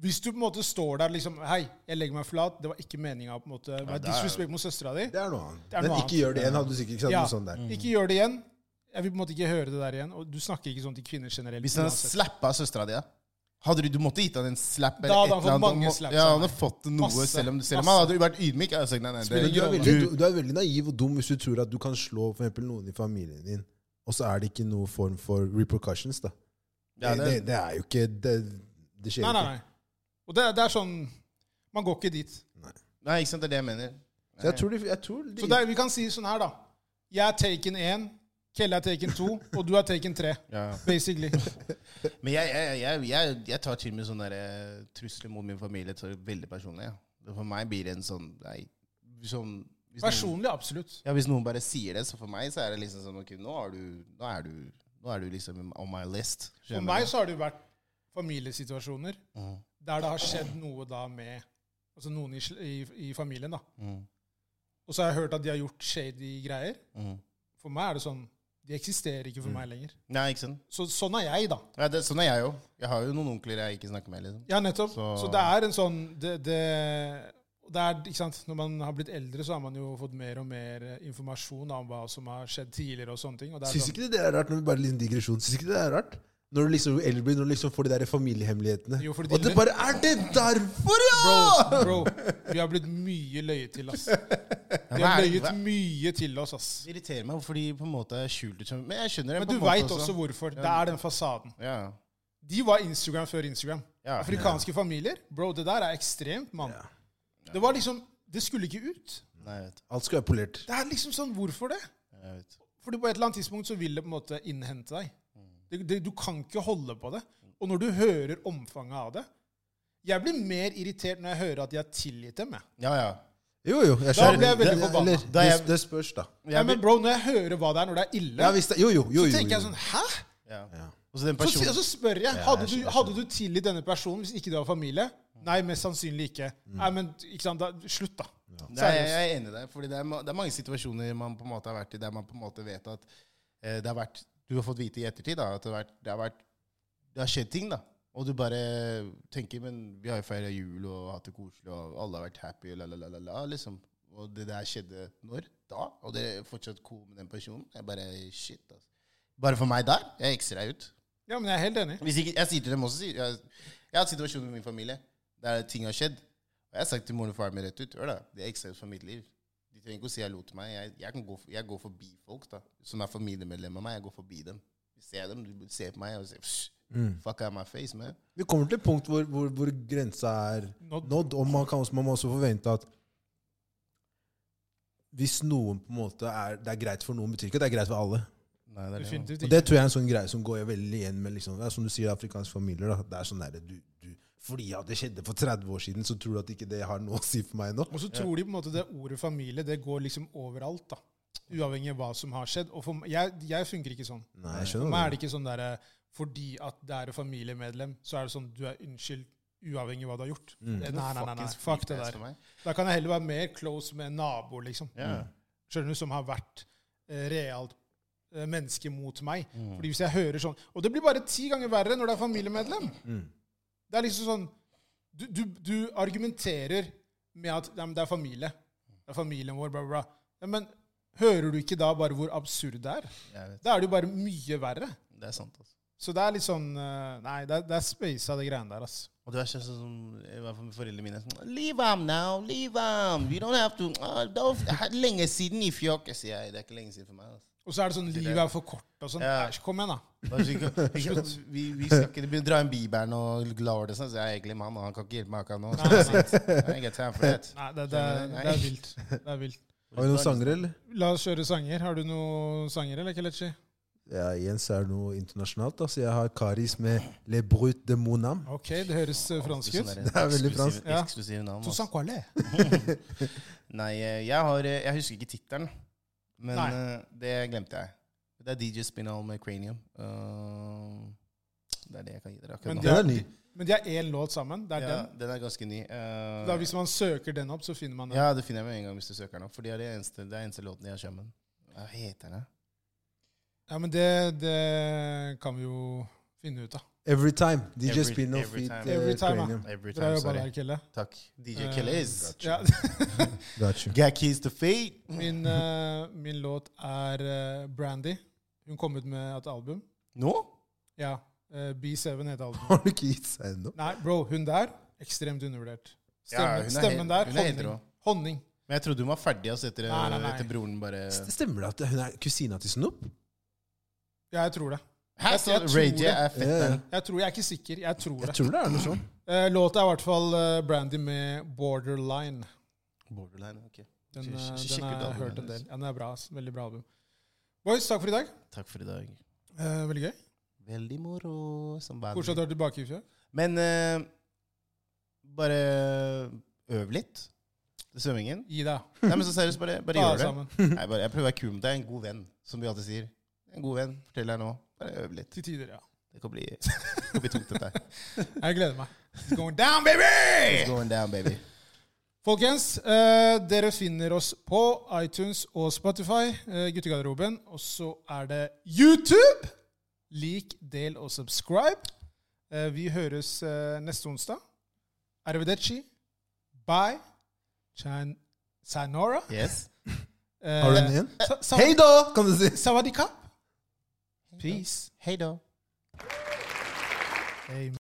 Speaker 1: Hvis du på en måte står der liksom Hei, jeg legger meg flat. Det var ikke meninga å på en måte være
Speaker 2: det er-
Speaker 1: disrespect mot søstera di.
Speaker 3: Det er noe annet.
Speaker 1: Det er noe
Speaker 3: Men
Speaker 1: annet.
Speaker 3: ikke gjør det igjen, hadde du sikkert ikke sagt
Speaker 1: Ja. Mm.
Speaker 3: noe sånt der.
Speaker 1: Ikke gjør det igjen. Jeg vil på en måte ikke høre det der igjen. Og du snakker ikke sånn til kvinner generelt.
Speaker 2: Hvis han hadde
Speaker 1: uansett.
Speaker 2: slappa søstera di, da? Hadde du, du måtte gitt han en slap eller
Speaker 1: Da hadde han
Speaker 2: et eller
Speaker 1: fått
Speaker 2: annet.
Speaker 1: mange
Speaker 2: må-
Speaker 1: slaps
Speaker 2: Ja,
Speaker 1: av
Speaker 2: han hadde fått noe,
Speaker 1: Masse.
Speaker 2: selv om, selv om
Speaker 1: Masse.
Speaker 2: han hadde vært ydmyk. Jeg hadde sagt nei, nei,
Speaker 1: Spiller
Speaker 2: det,
Speaker 3: Men du er,
Speaker 1: ingen
Speaker 3: veldig,
Speaker 2: rolle.
Speaker 3: du, du er veldig naiv og dum hvis du tror at du kan slå for eksempel noen i familien din, og så er det ikke noe form for repercussions, da.
Speaker 2: ja,
Speaker 3: det,
Speaker 2: det,
Speaker 3: det, det er jo ikke Det, det skjer
Speaker 1: Nei, nei,
Speaker 3: ikke.
Speaker 1: nei. Og det, det er sånn Man går ikke dit.
Speaker 2: nei, ikke sant, det er det jeg mener.
Speaker 3: Så jeg tror, de, jeg tror de,
Speaker 1: Så det, er- vi kan si sånn her, da. Jeg er taken én, Kelle er taken to, og du er taken tre.
Speaker 2: Ja.
Speaker 1: Basically.
Speaker 2: Men jeg, jeg, jeg, jeg, jeg tar til og med sånne der, eh, trusler mot min familie så veldig personlig. Ja. For meg blir det en sånn nei, sånn hvis noen-
Speaker 1: Personlig, absolutt.
Speaker 2: Ja, Hvis noen bare sier det, så for meg så er det liksom sånn Ok, nå er du, nå er du, nå er du liksom on my list.
Speaker 1: For
Speaker 2: Skjønner
Speaker 1: meg
Speaker 2: du?
Speaker 1: så har det jo vært familiesituasjoner
Speaker 2: Mhm.
Speaker 1: der det har skjedd noe da med Altså noen i, sl- i, i familien, da.
Speaker 2: Mm,
Speaker 1: Og så har jeg hørt at de har gjort shady greier.
Speaker 2: mm.
Speaker 1: For meg er det sånn de eksisterer ikke for meg lenger.
Speaker 2: Nei, ikke sant?
Speaker 1: Så sånn er jeg, da.
Speaker 2: Ja, det, sånn er jeg jo. Jeg har jo noen onkler jeg ikke snakker med. liksom.
Speaker 1: Ja, nettopp. Så,
Speaker 2: Så-
Speaker 1: det er en sånn det, det, det er, ikke sant? Når man har blitt eldre, så har man jo fått mer og mer eh, informasjon om hva som har skjedd tidligere. og sånne ting. Og det er
Speaker 3: Syns
Speaker 1: sånn,
Speaker 3: ikke det er rart, når vi bare liksom digresjon, syns ikke det er rart? Når du liksom jo eldre blir, når du liksom får de der familiehemmelighetene.
Speaker 1: Jo, fordi de-
Speaker 3: og det bare Er det derfor, ja?!
Speaker 1: bro, bro, vi har blitt mye løyet til, ass. Vi har
Speaker 2: hva er-
Speaker 1: løyet
Speaker 2: hva-
Speaker 1: mye til oss, ass.
Speaker 2: Det irriterer meg hvorfor de på en måte skjuler det. Men jeg skjønner det
Speaker 1: Men
Speaker 2: på
Speaker 1: du
Speaker 2: en måte
Speaker 1: veit også hvorfor. Det er den fasaden.
Speaker 2: Ja,
Speaker 1: De var Instagram før Instagram.
Speaker 2: ja.
Speaker 1: Afrikanske familier, bro, det der er ekstremt, mann. Det var liksom Det skulle ikke ut.
Speaker 2: Nei, jeg vet.
Speaker 3: Alt skal være polert.
Speaker 1: Det er liksom sånn Hvorfor det?
Speaker 2: Jeg vet.
Speaker 1: Fordi på et eller annet tidspunkt så vil det på en måte innhente deg. Det, det, du kan ikke holde på det. Og når du hører omfanget av det Jeg blir mer irritert når jeg hører at de har tilgitt dem. Jeg.
Speaker 2: Ja, ja.
Speaker 3: Jo, jo. Jeg
Speaker 1: Da
Speaker 3: skjønner.
Speaker 1: ble jeg veldig
Speaker 3: Det-
Speaker 1: forbanna.
Speaker 3: eller,
Speaker 2: Da er jeg-
Speaker 3: det- Det spørs, da.
Speaker 1: Ja, men bro, når jeg hører hva det er når det er ille,
Speaker 3: Ja, hvis det, jo, jo, jo, jo,
Speaker 1: så
Speaker 3: jo.
Speaker 1: tenker jeg sånn Hæ?
Speaker 2: ja.
Speaker 3: Ja.
Speaker 2: Og så den
Speaker 1: Så, si-
Speaker 2: personen
Speaker 1: og så spør jeg hadde du, hadde du tilgitt denne personen hvis ikke det var familie. Nei, mest sannsynlig ikke.
Speaker 3: Mm.
Speaker 1: Nei, men ikke sant, da, Slutt, da.
Speaker 2: Nei, jeg, jeg er enig i deg. Fordi det er, ma- det er mange situasjoner man på en måte har vært i der man på en måte vet at eh, det har vært Du har fått vite i ettertid da, at det har, vært, det har vært Det har skjedd ting, da. Og du bare tenker Men vi har jo feira jul og hatt det koselig, og alle har vært happy, la, la, la, la, la, liksom. Og det der skjedde når? Da. Og det er fortsatt cool med den personen. Jeg bare Shit, altså. Bare for meg der. Jeg ekser deg ut.
Speaker 1: Ja, men jeg er helt enig.
Speaker 2: Hvis ikke, jeg sier til dem også sier, jeg, jeg har hatt situasjoner med min familie der ting har skjedd. Og jeg har sagt til moren og faren min rett ut Hør da, det er ekstremt for mitt liv. De trenger ikke å si hallo til meg. Jeg, jeg, kan gå, for- jeg går forbi folk da, som er familiemedlemmer av meg. Jeg går forbi dem. Jeg ser dem, de ser på meg og sier «Psh,
Speaker 1: Mm.
Speaker 2: Fuck out my face, man.
Speaker 3: Vi kommer til et punkt hvor, hvor, hvor grensa er
Speaker 1: Nådd.
Speaker 3: nådd, og man, kan også, man må også forvente at hvis noen på en måte er Det er greit for noen, betyr ikke at det er greit for alle.
Speaker 2: Nei, det er det.
Speaker 1: Definitivt
Speaker 3: Og
Speaker 1: ikke.
Speaker 3: Det tror jeg er en sånn greie som går veldig igjen med liksom, det er som du sier, afrikanske familier. da, det er sånn der, du, du, Fordi at det skjedde for 30 år siden, så tror du at ikke det har noe å si for meg nå?
Speaker 1: Og så tror de på en måte det ordet familie det går liksom overalt. da. Uavhengig av hva som har skjedd. Og for, meg- jeg, jeg funker ikke sånn.
Speaker 3: Nei, jeg
Speaker 1: For meg er
Speaker 3: skjønner det.
Speaker 1: det ikke sånn derre fordi at det er et familiemedlem, så er det sånn du er unnskyldt uavhengig av hva du har gjort.
Speaker 2: Mm.
Speaker 1: Det- Nei, nei, nei, nei.
Speaker 2: Fuckings
Speaker 1: Fuck det
Speaker 2: freak ass
Speaker 1: der.
Speaker 2: for meg.
Speaker 1: Da kan jeg heller være mer close med en nabo, liksom.
Speaker 2: Ja.
Speaker 1: Skjønner du, som har vært eh, realt eh, menneske mot meg. Fordi hvis jeg hører sånn Og det blir bare ti ganger verre når det er familiemedlem. Det er liksom sånn Du, du, du argumenterer med at ja, men det er familie. Det er familien vår, bla, bla, bla. Ja, men hører du ikke da bare hvor absurd det er?
Speaker 2: Jeg vet.
Speaker 1: Da er det jo bare mye verre.
Speaker 2: Det er sant, altså.
Speaker 1: Så det er litt sånn eh, Nei, det er, det er spasa, det greiene der, ass.
Speaker 2: Og du er sånn som i hvert fall foreldrene mine. er Sånn, leave him now, leave him. You don't have to ah, don't, Lenge siden i fjokk. Jeg sier, det er ikke lenge siden for meg. altså.
Speaker 1: Og så er det sånn Livet er for kort og sånn.
Speaker 2: Ja.
Speaker 1: Æsj, kom igjen, da.
Speaker 2: Bare så ikke- ikke- Vi, vi skal ikke begynne å dra inn bibelen og glad det sånn, så jeg er egentlig mann, og han kan ikke hjelpe meg akkurat nå. Så
Speaker 1: Nei,
Speaker 2: jeg sier, I ain't got time for that.
Speaker 1: Nei, det, det, er- det er vilt. Det er vilt.
Speaker 3: Har vi noen sanger, eller?
Speaker 1: La oss kjøre sanger. Har du noen sanger, eller, Kelechi?
Speaker 3: Ja, igjen så er det noe internasjonalt. da, så jeg har Karis med Le Brut de Monam.
Speaker 1: Ok, det høres eh, fransk ut.
Speaker 2: Sånn der
Speaker 3: Det er veldig
Speaker 2: eksklusive-
Speaker 3: fransk.
Speaker 1: Ja.
Speaker 2: Eksklusive navn.
Speaker 1: Toussaint
Speaker 2: altså.
Speaker 1: Coilet.
Speaker 2: Nei, eh, jeg, har, eh, jeg husker ikke tittelen, men
Speaker 1: Nei.
Speaker 2: eh, det glemte jeg. Det er DJ Spinal med Cranium. Uh, det er det jeg kan gi dere akkurat
Speaker 1: Men
Speaker 2: nå.
Speaker 3: Den er ny.
Speaker 1: Men de har én låt sammen. Det er
Speaker 2: Ja,
Speaker 1: den.
Speaker 2: den er ganske ny. eh,
Speaker 1: Da, hvis man søker den opp, så finner man den.
Speaker 2: ja, det finner jeg med en gang hvis du søker den opp, for det er det eneste, det er eneste låten jeg har sammen. Hva heter den? da?
Speaker 1: Ja, men det, det kan vi jo finne ut av.
Speaker 3: Every time.
Speaker 2: Every-
Speaker 3: DJ Spin og
Speaker 2: every
Speaker 3: Feet
Speaker 2: time.
Speaker 1: Every time, ja.
Speaker 3: Cranium.
Speaker 2: Every
Speaker 1: Bra
Speaker 2: time,
Speaker 1: jobba
Speaker 2: sorry.
Speaker 1: der, Kelle.
Speaker 2: Takk. DJ
Speaker 1: Eh,
Speaker 2: Kellis.
Speaker 1: Ja.
Speaker 3: Got you.
Speaker 2: Got keys to fate.
Speaker 1: Min, eh, min låt er eh, Brandy. Hun kom ut med et album.
Speaker 2: Nå?
Speaker 1: Ja. eh, B7 heter albumet.
Speaker 3: Har du ikke gitt seg ennå?
Speaker 1: Nei, bro, hun der ekstremt undervurdert.
Speaker 2: Ja,
Speaker 1: Stemmen,
Speaker 2: hun er helt-
Speaker 1: stemmen der.
Speaker 2: hun er helt
Speaker 1: Honning.
Speaker 2: rå.
Speaker 1: honning.
Speaker 2: Men jeg trodde hun var ferdig altså, etter,
Speaker 1: Nei, nei, nei.
Speaker 2: etter broren bare
Speaker 3: Det Stemmer det at hun er kusina til Snoop?
Speaker 1: Ja, jeg tror det.
Speaker 2: Hæ, så
Speaker 1: jeg tror
Speaker 2: Ray J
Speaker 1: det.
Speaker 2: er fett,
Speaker 3: Ja, ja.
Speaker 2: den.
Speaker 1: Jeg tror, jeg er ikke sikker. Jeg tror
Speaker 3: Jeg
Speaker 1: det.
Speaker 3: tror det er noe sånn.
Speaker 1: Eh, Låta er i hvert fall eh, Brandy med 'Borderline'.
Speaker 2: Borderline, ok.
Speaker 1: Den,
Speaker 2: Sjekk-
Speaker 1: eh, den
Speaker 2: sjekk ut
Speaker 1: har jeg
Speaker 2: albumet
Speaker 1: hørt en
Speaker 2: hennes.
Speaker 1: del. Ja, den er bra. ass. Veldig bra album. Boys, takk for i dag.
Speaker 2: Takk for i dag.
Speaker 1: Eh, veldig gøy.
Speaker 2: Veldig moro som
Speaker 1: Koselig at
Speaker 2: vanlig.
Speaker 1: du er tilbake i fjor.
Speaker 2: Men eh, bare øv litt. Det er Svømmingen.
Speaker 1: Gi deg.
Speaker 2: Nei, men så seriøst, bare, bare
Speaker 1: Ta
Speaker 2: gjør
Speaker 1: deg
Speaker 2: det.
Speaker 1: sammen.
Speaker 2: Nei, bare, jeg prøver å være kul med deg. En god venn, som vi alltid sier. En god venn. Fortell deg nå. Bare øv litt.
Speaker 1: Til tider, ja.
Speaker 2: Det kan bli, det kan bli tungt, dette her.
Speaker 1: Jeg gleder meg. It's going down, baby!
Speaker 2: It's going down, baby.
Speaker 1: Folkens, eh, dere finner oss på iTunes og Spotify, eh, Guttegarderoben. Og så er det YouTube! Lik, del og subscribe. Eh, vi høres eh, neste onsdag. Arrivederci. Bye. Chan Eh, Sanora.
Speaker 2: Yes.
Speaker 3: Har du den igjen? Hei
Speaker 1: Hei,
Speaker 3: da, kan du si.
Speaker 1: Sawadikap. Peace.
Speaker 2: Hei da.
Speaker 1: Amen.